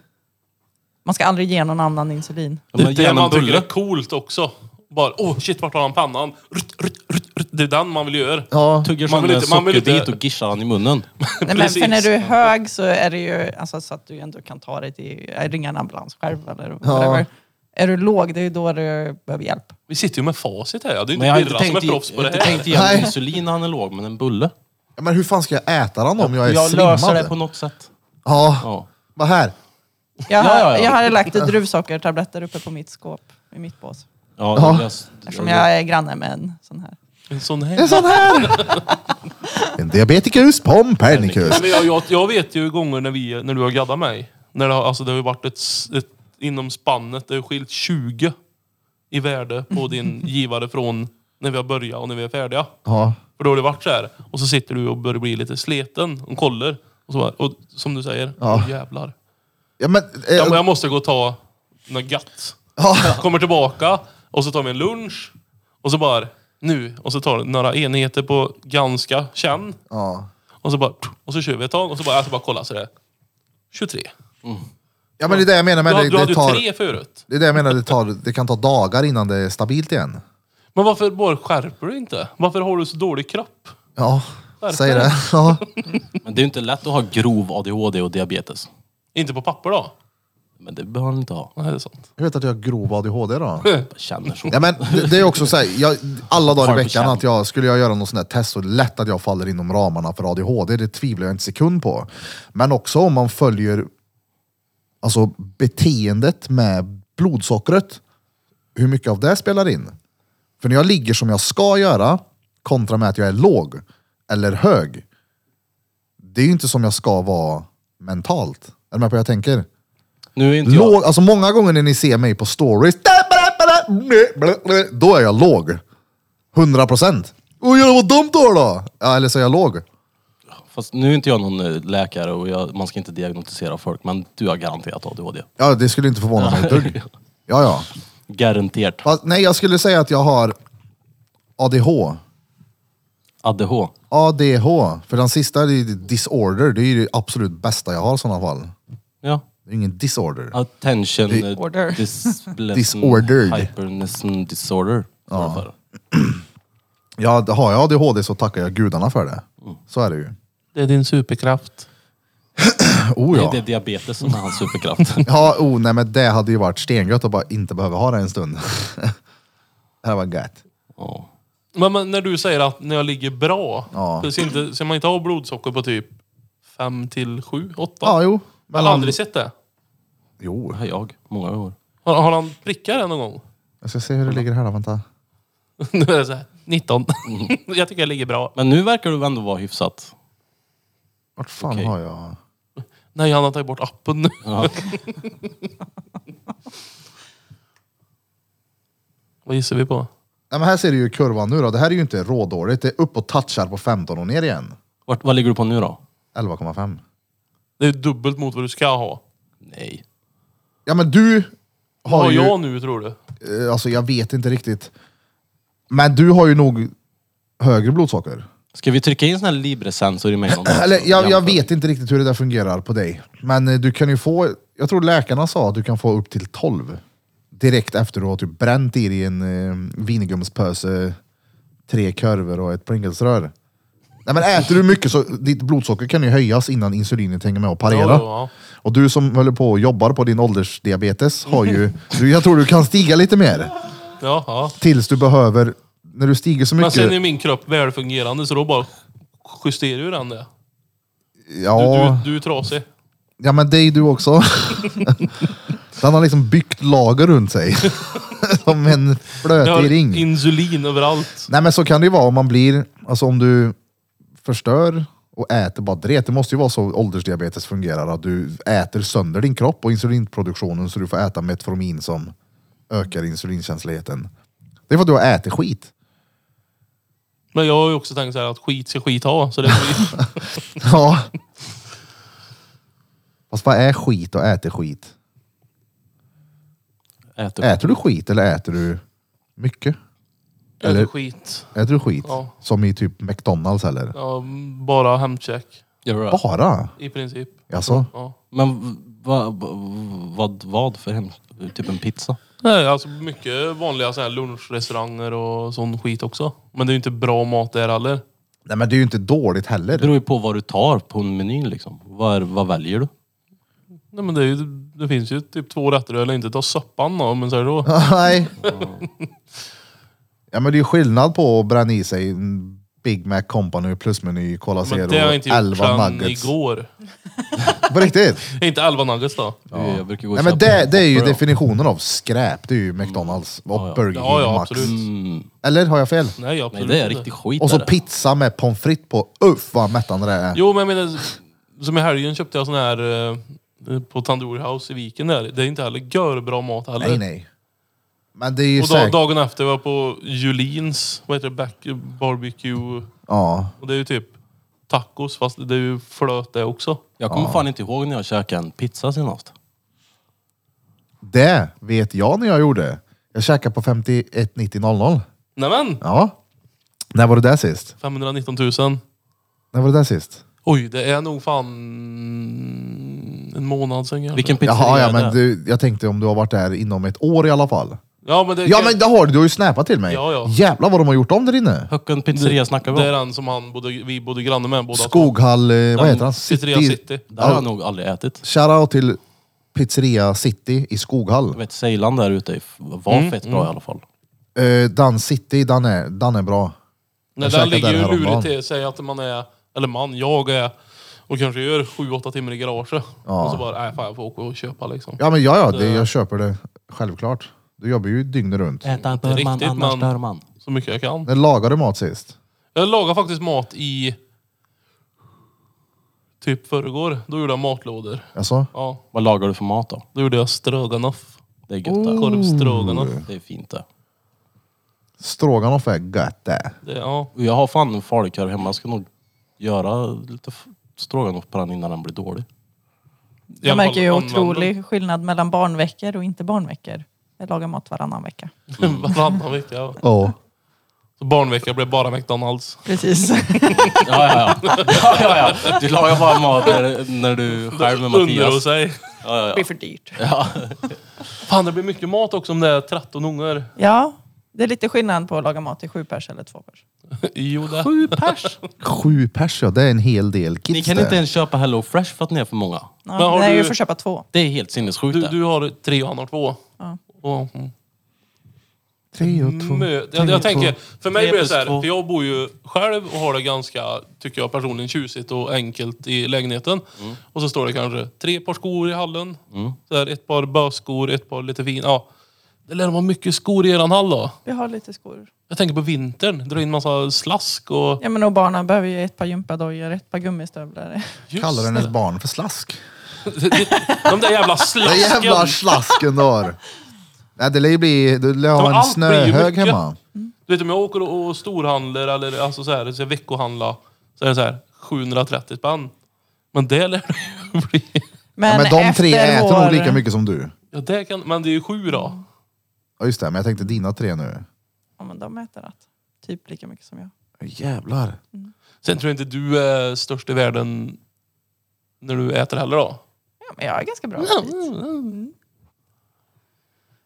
[SPEAKER 7] Man ska aldrig ge någon annan insulin.
[SPEAKER 5] Ja, men
[SPEAKER 3] Det
[SPEAKER 5] gärna
[SPEAKER 3] man
[SPEAKER 5] en
[SPEAKER 3] tycker är
[SPEAKER 5] bulle.
[SPEAKER 3] coolt också. Bara, åh oh, shit, vart har han pannan? Rutt, rutt, rutt, Det är den man vill göra.
[SPEAKER 1] Ja,
[SPEAKER 5] Tuggar
[SPEAKER 3] Man
[SPEAKER 5] sönder
[SPEAKER 3] vill
[SPEAKER 5] en
[SPEAKER 3] inte- man vill
[SPEAKER 5] sockerbit
[SPEAKER 3] inte-
[SPEAKER 5] och gishar han i munnen.
[SPEAKER 7] Nej, men
[SPEAKER 3] Precis.
[SPEAKER 7] för när du är hög så är det ju alltså, så att du ändå kan ta dig till, äh, ringa en ambulans själv eller whatever. Är du låg, det är ju då du behöver hjälp.
[SPEAKER 3] Vi sitter ju med facit här. ja. Det är
[SPEAKER 5] Men jag har
[SPEAKER 3] inte
[SPEAKER 5] inte
[SPEAKER 3] Birra som är
[SPEAKER 5] tänkt, i,
[SPEAKER 3] proffs på
[SPEAKER 5] jag har
[SPEAKER 3] det
[SPEAKER 5] inte tänkt
[SPEAKER 3] här.
[SPEAKER 5] igenom
[SPEAKER 1] Nej.
[SPEAKER 5] insulin när han är låg, men en bulle.
[SPEAKER 1] Ja, Men hur fan ska jag äta den om jag är
[SPEAKER 5] jag
[SPEAKER 1] slimmad?
[SPEAKER 5] löser det på något sätt.
[SPEAKER 1] Ja,
[SPEAKER 5] Ja.
[SPEAKER 1] vad här?
[SPEAKER 7] Jag,
[SPEAKER 5] Ja, ja, ja.
[SPEAKER 7] jag hade lagt druvsockertabletter uppe på mitt skåp, i mitt bås.
[SPEAKER 5] Ja,
[SPEAKER 1] Ja.
[SPEAKER 5] det lös-
[SPEAKER 7] Eftersom jag är granne med en sån här.
[SPEAKER 3] En sån
[SPEAKER 1] En
[SPEAKER 3] här.
[SPEAKER 1] sån här! En diabeticus pompernicus.
[SPEAKER 3] Nej, men jag, jag, jag vet ju gånger när, vi, när du har gaddat mig. När det, har- alltså det har ju varit ett, s- ett, inom spannet, det har ju skilt 20 i värde på din givare från när vi har börjat och när vi är färdiga.
[SPEAKER 1] Ja.
[SPEAKER 3] För då har det varit så här. Och så sitter du och börjar bli lite sleten och kollar. Och, så bara, och som du säger,
[SPEAKER 1] Ja.
[SPEAKER 3] åh jävlar.
[SPEAKER 1] Ja, men, eh,
[SPEAKER 3] Ja, men jag måste gå och ta något gött.
[SPEAKER 1] ja,
[SPEAKER 3] Kommer tillbaka och så tar vi en lunch. Och så bara, nu. Och så tar du några enheter på ganska känn.
[SPEAKER 1] ja.
[SPEAKER 3] Och så bara, och så kör vi ett tag. Och så bara, jag ska bara kolla så det är 23.
[SPEAKER 1] ja, men det är det jag menar med
[SPEAKER 3] du, du
[SPEAKER 1] det,
[SPEAKER 3] hade
[SPEAKER 1] det
[SPEAKER 3] ju
[SPEAKER 1] tar...
[SPEAKER 3] tre förut.
[SPEAKER 1] Det är det jag menar, det, tar, det kan ta dagar innan det är stabilt igen.
[SPEAKER 3] Men varför bara skärper du inte? Varför har du så dålig kropp?
[SPEAKER 1] Ja,
[SPEAKER 3] Verkligen.
[SPEAKER 1] säg det. Ja.
[SPEAKER 5] Men det är ju inte lätt att ha grov ADHD och diabetes.
[SPEAKER 3] Inte på papper då?
[SPEAKER 5] Men det behöver han inte ha.
[SPEAKER 3] Nej, det är sant.
[SPEAKER 1] Jag vet att jag har grov ADHD då.
[SPEAKER 5] Jag känner så.
[SPEAKER 1] Ja, men det, det är också så här, jag, alla dagar
[SPEAKER 5] Har
[SPEAKER 1] i
[SPEAKER 5] du
[SPEAKER 1] veckan
[SPEAKER 5] känt?
[SPEAKER 1] att jag, skulle jag göra någon sån här test så är det lätt att jag faller inom ramarna för ADHD. Det tvivlar jag inte sekund på. Men också om man följer alltså, beteendet med blodsockret. Hur mycket av det spelar in? För när jag ligger som jag ska göra kontra med att jag är låg eller hög. Det är ju inte som jag ska vara mentalt. Är du med på vad jag tänker?
[SPEAKER 5] Nu är inte jag...
[SPEAKER 1] Låg, alltså många gånger när ni ser mig på stories, då är jag låg. 100 procent. Åh, jävlar vad dumt då då! Ja, eller så är jag låg.
[SPEAKER 5] Fast nu är inte jag någon eh, läkare och jag, man ska inte diagnostisera folk, men du har garanterat ADHD.
[SPEAKER 1] Ja, det skulle inte förvåna mig ett dugg. Ja, ja.
[SPEAKER 5] Garanterat.
[SPEAKER 1] Fast, nej, jag skulle säga att jag har ADH.
[SPEAKER 5] ADH.
[SPEAKER 1] ADH. För den sista, det är ju disorder. Det är ju det absolut bästa jag har i sådana fall.
[SPEAKER 5] Ja.
[SPEAKER 1] Det är ingen disorder.
[SPEAKER 5] Attention
[SPEAKER 7] Disorder.
[SPEAKER 5] eh, displacement
[SPEAKER 1] Disordered.
[SPEAKER 5] hypernesm disorder. Ja.
[SPEAKER 1] Ja, det- har jag ADHD så tackar jag gudarna för det. Så är det ju.
[SPEAKER 3] Det är din superkraft.
[SPEAKER 1] Oh,
[SPEAKER 5] Nej,
[SPEAKER 1] ja.
[SPEAKER 5] det är diabetes som är hans superkraft.
[SPEAKER 1] Ja, oh, nej men det hade ju varit stengött att bara inte behöva ha det en stund. det här var gött.
[SPEAKER 5] ja.
[SPEAKER 3] Men, men när du säger att när jag ligger bra,
[SPEAKER 1] Ja.
[SPEAKER 3] så, inte, så man inte har blodsocker på typ 5 till 7, 8?
[SPEAKER 1] Ja, jo.
[SPEAKER 3] jag har
[SPEAKER 1] han-
[SPEAKER 3] aldrig sett det.
[SPEAKER 1] Jo,
[SPEAKER 5] Det har jag. Många år.
[SPEAKER 3] Har, har han prickat det någon gång?
[SPEAKER 1] jag ska se hur det ligger här då, vänta.
[SPEAKER 3] nu är det så här, 19.
[SPEAKER 1] Mm.
[SPEAKER 3] jag tycker jag ligger bra.
[SPEAKER 5] Men nu verkar du ändå vara hyfsat.
[SPEAKER 1] Vart fan
[SPEAKER 5] Okej.
[SPEAKER 1] har jag?
[SPEAKER 3] Nej, han har tagit bort appen nu. Vad gissar vi på?
[SPEAKER 1] Nej men här ser du ju kurvan nu då. Det här är ju inte rådåligt. Det är upp och touchar på 15 och ner igen.
[SPEAKER 5] Vart, vad ligger du på nu då?
[SPEAKER 1] 11,5.
[SPEAKER 3] Det är dubbelt mot vad du ska ha.
[SPEAKER 5] Nej.
[SPEAKER 1] Ja men du
[SPEAKER 3] Vad
[SPEAKER 1] har
[SPEAKER 3] har
[SPEAKER 1] ju,
[SPEAKER 3] jag nu tror du?
[SPEAKER 1] eh, alltså jag vet inte riktigt. Men du har ju nog högre blodsocker.
[SPEAKER 5] Ska vi trycka in sån här Libre-sensor i mejlen?
[SPEAKER 1] Eller jag, jag vet inte riktigt hur det där fungerar på dig. Men eh, du kan ju få, jag tror läkarna sa att du kan få upp till 12. Direkt efter du har typ bränt i dig en eh, vingummspöse, tre korvar och ett Pringlesrör. Nej men äter du mycket så ditt blodsocker kan ju höjas innan insulinet hänger med och parera.
[SPEAKER 3] Ja, ja.
[SPEAKER 1] Och du som håller på och jobbar på din åldersdiabetes har ju, du, jag tror du kan stiga lite mer.
[SPEAKER 3] Ja, ja.
[SPEAKER 1] Tills du behöver, när du stiger så
[SPEAKER 3] Men
[SPEAKER 1] mycket.
[SPEAKER 3] sen är min kropp välfungerande så då bara justerar ju den det.
[SPEAKER 1] ja.
[SPEAKER 3] Du, du, du är trasig.
[SPEAKER 1] Ja men det är ju du också. Den har liksom byggt lager runt sig. Som en
[SPEAKER 3] Jag har
[SPEAKER 1] flötig ring.
[SPEAKER 3] insulin överallt.
[SPEAKER 1] Nej men så kan det ju vara om man blir, alltså om du förstör och äter bara dret. Det måste ju vara så åldersdiabetes fungerar, att du äter sönder din kropp och insulinproduktionen så du får äta Metformin som ökar insulinkänsligheten. Det är för att du har ätit skit.
[SPEAKER 3] Men jag har ju också tänkt så här att skit ska skit ha. Så det blir...
[SPEAKER 1] Ja. Fast vad är skit och äter skit?
[SPEAKER 5] Äter.
[SPEAKER 1] Äter du skit eller äter du mycket?
[SPEAKER 3] Eller...
[SPEAKER 1] Eller-
[SPEAKER 3] skit.
[SPEAKER 1] Äter du skit?
[SPEAKER 3] Ja.
[SPEAKER 1] Som i typ McDonalds eller?
[SPEAKER 3] Ja, bara hemcheck.
[SPEAKER 5] Gör det.
[SPEAKER 1] Bara?
[SPEAKER 3] I princip.
[SPEAKER 1] Alltså,
[SPEAKER 3] Ja.
[SPEAKER 5] Men v- Vad, vad, vad för hem? Typ en pizza?
[SPEAKER 3] Nej, alltså mycket vanliga så här lunchrestauranger och sån skit också. Men det är ju inte bra mat där heller.
[SPEAKER 1] Nej men det är ju inte dåligt heller.
[SPEAKER 5] Det beror ju på vad du tar på en menyn liksom. Vad, är, vad väljer du?
[SPEAKER 3] Nej, men det, är ju, det finns ju typ två rätter, eller inte ta soppan då, men så är det då.
[SPEAKER 1] Nej. ja men det är ju skillnad på att bränna i sig en Big Mac Company plusmeny, Cola Zero,
[SPEAKER 3] Men det har jag inte gjort
[SPEAKER 1] 11
[SPEAKER 3] sedan
[SPEAKER 1] nuggets.
[SPEAKER 3] igår.
[SPEAKER 1] På riktigt?
[SPEAKER 3] Inte 11 nuggets då.
[SPEAKER 5] Jag brukar gå och
[SPEAKER 1] Nej men
[SPEAKER 5] köpa
[SPEAKER 1] det, det är ju
[SPEAKER 5] hotdog, ja. definitionen
[SPEAKER 1] definitionen av skräp, det är ju McDonalds och Burger King
[SPEAKER 3] Mm. Ja, ja,
[SPEAKER 1] Max.
[SPEAKER 3] absolut.
[SPEAKER 1] Eller har jag fel?
[SPEAKER 3] Nej,
[SPEAKER 5] Nej
[SPEAKER 3] absolut
[SPEAKER 5] Mm. det är
[SPEAKER 3] inte.
[SPEAKER 5] riktigt skit
[SPEAKER 1] Och så
[SPEAKER 5] är det.
[SPEAKER 1] pizza med pommes frites på. Uff vad mättande det är.
[SPEAKER 3] Jo, men jag menar, som i helgen köpte jag sån här eh, på Tandoori House i Viken där. Det är inte heller görbra mat heller.
[SPEAKER 1] nej nej. Men det är ju
[SPEAKER 3] Och dag,
[SPEAKER 1] säkert...
[SPEAKER 3] dagen efter var jag på Julins, vad heter det, back, barbecue.
[SPEAKER 1] Ja.
[SPEAKER 3] Och det är ju typ tacos, fast det är ju flöt det också.
[SPEAKER 5] Jag kommer fan inte ihåg när jag käkade en pizza senast.
[SPEAKER 1] Det vet jag när jag gjorde. Jag käkade på 519000.
[SPEAKER 3] Nämen!
[SPEAKER 1] Ja. När var det där sist?
[SPEAKER 3] 519 000.
[SPEAKER 1] När var det där sist?
[SPEAKER 3] Oj, det är nog fan en månad sedan kanske.
[SPEAKER 5] Vilken pizza
[SPEAKER 1] Jaha, ja
[SPEAKER 5] är det?
[SPEAKER 1] men du, jag tänkte om du har varit där inom ett år i alla fall.
[SPEAKER 3] Ja, men det,
[SPEAKER 1] Ja men det har du, du har ju snäpat till mig.
[SPEAKER 3] Ja, ja.
[SPEAKER 1] Jävlar vad de har gjort om där inne.
[SPEAKER 5] Höcken pizzeria snackar vi
[SPEAKER 3] det är
[SPEAKER 5] om.
[SPEAKER 3] den som han bodde, vi bodde granne med båda.
[SPEAKER 1] Skoghall, eh, vad
[SPEAKER 3] Den
[SPEAKER 1] heter han?
[SPEAKER 3] Pizzeria City.
[SPEAKER 5] Där har jag nog aldrig ätit.
[SPEAKER 1] Shoutout till Pizzeria City i Skoghall.
[SPEAKER 5] Jag vet Ceylan där ute var
[SPEAKER 3] Mm,
[SPEAKER 5] fett bra i alla fall.
[SPEAKER 1] Eh, den City, den är, den är bra.
[SPEAKER 3] Nej,
[SPEAKER 1] Jag
[SPEAKER 3] den
[SPEAKER 1] käkade
[SPEAKER 3] ligger
[SPEAKER 1] där
[SPEAKER 3] ju
[SPEAKER 1] häromdagen.
[SPEAKER 3] lurigt till sig att man är, eller man, jag är, och kanske gör 7-8 timmar i garaget. Och så bara, nej fan jag får åka och köpa liksom.
[SPEAKER 1] Ja men ja, ja det, jag köper det. Självklart. Du jobbar ju dygnet runt.
[SPEAKER 5] Äta
[SPEAKER 3] bör man, riktigt, annars man. dör
[SPEAKER 5] man.
[SPEAKER 3] Så mycket jag kan.
[SPEAKER 1] När lagar du mat sist?
[SPEAKER 3] Jag lagade faktiskt mat i typ förrgår. Då gjorde jag matlådor.
[SPEAKER 1] Alltså?
[SPEAKER 3] Ja,
[SPEAKER 5] Vad lagar du för mat då?
[SPEAKER 3] då gjorde jag stroganoff.
[SPEAKER 5] Det är gött det.
[SPEAKER 3] Oh. Korvstroganoff.
[SPEAKER 5] Det är fint det.
[SPEAKER 1] Stroganoff är gött det.
[SPEAKER 3] Det, ja.
[SPEAKER 5] Och Jag har fan en falukorv hemma. Jag ska nog göra lite f- stroganoff på den innan den blir dålig.
[SPEAKER 3] I alla
[SPEAKER 7] Jag märker
[SPEAKER 3] fall
[SPEAKER 7] ju
[SPEAKER 3] använder-
[SPEAKER 7] otrolig skillnad mellan barnveckor och inte barnveckor. Jag lagar mat varannan vecka.
[SPEAKER 3] Varannan vecka. ja.
[SPEAKER 1] Ja.
[SPEAKER 3] Så barnvecka blev bara McDonalds.
[SPEAKER 7] Precis.
[SPEAKER 5] Ja, ja, ja. ja, ja, ja. Du lagar bara mat när, när du själv med
[SPEAKER 3] Undrar
[SPEAKER 5] Mattias.
[SPEAKER 3] sig.
[SPEAKER 7] Det blir för dyrt.
[SPEAKER 3] Fan det blir mycket mat också om det är 13 ungar.
[SPEAKER 7] Ja, det är lite skillnad på att laga mat till sju pers eller två pers.
[SPEAKER 3] Jo det.
[SPEAKER 7] Sju pers?
[SPEAKER 1] Sju pers ja, det är en hel del kids
[SPEAKER 5] Ni kan
[SPEAKER 1] det.
[SPEAKER 5] inte ens köpa Hello Fresh för att ni är för många.
[SPEAKER 3] Men
[SPEAKER 7] Ja,
[SPEAKER 3] har
[SPEAKER 7] nej,
[SPEAKER 3] du-
[SPEAKER 7] du får köpa två.
[SPEAKER 5] Det är helt sinnessjukt
[SPEAKER 3] Du,
[SPEAKER 5] det.
[SPEAKER 3] du har tre och han har två.
[SPEAKER 7] Ja.
[SPEAKER 3] Och, mm.
[SPEAKER 1] Tre och två.
[SPEAKER 3] Mö, jag, jag tänker, för mig
[SPEAKER 5] Tre
[SPEAKER 3] blir det
[SPEAKER 5] plus
[SPEAKER 3] så här,
[SPEAKER 5] två.
[SPEAKER 3] för jag bor ju själv och har det ganska, tycker jag personligen, tjusigt och enkelt i lägenheten. Och så står det kanske tre par skor i hallen. Så här, ett par bösskor, ett par lite fina. Ja. Det lär vara mycket skor i eran hall då.
[SPEAKER 7] Vi har lite skor.
[SPEAKER 3] Jag tänker på vintern, dra in massa slask och...
[SPEAKER 7] Ja, men och barnen behöver ju ett par gympadojor, ett par gummistövlar.
[SPEAKER 3] Just
[SPEAKER 1] Kallar den ett barn för slask?
[SPEAKER 3] De där jävla
[SPEAKER 1] Den
[SPEAKER 3] slasken!
[SPEAKER 1] jävla slasken du har. Nej, det lär ju bli, du lär
[SPEAKER 3] Ja, men
[SPEAKER 1] ha en
[SPEAKER 3] allt blir ju
[SPEAKER 1] snöhög
[SPEAKER 3] mycket.
[SPEAKER 1] hemma.
[SPEAKER 3] Du vet om jag åker och och storhandlar eller alltså så här, så jag veckohandlar så är det så här 730 spänn. Men det lär det ju bli.
[SPEAKER 1] Ja, men de tre
[SPEAKER 7] efter
[SPEAKER 1] äter
[SPEAKER 7] vår-
[SPEAKER 1] nog lika mycket som du.
[SPEAKER 3] Ja, det kan, men det är ju sju då.
[SPEAKER 1] Ja just det, men jag tänkte dina tre nu.
[SPEAKER 7] Ja, men de äter att, typ lika mycket som jag.
[SPEAKER 1] Jävlar.
[SPEAKER 3] Sen tror jag inte du är störst i världen när du äter heller då.
[SPEAKER 7] Ja, men jag är ganska bra aptit.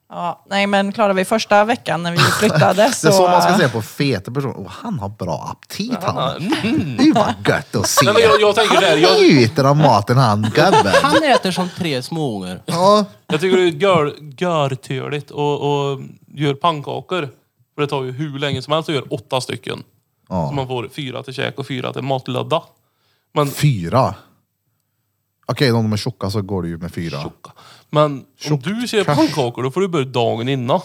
[SPEAKER 7] Ja, nej, men klarar vi första veckan när vi flyttade så...
[SPEAKER 1] Det är så man ska se på feta personer. Oh, han har bra aptit han. Det är ju bara gött att se.
[SPEAKER 3] Nej, men jag, jag tänker det här,
[SPEAKER 1] Han
[SPEAKER 3] jag,
[SPEAKER 1] njuter av maten han gubben.
[SPEAKER 5] Han äter som tre småungar.
[SPEAKER 1] Ja,
[SPEAKER 3] jag tycker det är gör, görtörligt och, och gör pannkakor. För det tar ju hur länge som helst att göra åtta stycken. Så
[SPEAKER 1] ja.
[SPEAKER 3] man får fyra till käk och fyra till matlödda. Men
[SPEAKER 1] Fyra. Okej, om de är tjocka så går det ju med fyra.
[SPEAKER 3] Tjocka. Men om du ser pannkakor, då får du börja dagen innan.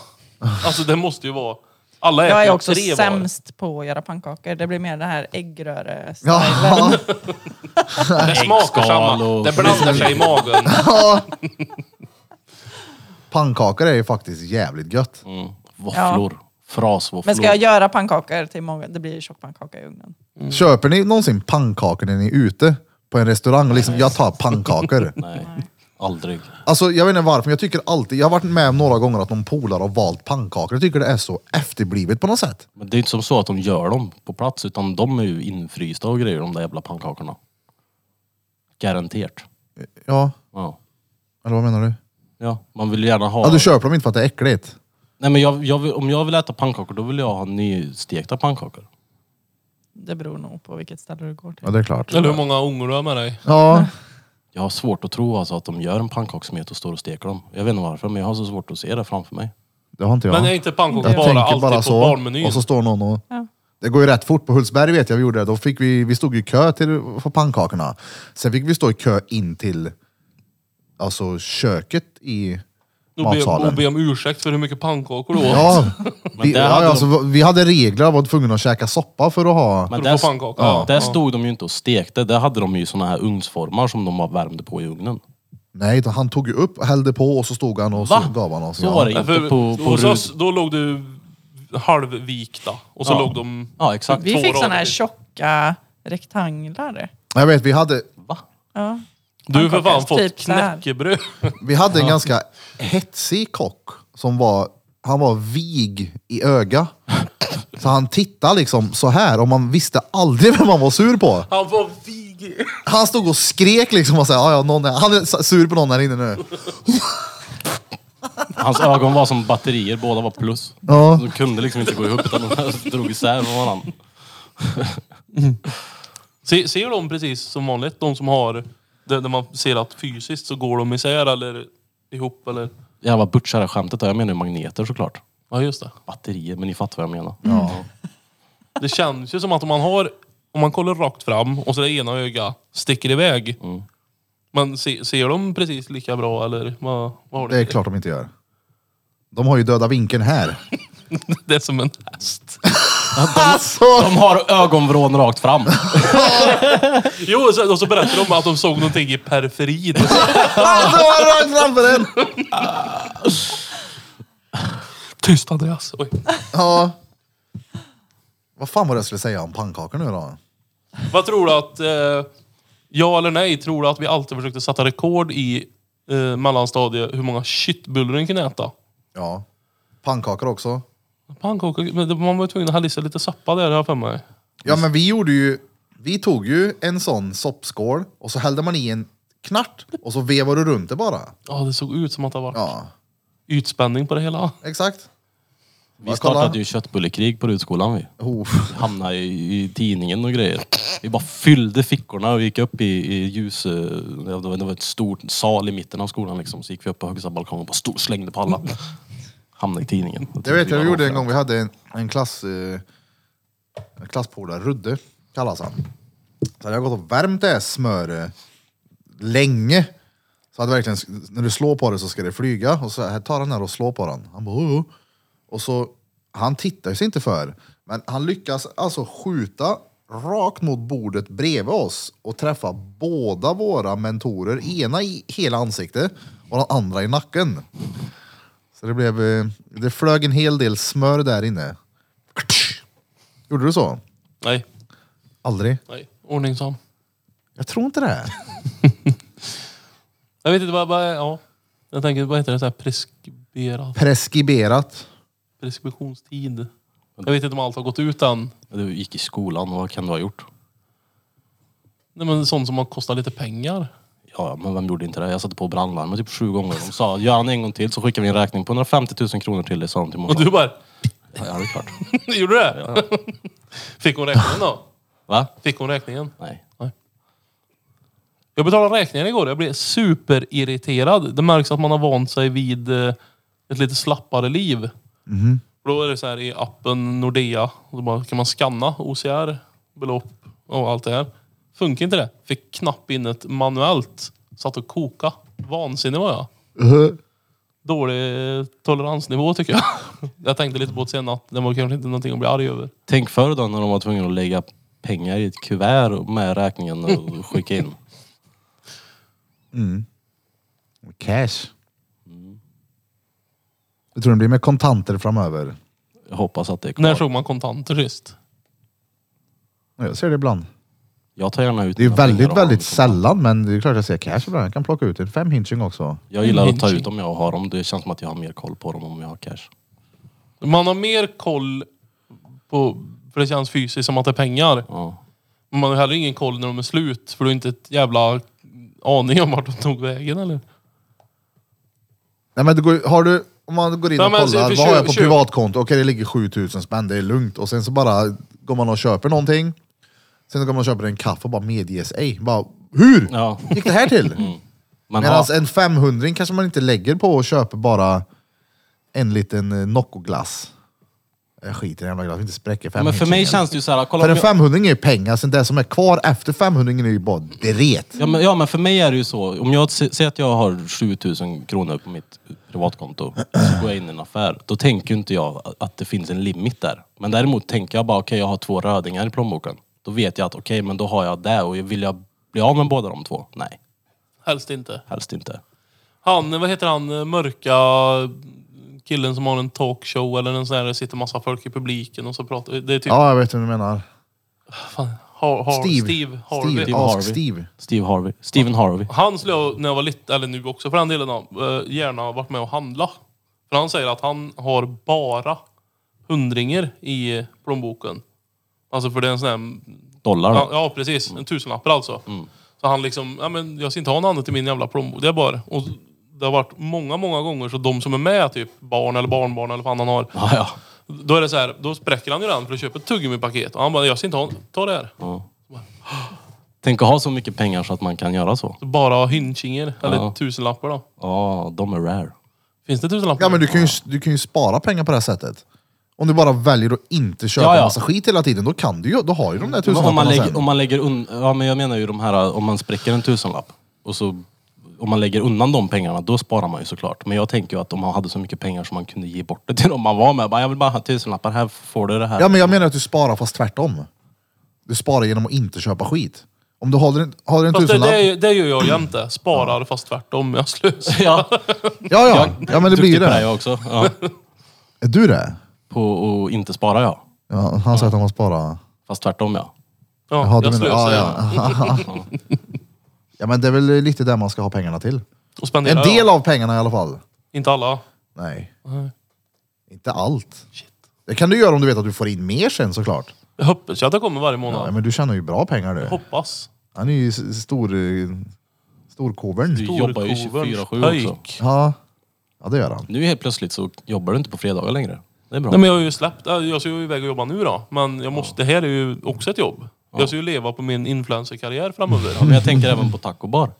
[SPEAKER 3] Alltså det måste ju vara... Alla äter
[SPEAKER 7] Jag är
[SPEAKER 3] ju
[SPEAKER 7] också
[SPEAKER 3] tre var.
[SPEAKER 7] sämst på att göra pannkakor. Det blir mer det här äggröre
[SPEAKER 1] Ja,
[SPEAKER 3] Det smakar
[SPEAKER 5] Äggskal
[SPEAKER 3] samma.
[SPEAKER 5] och-
[SPEAKER 3] Det blandar sig i magen.
[SPEAKER 1] pannkakor är ju faktiskt jävligt gött.
[SPEAKER 5] Mm. Våfflor. Frasvåfflor.
[SPEAKER 7] Men ska jag göra pannkakor till många, det blir tjockpannkaka i ugnen.
[SPEAKER 1] Köper ni någonsin pannkakor när ni är ute på en restaurang? och Liksom, jag tar pannkakor.
[SPEAKER 5] Nej, aldrig.
[SPEAKER 1] Alltså jag vet inte varför, men jag tycker alltid, jag har varit med om några gånger att någon polare har valt pannkakor. Jag tycker det är så efterblivet på något sätt.
[SPEAKER 5] Men det är inte som så att de gör dem på plats, utan de är ju infrysta och grejer, de där jävla pannkakorna. Garanterat.
[SPEAKER 1] Ja,
[SPEAKER 5] Ja.
[SPEAKER 1] Eller vad menar du?
[SPEAKER 5] Ja, man vill ju gärna ha...
[SPEAKER 1] Ja, du köper dem inte för att det är äckligt.
[SPEAKER 5] Nej, men jag, jag vill, om jag vill äta pannkakor, då vill jag ha nystekta pannkakor.
[SPEAKER 7] Det beror nog på vilket ställe du går till.
[SPEAKER 1] Ja, det är klart.
[SPEAKER 3] Eller hur många ångor du har med dig.
[SPEAKER 1] Ja,
[SPEAKER 5] Jag har svårt att tro alltså, att de gör en pannkakssmet och står och steker dem. Jag vet inte varför, men jag har så svårt att se det framför mig.
[SPEAKER 1] det har inte jag.
[SPEAKER 3] Men är inte pannkakor
[SPEAKER 1] jag
[SPEAKER 3] bara
[SPEAKER 1] tänker
[SPEAKER 3] alltid
[SPEAKER 1] bara
[SPEAKER 3] på
[SPEAKER 1] så.
[SPEAKER 3] barnmenyn?
[SPEAKER 1] Och så står någon och...
[SPEAKER 7] Ja.
[SPEAKER 1] Det går ju rätt fort. På Hultsberg vet jag vi gjorde det. Då fick vi, vi stod ju i kö till, för pannkakorna. Sen fick vi stå i kö in till alltså, köket i
[SPEAKER 3] Då be, och
[SPEAKER 1] matsalen.
[SPEAKER 3] be om ursäkt för hur mycket pannkakor du åt.
[SPEAKER 1] Ja, vi,
[SPEAKER 5] där
[SPEAKER 1] ja,
[SPEAKER 5] hade de-
[SPEAKER 1] alltså, vi hade regler, var tvungna att käka soppa för att ha...
[SPEAKER 5] Men
[SPEAKER 3] För att få pannkaka.
[SPEAKER 5] Ja,
[SPEAKER 3] Ja,
[SPEAKER 5] där
[SPEAKER 3] ja.
[SPEAKER 5] stod de ju inte och stekte. Där hade de ju såna här ugnsformar som de bara värmde på i ugnen.
[SPEAKER 1] Nej, utan han tog ju upp, hällde på och så stod han och
[SPEAKER 5] Va?
[SPEAKER 1] så gav han oss.
[SPEAKER 5] Så var det
[SPEAKER 3] Nej,
[SPEAKER 5] inte
[SPEAKER 3] för,
[SPEAKER 5] på, på
[SPEAKER 3] hos
[SPEAKER 5] Rud.
[SPEAKER 3] oss, då låg du halvvikta och så
[SPEAKER 5] Ja.
[SPEAKER 3] låg de...
[SPEAKER 5] Ja, exakt.
[SPEAKER 7] Vi
[SPEAKER 3] Två
[SPEAKER 7] fick sådana här
[SPEAKER 3] rader.
[SPEAKER 7] tjocka rektanglar.
[SPEAKER 1] Jag vet, vi hade,
[SPEAKER 5] Va?
[SPEAKER 7] Ja.
[SPEAKER 3] Du har för fan
[SPEAKER 7] Pannkakor,
[SPEAKER 3] fått
[SPEAKER 7] typ så här.
[SPEAKER 3] knäckebröd.
[SPEAKER 1] vi hade en ganska hetsig kock som var, han var vig i öga. Så han tittade liksom så här och man visste aldrig vem man var sur på.
[SPEAKER 3] Han var vig.
[SPEAKER 1] Han stod och skrek liksom och sa "Ja, ja, någon är, han är sur på någon här inne nu.
[SPEAKER 5] Hans ögon var som batterier, båda var plus.
[SPEAKER 1] Ja.
[SPEAKER 5] De kunde liksom inte gå ihop utan de drog isär från varandra.
[SPEAKER 3] Se, ser de precis som vanligt, de som har... Där, där man ser att fysiskt så går de isär eller ihop eller...
[SPEAKER 5] Jävla butchare-skämtet där. Jag menar ju magneter såklart.
[SPEAKER 3] Ja, just det.
[SPEAKER 5] Batterier, men ni fattar vad jag menar.
[SPEAKER 3] Det känns ju som att om man har... Om man kollar rakt fram och så det ena ögat sticker iväg.
[SPEAKER 1] Mm.
[SPEAKER 3] Men se, ser de precis lika bra eller vad, vad har
[SPEAKER 1] Det är klart de inte gör. De har ju döda vinkeln här.
[SPEAKER 3] Det är som en häst.
[SPEAKER 1] Alltså!
[SPEAKER 5] De har ögonvrån rakt fram.
[SPEAKER 3] Jo, och så, och så berättar de att de såg någonting i periferin.
[SPEAKER 1] Alltså vad rakt framför en!
[SPEAKER 3] Tyst Andreas. Oj.
[SPEAKER 1] Ja. Vad fan var det jag skulle säga om pannkakor nu då?
[SPEAKER 3] Vad tror du att... Eh, ja eller nej, tror du att vi alltid försökte sätta rekord i eh, mellanstadiet hur många köttbullar man kunde äta?
[SPEAKER 1] Ja. Pannkakor också.
[SPEAKER 3] Pannkakor, men det- man var ju tvungen att hälla i sig lite soppa där har jag för mig.
[SPEAKER 1] Ja men vi gjorde ju, vi tog ju en sån soppskål och så hällde man i en knart och så vevade du runt det bara.
[SPEAKER 3] Ja, det såg ut som att det var
[SPEAKER 1] Ja,
[SPEAKER 3] ytspänning på det hela.
[SPEAKER 1] exakt.
[SPEAKER 5] Vi startade ju köttbullekrig på Rudskolan vi.
[SPEAKER 1] Oh.
[SPEAKER 5] Hamnade i, i tidningen och grejer. Vi bara fyllde fickorna och gick upp i, i ljus... eh, Det var, det var ett stort sal i mitten av skolan liksom. Så gick vi upp på högsta balkongen och bara stod, slängde på alla. Hamnade i tidningen.
[SPEAKER 1] Jag vet, jag
[SPEAKER 5] Vi
[SPEAKER 1] gjorde
[SPEAKER 5] var-
[SPEAKER 1] en gång, vi hade en, en klass, eh, en klasspolare, Rudde kallas han. Så hade jag gått och värmt det här smöret länge. Så hade verkligen, när du slår på det så ska det flyga. Och så här tar han den och slår på den. Han bara, "Oh, oh." Och så, han tittar sig inte för. Men han lyckas alltså skjuta rakt mot bordet bredvid oss och träffa båda våra mentorer. Ena i hela ansiktet och den andra i nacken. Så det blev, eh, det flög en hel del smör där inne. Gjorde du så?
[SPEAKER 3] Nej,
[SPEAKER 1] Aldrig?
[SPEAKER 3] nej. Ordningsam.
[SPEAKER 1] Jag tror inte det.
[SPEAKER 3] Jag vet inte vad... vad ja. Jag tänker, vad heter det? Så här preskriberat.
[SPEAKER 1] Preskriberat.
[SPEAKER 3] Preskriptionstid. Jag vet inte om allt har gått ut än.
[SPEAKER 5] Du gick i skolan, vad kan du ha gjort?
[SPEAKER 3] Nej, men sånt som har kostat lite pengar.
[SPEAKER 5] Ja, ja, men vem gjorde inte det? Jag satte på brandlarmet typ sju gånger. De sa, gör han en gång till så skickar vi en räkning på 150 000 kronor till dig, sa de till
[SPEAKER 3] Och
[SPEAKER 5] morsan.
[SPEAKER 3] du bara...
[SPEAKER 5] Ja, det är klart.
[SPEAKER 3] Gjorde du det? Fick hon räkningen då?
[SPEAKER 5] Va?
[SPEAKER 3] Fick hon räkningen?
[SPEAKER 5] Nej.
[SPEAKER 3] Jag betalade räkningen igår. Jag blev superirriterad. Det märks att man har vant sig vid eh, ett lite slappare liv. Och Då är det så här i appen Nordea. Och då bara, kan man scanna OCR, belopp och allt det här. Funkar inte det. Fick knapp in ett manuellt. Satt och koka. Vansinnig var jag.
[SPEAKER 1] Uh-huh.
[SPEAKER 3] Dålig eh, toleransnivå tycker jag. jag tänkte lite på det sen att det var kanske inte någonting att bli arg över.
[SPEAKER 5] Tänk förr då när de var tvungna att lägga pengar i ett kuvert med räkningen och skicka in.
[SPEAKER 1] Cash. Jag tror det blir med kontanter framöver.
[SPEAKER 5] Jag hoppas att det är
[SPEAKER 3] När
[SPEAKER 5] kvar.
[SPEAKER 3] såg man kontanter sist?
[SPEAKER 1] Jag ser det ibland.
[SPEAKER 5] Jag tar gärna ut
[SPEAKER 1] Det är ju
[SPEAKER 5] mina
[SPEAKER 1] väldigt,
[SPEAKER 5] pengar och har
[SPEAKER 1] väldigt
[SPEAKER 5] dem.
[SPEAKER 1] sällan, men det är klart jag ser cash ibland. Jag kan plocka ut en fem hinching också.
[SPEAKER 5] Jag gillar att ta ut dem jag har dem. Det känns som att jag har mer koll på dem om jag har cash.
[SPEAKER 3] Man har mer koll på... För det känns fysiskt som att det är pengar.
[SPEAKER 5] Ja.
[SPEAKER 3] Men man har heller ingen koll när de är slut. För du har inte ett jävla aning om vart de tog vägen eller?
[SPEAKER 1] Nej men det går, har du, om man går in
[SPEAKER 3] Nej,
[SPEAKER 1] och
[SPEAKER 3] men alltså,
[SPEAKER 1] kollar,
[SPEAKER 3] för
[SPEAKER 1] vad har jag på
[SPEAKER 3] tjugo-
[SPEAKER 1] privatkonto? Okej det ligger 7000 spänn, det är lugnt. Och sen så bara går man och köper någonting. Sen går man och köper en kaffe och bara medges ej. Bara, hur
[SPEAKER 5] Ja. Mm.
[SPEAKER 1] gick det här till?
[SPEAKER 5] Men
[SPEAKER 1] Medan
[SPEAKER 5] ha,
[SPEAKER 1] en 500 kanske man inte lägger på och köper bara en liten eh, Noccoglass. Jag skiter i den jävla glassen, inte spräcker 500
[SPEAKER 5] men för mig känns det ju så här, kolla
[SPEAKER 1] För
[SPEAKER 5] om
[SPEAKER 1] en
[SPEAKER 5] jag,
[SPEAKER 1] 500 är ju pengar, sen det som är kvar efter 500 är ju bara dret.
[SPEAKER 5] ja, men, ja men för mig är det ju så, om jag se- säger att jag har 7000 kronor på mitt privatkonto, så går jag in i en affär, då tänker ju inte jag att det finns en limit där. Men däremot tänker jag bara, okej jag har två rödingar i plånboken. Då vet jag att okej, men då har jag det och vill jag bli av med båda de två? Nej,
[SPEAKER 3] Helst inte.
[SPEAKER 5] helst inte.
[SPEAKER 3] Han, vad heter han, mörka killen som har en talkshow eller en sån här, det sitter massa folk i publiken och så pratar Det är typ
[SPEAKER 1] Ja, jag vet hur du menar.
[SPEAKER 3] har, har,
[SPEAKER 1] Steve.
[SPEAKER 3] Steve. Harvey.
[SPEAKER 1] Steve. Ask Steve.
[SPEAKER 5] Steve Harvey. Steven Harvey.
[SPEAKER 3] Han skulle jag, när jag var liten, eller nu också för den delen, eh, gärna varit med och handla. För han säger att han har bara hundringar i plånboken. Alltså för det är en sån här
[SPEAKER 5] Dollar.
[SPEAKER 3] Ja,
[SPEAKER 5] då. Mm.
[SPEAKER 3] ja precis, en tusenlapp alltså. Så han liksom, ja men jag ska inte ha något annat i min jävla plånbok. Det är bara. Och det har varit många, många gånger så de som är med, typ barn eller barnbarn eller vad fan han har.
[SPEAKER 5] Ja, ja.
[SPEAKER 3] Då är det så här, då spräcker han ju den för att köpa ett tuggummi-paket. Och han bara, jag ska inte ha, ta det här.
[SPEAKER 5] Tänk att ha så mycket pengar så att man kan göra så.
[SPEAKER 3] Så bara hynchinger, eller
[SPEAKER 5] Ja.
[SPEAKER 3] tusenlappar då.
[SPEAKER 5] Ja, de är rare.
[SPEAKER 3] Finns det tusenlappar?
[SPEAKER 1] Ja men du kan, ju, du kan ju spara pengar på det här sättet. Om du bara väljer att inte köpa
[SPEAKER 5] Ja, ja.
[SPEAKER 1] massa skit hela tiden, då kan du ju, då har ju de där
[SPEAKER 5] Men om, man
[SPEAKER 1] tusenlapparna
[SPEAKER 5] lägger,
[SPEAKER 1] sen.
[SPEAKER 5] om man lägger un, ja, men jag menar ju de här, om man spräcker en tusenlapp och så om man lägger undan de pengarna, då sparar man ju såklart. Men jag tänker ju att om man hade så mycket pengar som man kunde ge bort det till dem man var med. Bara, jag vill bara ha tusenlappar, här får du det här.
[SPEAKER 1] Ja men jag menar att du sparar fast tvärtom. Du sparar genom att inte köpa skit. Om du håller en, håller en
[SPEAKER 3] Fast det,
[SPEAKER 1] tusenlapp...
[SPEAKER 3] det, är- det gör jag jämte. Sparar fast tvärtom. Jag slösar.
[SPEAKER 5] ja.
[SPEAKER 1] Ja, ja. ja men det blir
[SPEAKER 5] Duktig
[SPEAKER 1] ju
[SPEAKER 5] på det
[SPEAKER 1] det.
[SPEAKER 5] jag också. Ja.
[SPEAKER 1] Är du det?
[SPEAKER 5] På att inte spara ja.
[SPEAKER 1] Ja, han sa att han har sparat...
[SPEAKER 5] Fast tvärtom ja.
[SPEAKER 3] Ja,
[SPEAKER 1] Jaha, du
[SPEAKER 3] jag
[SPEAKER 1] menar-
[SPEAKER 3] slösar.
[SPEAKER 1] ja, ja. ja men det är väl lite där man ska ha pengarna till.
[SPEAKER 3] Och spenderar.
[SPEAKER 1] En
[SPEAKER 3] ja.
[SPEAKER 1] del av pengarna i alla fall.
[SPEAKER 3] Inte alla.
[SPEAKER 1] Nej. Inte allt. Det kan du göra om du vet att du får in mer sen såklart.
[SPEAKER 3] Jag hoppas ju att det kommer varje månad.
[SPEAKER 1] Ja, men du tjänar ju bra pengar du.
[SPEAKER 3] Hoppas.
[SPEAKER 1] Han är ju s- stor... eh,
[SPEAKER 5] Du
[SPEAKER 1] Storkovern.
[SPEAKER 5] jobbar ju
[SPEAKER 3] Storkovens
[SPEAKER 5] 24-7 också.
[SPEAKER 3] pöjk.
[SPEAKER 1] Ja. ja, det gör han.
[SPEAKER 5] Nu helt plötsligt så jobbar du inte på fredagar längre. Det är bra.
[SPEAKER 3] Nej men jag har ju släppt, äh, jag ska ju iväg och jobba nu då. Men jag måste, det här är ju också ett jobb. Jag ska ju leva på min influencerkarriär
[SPEAKER 5] Ja,
[SPEAKER 3] framöver.
[SPEAKER 5] men jag tänker även på tacobar.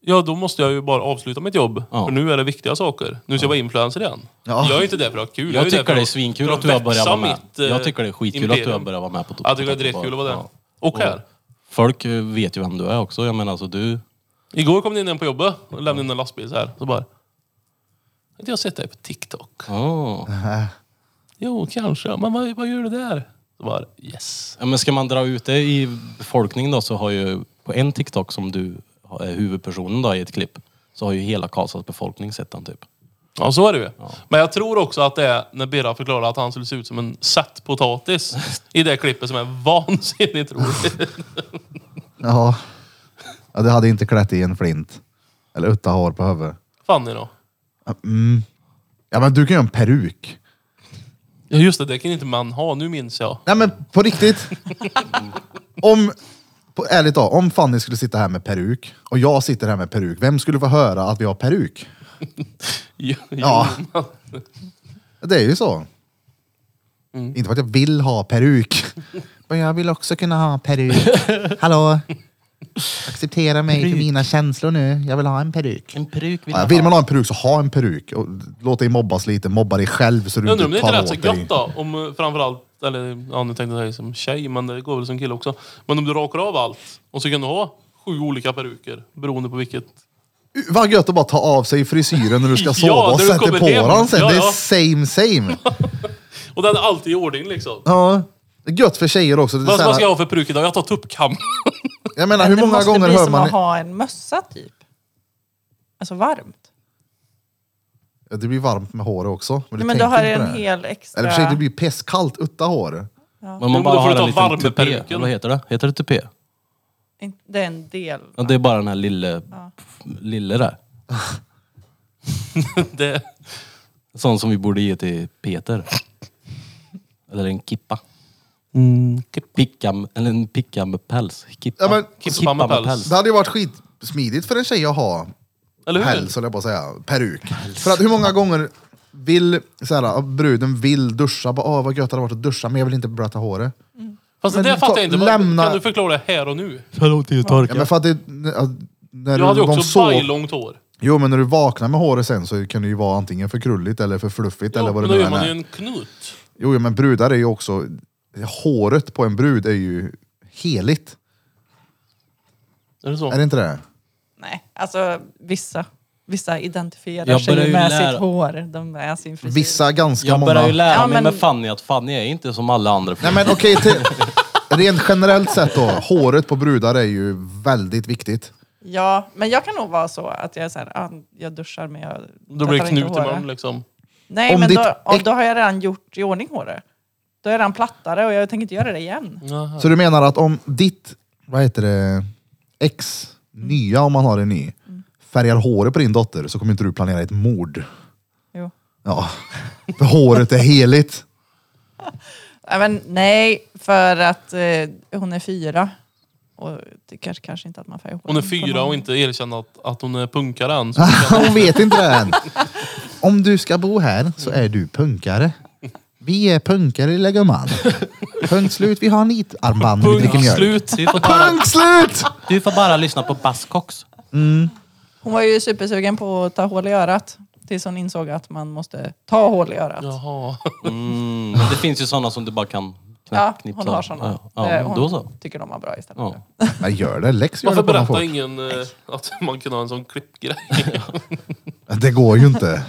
[SPEAKER 3] Ja då måste jag ju bara avsluta mitt jobb.
[SPEAKER 5] Ja.
[SPEAKER 3] För nu är det viktiga saker. Nu ska jag vara influencer igen.
[SPEAKER 1] Ja.
[SPEAKER 3] Jag är ju inte där för att ha kul.
[SPEAKER 5] Jag,
[SPEAKER 3] är ju där
[SPEAKER 5] tycker
[SPEAKER 3] för
[SPEAKER 5] det är
[SPEAKER 3] att-
[SPEAKER 5] svinkul
[SPEAKER 3] för
[SPEAKER 5] att du har börjat
[SPEAKER 3] växa
[SPEAKER 5] vara med.
[SPEAKER 3] mitt, eh,
[SPEAKER 5] Jag tycker det är skitkul att du har
[SPEAKER 3] imperium.
[SPEAKER 5] börjat vara med på
[SPEAKER 3] Jag tycker det är
[SPEAKER 5] på-
[SPEAKER 3] drätkul att vara där.
[SPEAKER 5] Ja.
[SPEAKER 3] Och här.
[SPEAKER 5] Folk eh, vet ju vem du är också. Jag menar alltså du...
[SPEAKER 3] Igår kom det in en på jobbet och lämnade in en lastbil så här. Så bara... "Har inte jag sett dig på TikTok?
[SPEAKER 5] Oh.
[SPEAKER 3] Jo, kanske. Men vad, vad gör du där? Så bara yes.
[SPEAKER 5] Ja, men ska man dra ut det i befolkningen då så har ju på en TikTok som du har- är huvudpersonen då i ett klipp så har ju hela Karlstads befolkning sett den typ.
[SPEAKER 3] Ja, så är det ju. Men jag tror också att det är när Birra förklarade att han skulle se ut som en satt potatis i det klippet som är vansinnigt roligt.
[SPEAKER 1] Ja. ja det hade inte klätt i en flint. Eller utta hår på huvudet.
[SPEAKER 3] Fanny då?
[SPEAKER 1] Ja, men du kan göra en peruk.
[SPEAKER 3] Ja, just det. Det kan inte man ha. Nu minns jag.
[SPEAKER 1] Nej men på riktigt. om, på, ärligt då, om Fanny skulle sitta här med peruk och jag sitter här med peruk, vem skulle få höra att vi har peruk?
[SPEAKER 3] Jo,
[SPEAKER 1] Ja.
[SPEAKER 3] jo, men-
[SPEAKER 1] Det är ju så.
[SPEAKER 3] Mm.
[SPEAKER 1] Inte för att jag vill ha peruk. Men jag vill också kunna ha peruk. Hallå? Acceptera mig för mina känslor nu. Jag vill ha en peruk.
[SPEAKER 5] En peruk
[SPEAKER 1] Ja, vill man ha en peruk så ha en peruk. Och låt dig mobbas lite, mobba dig själv så du
[SPEAKER 3] Jag undrar om det
[SPEAKER 1] inte
[SPEAKER 3] inte
[SPEAKER 1] tar
[SPEAKER 3] lät så
[SPEAKER 1] åt dig.
[SPEAKER 3] gött då? Om eh, framförallt, eller ja, nu tänkte jag säga som tjej, men det går väl som kille också. Men om du rakar av allt och så kan du ha sju olika peruker beroende på vilket.
[SPEAKER 1] Vad gött att bara ta av sig frisyren när du ska
[SPEAKER 3] Ja,
[SPEAKER 1] sova och
[SPEAKER 3] när du
[SPEAKER 1] sätta
[SPEAKER 3] kommer
[SPEAKER 1] på
[SPEAKER 3] hem.
[SPEAKER 1] den sen.
[SPEAKER 3] Ja,
[SPEAKER 1] det är
[SPEAKER 3] ja.
[SPEAKER 1] same same.
[SPEAKER 3] Och den är alltid i ordning liksom.
[SPEAKER 1] Ja. Det är gött för tjejer också. Det är
[SPEAKER 3] Vad,
[SPEAKER 1] så här-
[SPEAKER 3] vad ska jag ha för peruk idag? Jag tar tuppkam.
[SPEAKER 1] jag menar, hur
[SPEAKER 7] det
[SPEAKER 1] många
[SPEAKER 7] måste
[SPEAKER 1] gånger
[SPEAKER 7] bli
[SPEAKER 1] hör
[SPEAKER 7] som
[SPEAKER 1] man...
[SPEAKER 7] att ha en mössa typ. Alltså varmt.
[SPEAKER 1] Ja, Det blir varmt med håret också. Men du
[SPEAKER 7] Nej, men då
[SPEAKER 1] tänker
[SPEAKER 7] har
[SPEAKER 1] inte
[SPEAKER 7] du
[SPEAKER 1] på
[SPEAKER 7] en
[SPEAKER 1] det.
[SPEAKER 7] hel extra...
[SPEAKER 1] Eller för sig, det blir pestkallt utta hår.
[SPEAKER 5] Men man
[SPEAKER 3] Jo, men
[SPEAKER 5] bara
[SPEAKER 3] då
[SPEAKER 5] har
[SPEAKER 3] får du ta
[SPEAKER 5] en liten
[SPEAKER 3] varm med
[SPEAKER 5] tupé.
[SPEAKER 3] peruken.
[SPEAKER 5] Vad heter det? Heter det tupé?
[SPEAKER 7] In- Det är en del.
[SPEAKER 5] Ja, det är bara den här lille... Lille där.
[SPEAKER 3] Det,
[SPEAKER 5] Sån som vi borde ge till Peter. Eller en kippa.
[SPEAKER 1] Mm,
[SPEAKER 5] Picka, m- eller en picka med päls. Kippa,
[SPEAKER 1] Ja, men-
[SPEAKER 5] kippa med päls.
[SPEAKER 3] Mm.
[SPEAKER 1] Det hade ju varit skitsmidigt för en tjej att ha.
[SPEAKER 3] Eller hur?
[SPEAKER 1] Päls höll jag på att säga, peruk. För att hur många gånger vill så här, bruden vill duscha, bara, Åh, vad gött det hade varit att duscha men jag vill inte blöta håret.
[SPEAKER 3] Fast
[SPEAKER 1] Men
[SPEAKER 3] det
[SPEAKER 1] ta-
[SPEAKER 3] fattar jag inte. Vad-
[SPEAKER 1] lämna-
[SPEAKER 3] Kan du förklara det här och nu?
[SPEAKER 5] Hur lång tid
[SPEAKER 1] Ja, men för att det, att när
[SPEAKER 3] Jag hade ju
[SPEAKER 1] de
[SPEAKER 3] också
[SPEAKER 1] sov-
[SPEAKER 3] bajlångt hår.
[SPEAKER 1] Jo men när du vaknar med håret sen så kan det ju vara antingen för krulligt eller för fluffigt
[SPEAKER 3] Ja,
[SPEAKER 1] eller vad
[SPEAKER 3] men
[SPEAKER 1] det
[SPEAKER 3] då
[SPEAKER 1] nu
[SPEAKER 3] gör
[SPEAKER 1] än
[SPEAKER 3] man
[SPEAKER 1] är.
[SPEAKER 3] ju en knut.
[SPEAKER 1] Jo ja, men brudar är ju också, håret på en brud är ju heligt.
[SPEAKER 3] Är det så?
[SPEAKER 1] Är det inte det?
[SPEAKER 7] Nej, alltså vissa. Vissa identifierar
[SPEAKER 5] Jag
[SPEAKER 7] sig
[SPEAKER 5] börjar ju
[SPEAKER 7] med
[SPEAKER 5] lära-
[SPEAKER 7] sitt hår, de med sin frisyr.
[SPEAKER 1] Vissa ganska
[SPEAKER 5] Jag börjar
[SPEAKER 1] många.
[SPEAKER 5] ju lära
[SPEAKER 7] Ja,
[SPEAKER 5] mig
[SPEAKER 7] men-
[SPEAKER 5] med Fanny att Fanny är inte som alla andra.
[SPEAKER 1] Nej men okej, till- rent generellt sett då. Håret på brudar är ju väldigt viktigt.
[SPEAKER 7] Ja, men jag kan nog vara så att jag, är så här, ah, jag duschar men jag
[SPEAKER 3] Då blir det
[SPEAKER 7] tvättar inte
[SPEAKER 3] knut i
[SPEAKER 7] håret.
[SPEAKER 3] man liksom.
[SPEAKER 7] Nej,
[SPEAKER 1] Om
[SPEAKER 7] men
[SPEAKER 1] ditt
[SPEAKER 7] då, om,
[SPEAKER 1] äk-
[SPEAKER 7] då har jag redan gjort i ordning håret. Då är jag redan plattare och jag tänker inte göra det igen.
[SPEAKER 3] Jaha.
[SPEAKER 1] Så du menar att om ditt, vad heter det, ex, nya om man har en ny, färgar håret på din dotter så kommer inte du planera ett mord.
[SPEAKER 7] Jo.
[SPEAKER 1] Ja, för håret är heligt.
[SPEAKER 7] Nej, Men, nej, för att eh, hon är fyra. Och det kanske, kanske inte att man färgar håret.
[SPEAKER 3] Hon är
[SPEAKER 7] på
[SPEAKER 3] fyra
[SPEAKER 7] någon.
[SPEAKER 3] och inte erkänner att, att hon är punkare än. Så
[SPEAKER 1] Hon vet inte det än. Om du ska bo här så är du punkare. Vi är punkare lilla gumman. Punkt slut, vi har nitarmband och vi dricker
[SPEAKER 3] Punkt
[SPEAKER 1] mjölk.
[SPEAKER 3] slut.
[SPEAKER 5] Du får, bara,
[SPEAKER 1] Punkt slut!
[SPEAKER 5] du får bara lyssna på Buzzcocks.
[SPEAKER 7] Hon var ju supersugen på att ta hål i örat. Tills hon insåg att man måste ta hål i örat. Ja,
[SPEAKER 3] Jaha.
[SPEAKER 5] Mm, men det finns ju sådana som du bara kan knä- knipsa.
[SPEAKER 7] hon har sådana.
[SPEAKER 5] Ja, ja,
[SPEAKER 7] Eh,
[SPEAKER 5] men
[SPEAKER 7] hon
[SPEAKER 5] då så.
[SPEAKER 7] tycker de var bra istället.
[SPEAKER 5] Ja.
[SPEAKER 1] Nej gör det, Lex gör
[SPEAKER 3] Varför
[SPEAKER 1] det på någon
[SPEAKER 3] berättar
[SPEAKER 1] folk.
[SPEAKER 3] ingen eh, att man kan ha en sån klippgrej?
[SPEAKER 1] Det går ju inte.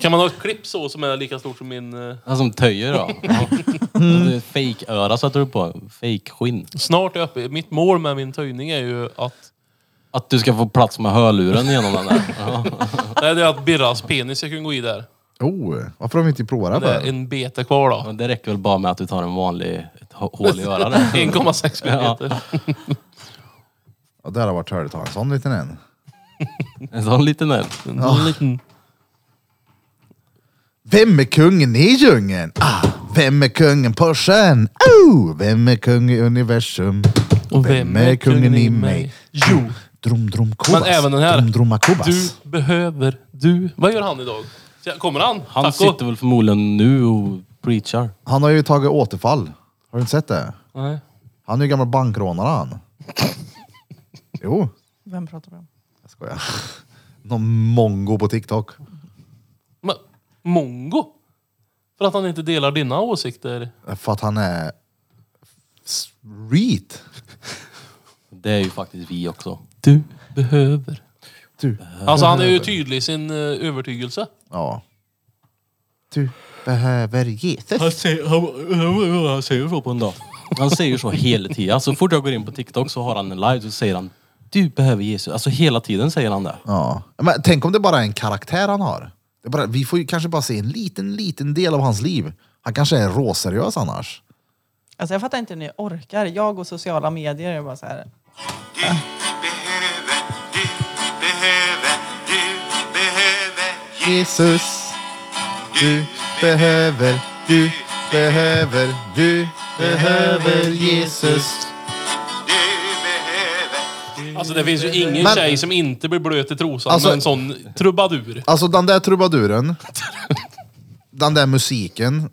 [SPEAKER 3] kan man ha ett klipp så som är lika stort som min... Eh,
[SPEAKER 5] Han som Alltså, töjer då. Ja. Mm. Fake-öra sätter du på. Fake-skinn.
[SPEAKER 3] snart är jag uppe. Mitt mål med min töjning är ju att...
[SPEAKER 5] Att du ska få plats med hörluren genom den där. Ja.
[SPEAKER 3] Nej, det är att Birras penis ska kunna gå i där.
[SPEAKER 1] Oh, varför har vi inte provat
[SPEAKER 3] Det är
[SPEAKER 1] det?
[SPEAKER 3] en bete kvar då.
[SPEAKER 5] Men det räcker väl bara med att du tar en vanlig ett hå- hål i örat. där.
[SPEAKER 3] 1,6 millimeter.
[SPEAKER 1] Ja, där har varit hörligt att ha en sån liten en.
[SPEAKER 5] En sån liten en.
[SPEAKER 1] Vem är kungen i djungeln? Ah, vem är kungen på sjön? Oh, vem är kung i universum?
[SPEAKER 3] Och
[SPEAKER 1] Vem är kungen i mig? Jo! Drum drum kobas.
[SPEAKER 3] Men även den här.
[SPEAKER 1] Drum drumma kobas.
[SPEAKER 3] Du behöver du. Vad gör han idag? Kommer han?
[SPEAKER 5] Han
[SPEAKER 3] Taco?
[SPEAKER 5] sitter väl förmodligen nu och preachar.
[SPEAKER 1] Han har ju tagit återfall. Har du inte sett det?
[SPEAKER 3] Nej.
[SPEAKER 1] Han är ju gammal bankrånare han. Jo,
[SPEAKER 7] Vem pratar vi om?
[SPEAKER 1] jag skojar. Någon mongo på TikTok.
[SPEAKER 3] Men, mongo? För att han inte delar dina åsikter?
[SPEAKER 1] För att han är... Street.
[SPEAKER 5] Det är ju faktiskt vi också.
[SPEAKER 3] Du behöver.
[SPEAKER 1] Du.
[SPEAKER 3] Alltså han är ju tydlig i sin eh, övertygelse.
[SPEAKER 1] Ja. Du behöver Jesus.
[SPEAKER 5] Han säger, han, han säger så på en dag. Han säger så hela tiden. Så fort jag går in på TikTok så har han en live så säger han du behöver Jesus. Alltså hela tiden säger han det.
[SPEAKER 1] Ja. Men tänk om det bara är en karaktär han har. Det är bara, vi får ju kanske bara se en liten, liten del av hans liv. Han kanske är råseriös annars.
[SPEAKER 7] Alltså jag fattar inte hur ni orkar. Jag och sociala medier är bara så här.
[SPEAKER 1] Jesus, du behöver, du behöver, du behöver Jesus.
[SPEAKER 3] Alltså det finns ju ingen
[SPEAKER 1] Men-
[SPEAKER 3] tjej som inte blir blöt i trosan
[SPEAKER 1] Alltså-
[SPEAKER 3] med en sån trubadur.
[SPEAKER 1] Alltså den där trubaduren, den där musiken,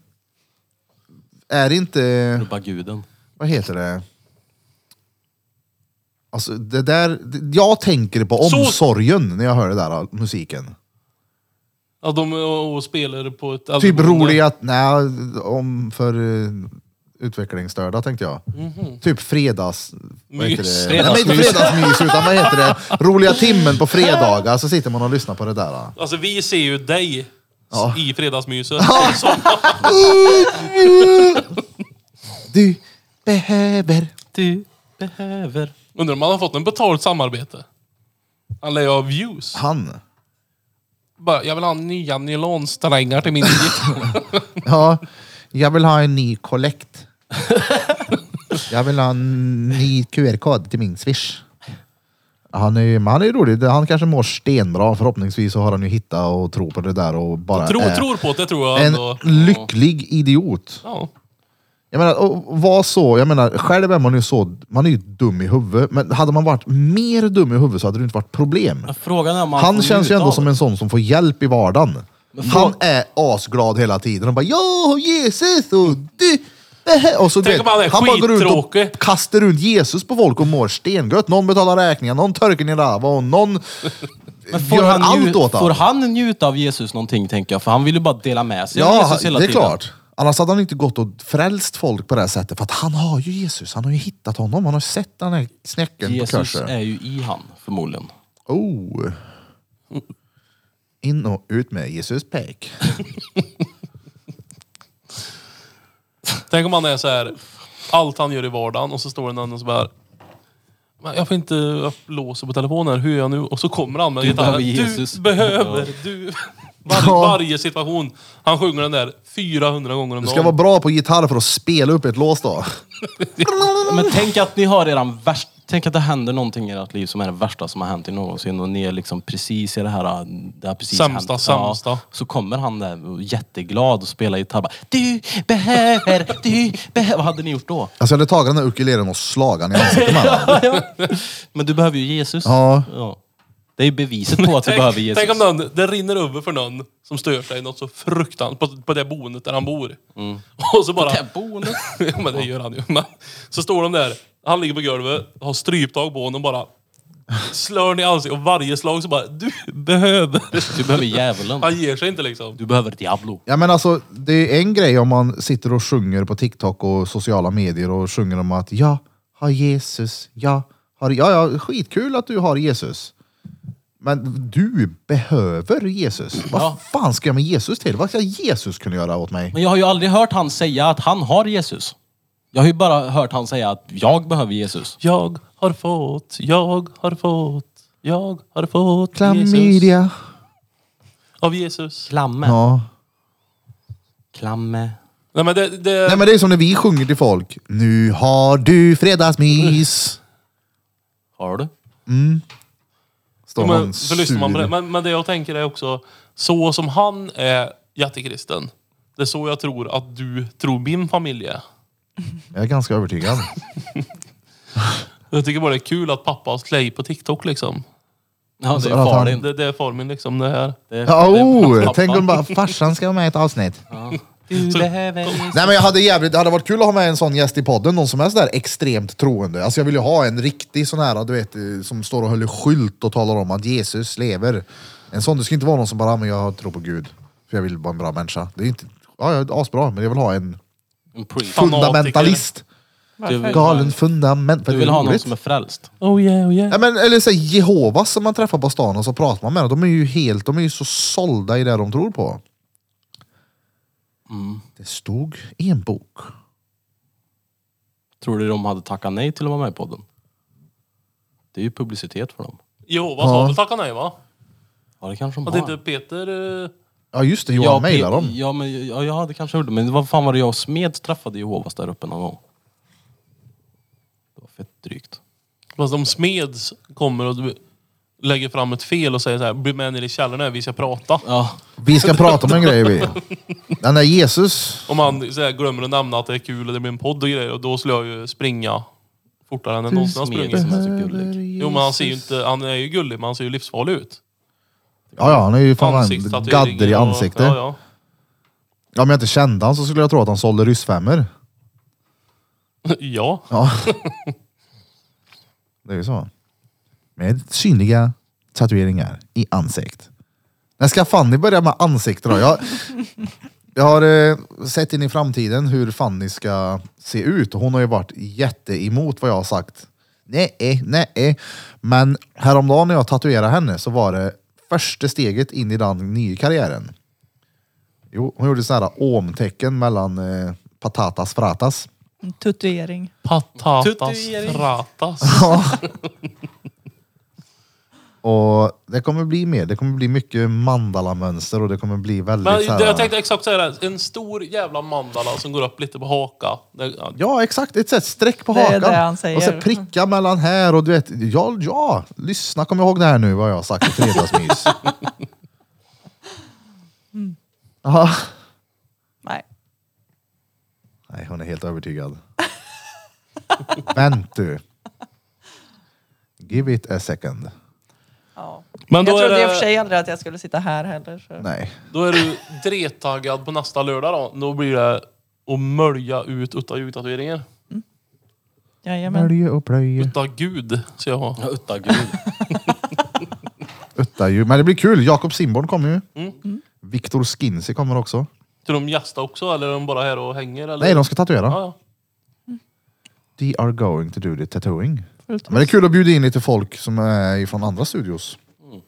[SPEAKER 1] är inte,
[SPEAKER 5] Bara guden.
[SPEAKER 1] vad heter det? Alltså det där, jag tänker på
[SPEAKER 3] Så-
[SPEAKER 1] omsorgen när jag hör den där musiken.
[SPEAKER 3] Att de eh, och, och spelar på ett... alltså,
[SPEAKER 1] Typ roliga, nej, om för eh, utvecklingsstörda tänkte jag. Typ fredags... Vad heter
[SPEAKER 3] Mys.
[SPEAKER 1] det? Nej, men inte fredagsmys, utan vad heter det? Roliga timmen på fredagar, så sitter man och lyssnar på det där. då.
[SPEAKER 3] Alltså vi ser ju dig
[SPEAKER 1] Ja.
[SPEAKER 3] i fredagsmyset.
[SPEAKER 1] Du behöver...
[SPEAKER 5] Du behöver.
[SPEAKER 3] Undrar om han har fått en betalt samarbete? Han lär ju ha views.
[SPEAKER 1] Han.
[SPEAKER 3] Bara, jag vill ha nya nylonsträngar till min gitarr.
[SPEAKER 1] Ja, jag vill ha en ny kollekt. Jag vill ha en ny QR-kod till min swish. Han är, men han är ju rolig. Det- Han kanske mår stenbra. Förhoppningsvis så har han ju hittat och tror på det där och bara
[SPEAKER 3] Tro,
[SPEAKER 1] är
[SPEAKER 3] tror på det, tror jag
[SPEAKER 1] en
[SPEAKER 3] ändå.
[SPEAKER 1] lycklig idiot.
[SPEAKER 3] Ja.
[SPEAKER 1] Jag menar, och och var så, jag menar, själv är man ju så, man är ju dum i huvudet. Men hade man varit mer dum i huvudet så hade det inte varit problem.
[SPEAKER 5] Frågan är om man
[SPEAKER 1] Han
[SPEAKER 5] får
[SPEAKER 1] känns ju
[SPEAKER 5] njuta
[SPEAKER 1] ändå
[SPEAKER 5] av
[SPEAKER 1] som
[SPEAKER 5] det.
[SPEAKER 1] en sån som får hjälp i vardagen. Han är asglad hela tiden. Han bara ja, Jesus och du. det här." Och så, du
[SPEAKER 3] Tänk
[SPEAKER 1] vet,
[SPEAKER 3] om han är
[SPEAKER 1] han bara går runt
[SPEAKER 3] skittråkig.
[SPEAKER 1] och kastar runt Jesus på folk och mår stengött. Någon betalar räkningar, någon törker ner rava och någon
[SPEAKER 5] Men får
[SPEAKER 1] gör
[SPEAKER 5] han,
[SPEAKER 1] allt
[SPEAKER 5] nju-
[SPEAKER 1] åt
[SPEAKER 5] får
[SPEAKER 1] honom.
[SPEAKER 5] han njuta av Jesus någonting tänker jag? För han vill ju bara dela med sig av
[SPEAKER 1] Ja,
[SPEAKER 5] Jesus
[SPEAKER 1] det
[SPEAKER 5] hela
[SPEAKER 1] är
[SPEAKER 5] tiden.
[SPEAKER 1] klart. Annars hade han inte gått och frälst folk på det här sättet. För att han har ju Jesus, han har ju hittat honom. Han har sett den här snäcken på
[SPEAKER 5] Jesus
[SPEAKER 1] korset.
[SPEAKER 5] är ju i han förmodligen.
[SPEAKER 1] Oh. In och ut med Jesus pek.
[SPEAKER 3] Tänk om han är så här. allt han gör i vardagen och så står det någon och så bara... "Men Jag får inte upp låset på telefonen, hur gör jag nu? Och så kommer han med
[SPEAKER 5] Du
[SPEAKER 3] gitarren.
[SPEAKER 5] behöver Jesus.
[SPEAKER 3] Du behöver, du... Var,
[SPEAKER 1] Ja.
[SPEAKER 3] Varje situation. Han sjunger den där 400 gånger om
[SPEAKER 1] Du ska
[SPEAKER 3] dagen.
[SPEAKER 1] vara bra på gitarr för att spela upp ett lås då. Alltså,
[SPEAKER 5] Men tänk att ni har eran värst... Tänk att det händer någonting i ert liv som är det värsta som har hänt er någonsin och ni är liksom precis i det här... Det har precis
[SPEAKER 3] Sämsta,
[SPEAKER 5] hänt.
[SPEAKER 3] sämsta.
[SPEAKER 5] så kommer han där och jätteglad och spelar gitarr. Bara, Du behöver, du behöver... Vad hade ni gjort då?
[SPEAKER 1] Alltså jag hade tagit den där ukulelen och slagit den i ansiktet med den.
[SPEAKER 5] Men du behöver ju Jesus.
[SPEAKER 1] Ja.
[SPEAKER 5] Det är ju beviset på att du behöver Jesus.
[SPEAKER 3] Tänk om någon, det rinner över för någon som stör sig något så fruktansvärt på, på det boendet där han bor.
[SPEAKER 5] Mm.
[SPEAKER 3] Och så bara...
[SPEAKER 5] Det här boendet.
[SPEAKER 3] ja, men det gör han ju. Men, så står de där, han ligger på golvet, har stryptag på honom och bara slår honom i ansiktet och varje slag så bara du behöver.
[SPEAKER 5] Du behöver djävulen.
[SPEAKER 3] Han ger sig inte liksom.
[SPEAKER 5] Du behöver Diablo.
[SPEAKER 1] Ja men alltså, det är en grej om man sitter och sjunger på TikTok och sociala medier och sjunger om att jag har Jesus, jag har... Ja, ja, skitkul att du har Jesus. Men du behöver Jesus.
[SPEAKER 5] Ja.
[SPEAKER 1] Vad fan ska jag med Jesus till? Vad ska Jesus kunna göra åt mig?
[SPEAKER 5] Men jag har ju aldrig hört han säga att han har Jesus. Jag har ju bara hört han säga att jag behöver Jesus.
[SPEAKER 3] Jag har fått, jag har fått, jag har fått Jesus.
[SPEAKER 1] Klamydia.
[SPEAKER 3] Av Jesus.
[SPEAKER 5] Klamme.
[SPEAKER 1] Ja.
[SPEAKER 5] Klamme.
[SPEAKER 3] Nej men det, det,
[SPEAKER 1] Nej men det är som när vi sjunger till folk. Nu har du fredagsmys.
[SPEAKER 5] Har du?
[SPEAKER 1] Står
[SPEAKER 3] men,
[SPEAKER 1] någon
[SPEAKER 3] för lyssnar man på det.
[SPEAKER 1] sur-
[SPEAKER 3] Men, men det jag tänker är också, så som han är jättekristen, det är så jag tror att du tror min familj är.
[SPEAKER 1] Jag är ganska övertygad.
[SPEAKER 3] Jag tycker bara det är kul att pappa har Clay på TikTok liksom.
[SPEAKER 5] Ja, det är
[SPEAKER 1] att
[SPEAKER 5] far
[SPEAKER 1] han-
[SPEAKER 5] din.
[SPEAKER 3] Det, det är formen liksom det här.
[SPEAKER 5] Det är-
[SPEAKER 1] Ja,
[SPEAKER 5] det är hans
[SPEAKER 1] oh,
[SPEAKER 5] pappa.
[SPEAKER 1] tänk om bara farsan ska vara med i ett avsnitt.
[SPEAKER 5] Du behöver Jesus.
[SPEAKER 1] Nej men jag hade jävligt, det hade varit kul att ha med en sån gäst i podden, någon som är sådär extremt troende. Alltså jag vill ju ha en riktig sån här, du vet, eh, som står och håller skylt och talar om att Jesus lever. En sån, det ska inte vara någon som bara, "Ah, men jag tror på Gud, för jag vill vara en bra människa. Det är inte, ja, jag är asbra, men jag vill ha en
[SPEAKER 5] En priest.
[SPEAKER 3] Fanatiker.
[SPEAKER 1] fundamentalist.
[SPEAKER 5] Du,
[SPEAKER 1] Galen fundament.
[SPEAKER 5] Mm. du vill ha någon som är frälst.
[SPEAKER 3] Oh yeah, oh yeah.
[SPEAKER 1] Ja, men, eller så här, Jehovas som man träffar på stan och så pratar man med dem. De är ju helt, de är ju så sålda i det de tror på.
[SPEAKER 3] Mm.
[SPEAKER 1] Det stod i en bok.
[SPEAKER 5] Tror du de hade tackat nej till att vara med i podden? Det är ju publicitet för dem.
[SPEAKER 3] Jehovas har väl tackat nej va?
[SPEAKER 5] Ja, det typ- kanske de
[SPEAKER 3] Att
[SPEAKER 5] har.
[SPEAKER 3] inte Peter... eh,
[SPEAKER 1] Ja just det, Johan
[SPEAKER 5] Pe-
[SPEAKER 1] mejlade dem.
[SPEAKER 5] Ja, men, ja, ja, det kanske gjorde. Men vad fan var det jag och Smed träffade Jehovas där uppe någon gång? Det var fett drygt.
[SPEAKER 3] Fast om Smeds kommer och du lägger fram ett fel och säger så här, bli med ner i källorna, vi ska prata.
[SPEAKER 5] Ja,
[SPEAKER 1] Vi ska prata om en grej vi. Den där Jesus.
[SPEAKER 3] Om han så här, glömmer att nämna att det är kul och det blir en podd och grejer, och då skulle jag ju springa fortare än jag någonsin har
[SPEAKER 5] Smed
[SPEAKER 3] sprungit.
[SPEAKER 5] som är så gullig.
[SPEAKER 3] Jo men han ser ju inte, han är ju gullig men han ser ju livsfarlig ut.
[SPEAKER 1] Ja, ja han är ju fan en
[SPEAKER 3] Ansiktstatuering
[SPEAKER 1] gadder i
[SPEAKER 3] och-
[SPEAKER 1] ansiktet.
[SPEAKER 3] Ja,
[SPEAKER 1] Ja,
[SPEAKER 3] ja.
[SPEAKER 1] Om jag inte kände han så skulle jag tro att han sålde ryssfemmor.
[SPEAKER 3] ja.
[SPEAKER 1] Ja. Det är ju så. Med synliga tatueringar i ansikt. När ska Fanny börja med ansikte då? Jag, jag har eh, sett in i framtiden hur Fanny ska se ut. Hon har ju varit jätteemot vad jag har sagt. Nej, nej. Men häromdagen när jag tatuerade henne så var det första steget in i den nya karriären. Jo, hon gjorde sådana här omtecken mellan eh, patatas fratas.
[SPEAKER 7] Tatuering.
[SPEAKER 3] Patatas
[SPEAKER 5] Tatuering.
[SPEAKER 3] fratas.
[SPEAKER 1] Och det kommer bli mer. Det kommer bli mycket mandalamönster och det kommer bli väldigt
[SPEAKER 3] Men
[SPEAKER 1] så här,
[SPEAKER 3] det, jag tänkte exakt säga det. här. En stor jävla mandala som går upp lite på haka. Det- ja,
[SPEAKER 1] Ja, exakt. Ett sätt streck på
[SPEAKER 7] Det är
[SPEAKER 1] hakan.
[SPEAKER 7] det han säger.
[SPEAKER 1] Och så pricka mellan här och du vet. Ja, ja. lyssna. Kom ihåg det här nu vad jag har sagt i fredagsmys. Jaha.
[SPEAKER 7] Nej.
[SPEAKER 1] Nej, hon är helt övertygad. Men du. Give it a second.
[SPEAKER 7] Ja.
[SPEAKER 3] Men då
[SPEAKER 7] jag
[SPEAKER 3] är,
[SPEAKER 7] trodde i och för
[SPEAKER 3] det,
[SPEAKER 7] sig aldrig att jag skulle sitta här heller. Så.
[SPEAKER 1] Nej.
[SPEAKER 3] då är du drettaggad på nästa lördag då. Då blir det att mölja ut utta ljugtatueringar.
[SPEAKER 7] Jajamän.
[SPEAKER 1] Mölje och plöje.
[SPEAKER 3] Utta gud, ska jag ha.
[SPEAKER 5] Utta gud.
[SPEAKER 1] Utta ju. Men det blir kul. Jakob Simborn kommer ju.
[SPEAKER 3] Mm.
[SPEAKER 1] Viktor Skinsi kommer också.
[SPEAKER 3] Ska de gästa också eller är de bara här och hänger? Eller?
[SPEAKER 1] Nej, de ska tatuera.
[SPEAKER 3] Ja, ja.
[SPEAKER 1] They are going to do the tattooing. Men det är kul att bjuda in lite folk som är från andra studios.
[SPEAKER 3] Mm.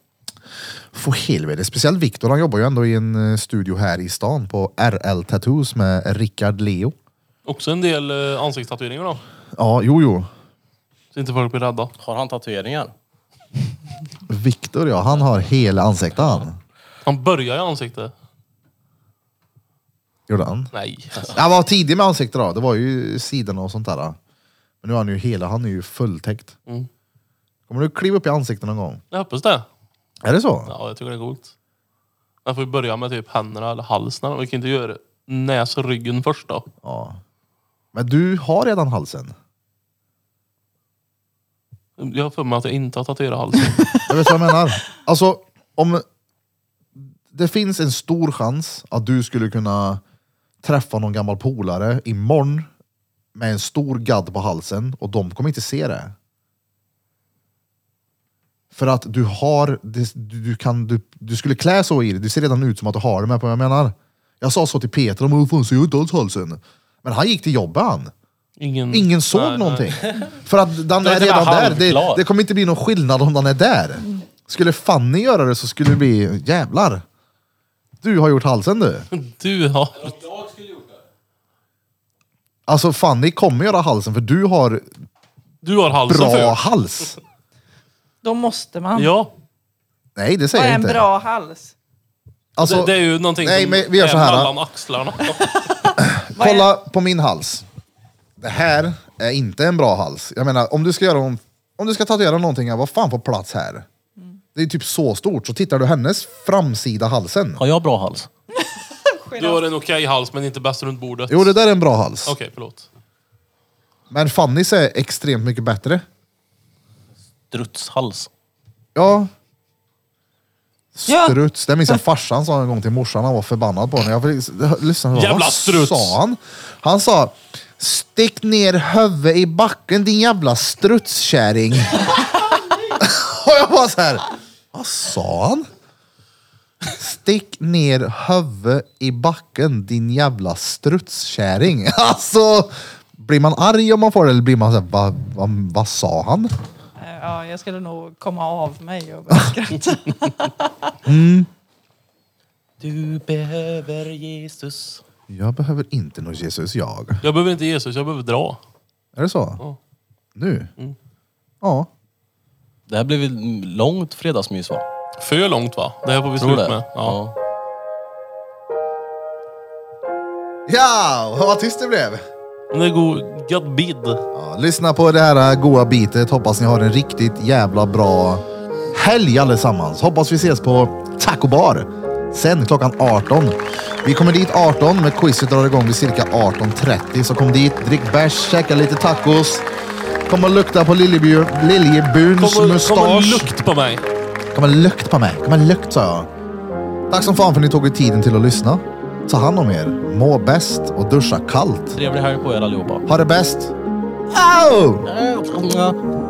[SPEAKER 1] För helvete, speciellt Viktor, han jobbar ju ändå i en eh, studio här i stan på RL Tattoos med Rickard Leo.
[SPEAKER 3] Också en del eh, ansiktstatueringar då.
[SPEAKER 1] Ja, jo, jo.
[SPEAKER 3] Så inte folk blir rädda.
[SPEAKER 5] Har han tatueringar?
[SPEAKER 1] Viktor ja, han har hela ansiktet han.
[SPEAKER 3] Han börjar i ansiktet.
[SPEAKER 1] Gjorde han?
[SPEAKER 3] Nej.
[SPEAKER 1] Han var tidig med ansiktet då, det var ju sidorna och sånt där. då. Men nu är han ju hela, han är ju fulltäckt.
[SPEAKER 3] Mm.
[SPEAKER 1] Kommer du kliva upp i ansiktet någon gång?
[SPEAKER 3] Jag hoppas det.
[SPEAKER 1] Är det så?
[SPEAKER 3] Ja, jag tycker det är coolt. Man får ju börja med typ händerna eller halsen. Vi kan inte göra näs och ryggen först då.
[SPEAKER 1] Ja. Men du har redan halsen?
[SPEAKER 3] Jag har för mig att jag inte har tatuerat halsen.
[SPEAKER 1] Jag vet vad jag menar. Alltså, om det finns en stor chans att du skulle kunna träffa någon gammal polare imorgon med en stor gadd på halsen och de kommer inte se det. För att du har, det- du, du, kan, du, du skulle klä så i det, du ser redan ut som att du har det med på vad jag menar. Jag sa så till Peter, om fan ser jag inte alls halsen? Men han gick till jobbet han.
[SPEAKER 3] Ingen,
[SPEAKER 1] Mm. Ingen såg
[SPEAKER 3] Nej, typ nej.
[SPEAKER 1] någonting. För att den
[SPEAKER 5] var
[SPEAKER 1] är
[SPEAKER 5] inte
[SPEAKER 1] redan
[SPEAKER 5] bara
[SPEAKER 1] där. Det,
[SPEAKER 5] halvklar.
[SPEAKER 1] det kommer inte bli någon skillnad om den är där.
[SPEAKER 7] Mm.
[SPEAKER 1] Skulle Fanny göra det så skulle det bli, jävlar. Du har gjort halsen du.
[SPEAKER 3] Du har...
[SPEAKER 1] Alltså Fanny kommer göra halsen för du har
[SPEAKER 3] Du har halsen
[SPEAKER 1] bra
[SPEAKER 3] för.
[SPEAKER 1] hals.
[SPEAKER 7] Då måste man.
[SPEAKER 3] Ja.
[SPEAKER 1] Nej det
[SPEAKER 7] Vad
[SPEAKER 1] säger
[SPEAKER 7] är
[SPEAKER 1] jag
[SPEAKER 7] en
[SPEAKER 1] inte.
[SPEAKER 7] bra hals?
[SPEAKER 1] Alltså,
[SPEAKER 3] det, det är ju någonting
[SPEAKER 1] nej,
[SPEAKER 3] som
[SPEAKER 1] men vi gör
[SPEAKER 3] är
[SPEAKER 1] så här,
[SPEAKER 3] mellan axlarna.
[SPEAKER 7] Vad är-
[SPEAKER 1] Kolla på min hals. Det här är inte en bra hals. Jag menar, om du ska göra om, om du ska tatuera någonting, ja, vad fan får plats här?
[SPEAKER 7] Mm.
[SPEAKER 1] Det är typ så stort, så tittar du hennes framsida halsen.
[SPEAKER 5] Har jag bra hals?
[SPEAKER 3] Du har en okej hals men inte bäst runt bordet.
[SPEAKER 1] Jo,
[SPEAKER 3] Okej,
[SPEAKER 1] det där är en bra hals.
[SPEAKER 3] förlåt.
[SPEAKER 1] Men Fannys är extremt mycket bättre.
[SPEAKER 5] Drutshals.
[SPEAKER 1] Ja.
[SPEAKER 7] Ja.
[SPEAKER 1] Struts, det minns jag farsan sa en gång till morsan han var förbannad på. När jag fick lyssna på
[SPEAKER 3] Jävla
[SPEAKER 1] vad
[SPEAKER 3] struts.
[SPEAKER 1] sa han? Han sa, stick ner huvudet i backen din jävla strutskärring. Och jag bara så här, vad sa han? Stick ner huvudet i backen din jävla strutskärring. Alltså, blir man arg om man får det eller blir man så här, vad va, vad sa han?
[SPEAKER 7] Eh, Ja, jag skulle nog komma av mig och börja skratta.
[SPEAKER 5] Du behöver Jesus.
[SPEAKER 1] Jag behöver inte någon Jesus jag.
[SPEAKER 3] Jag behöver inte Jesus, jag behöver dra.
[SPEAKER 1] Är det så?
[SPEAKER 3] Ja. Mm.
[SPEAKER 1] Nu? Ja.
[SPEAKER 5] Det här blev ett långt fredagsmys va?
[SPEAKER 3] För långt va? Det här får vi
[SPEAKER 5] Tror
[SPEAKER 3] slut
[SPEAKER 5] det?
[SPEAKER 3] med. Ja.
[SPEAKER 1] Ja, vad tyst det blev.
[SPEAKER 3] Men det är god, god bid.
[SPEAKER 1] Ja, lyssna på det här goa bitet. Hoppas ni har en riktigt jävla bra helg allesammans. Hoppas vi ses på Taco Bar. Sen klockan 18. Vi kommer dit 18, men quizet drar igång vid cirka 18.30. Så kom dit, drick bärs, käka lite tacos. Kom och lukta på Liljebu- Liljebuns
[SPEAKER 3] Kom och,
[SPEAKER 1] mustasch.
[SPEAKER 3] kom och lukt på mig.
[SPEAKER 1] Kom och lukt på mig. Kom och lukt sa jag. Tack som fan för att ni tog er tiden till att lyssna. Ta hand om er. Må bäst och duscha kallt.
[SPEAKER 5] Trevlig helg på er allihopa.
[SPEAKER 1] Ha det bäst. Au!
[SPEAKER 5] Äh,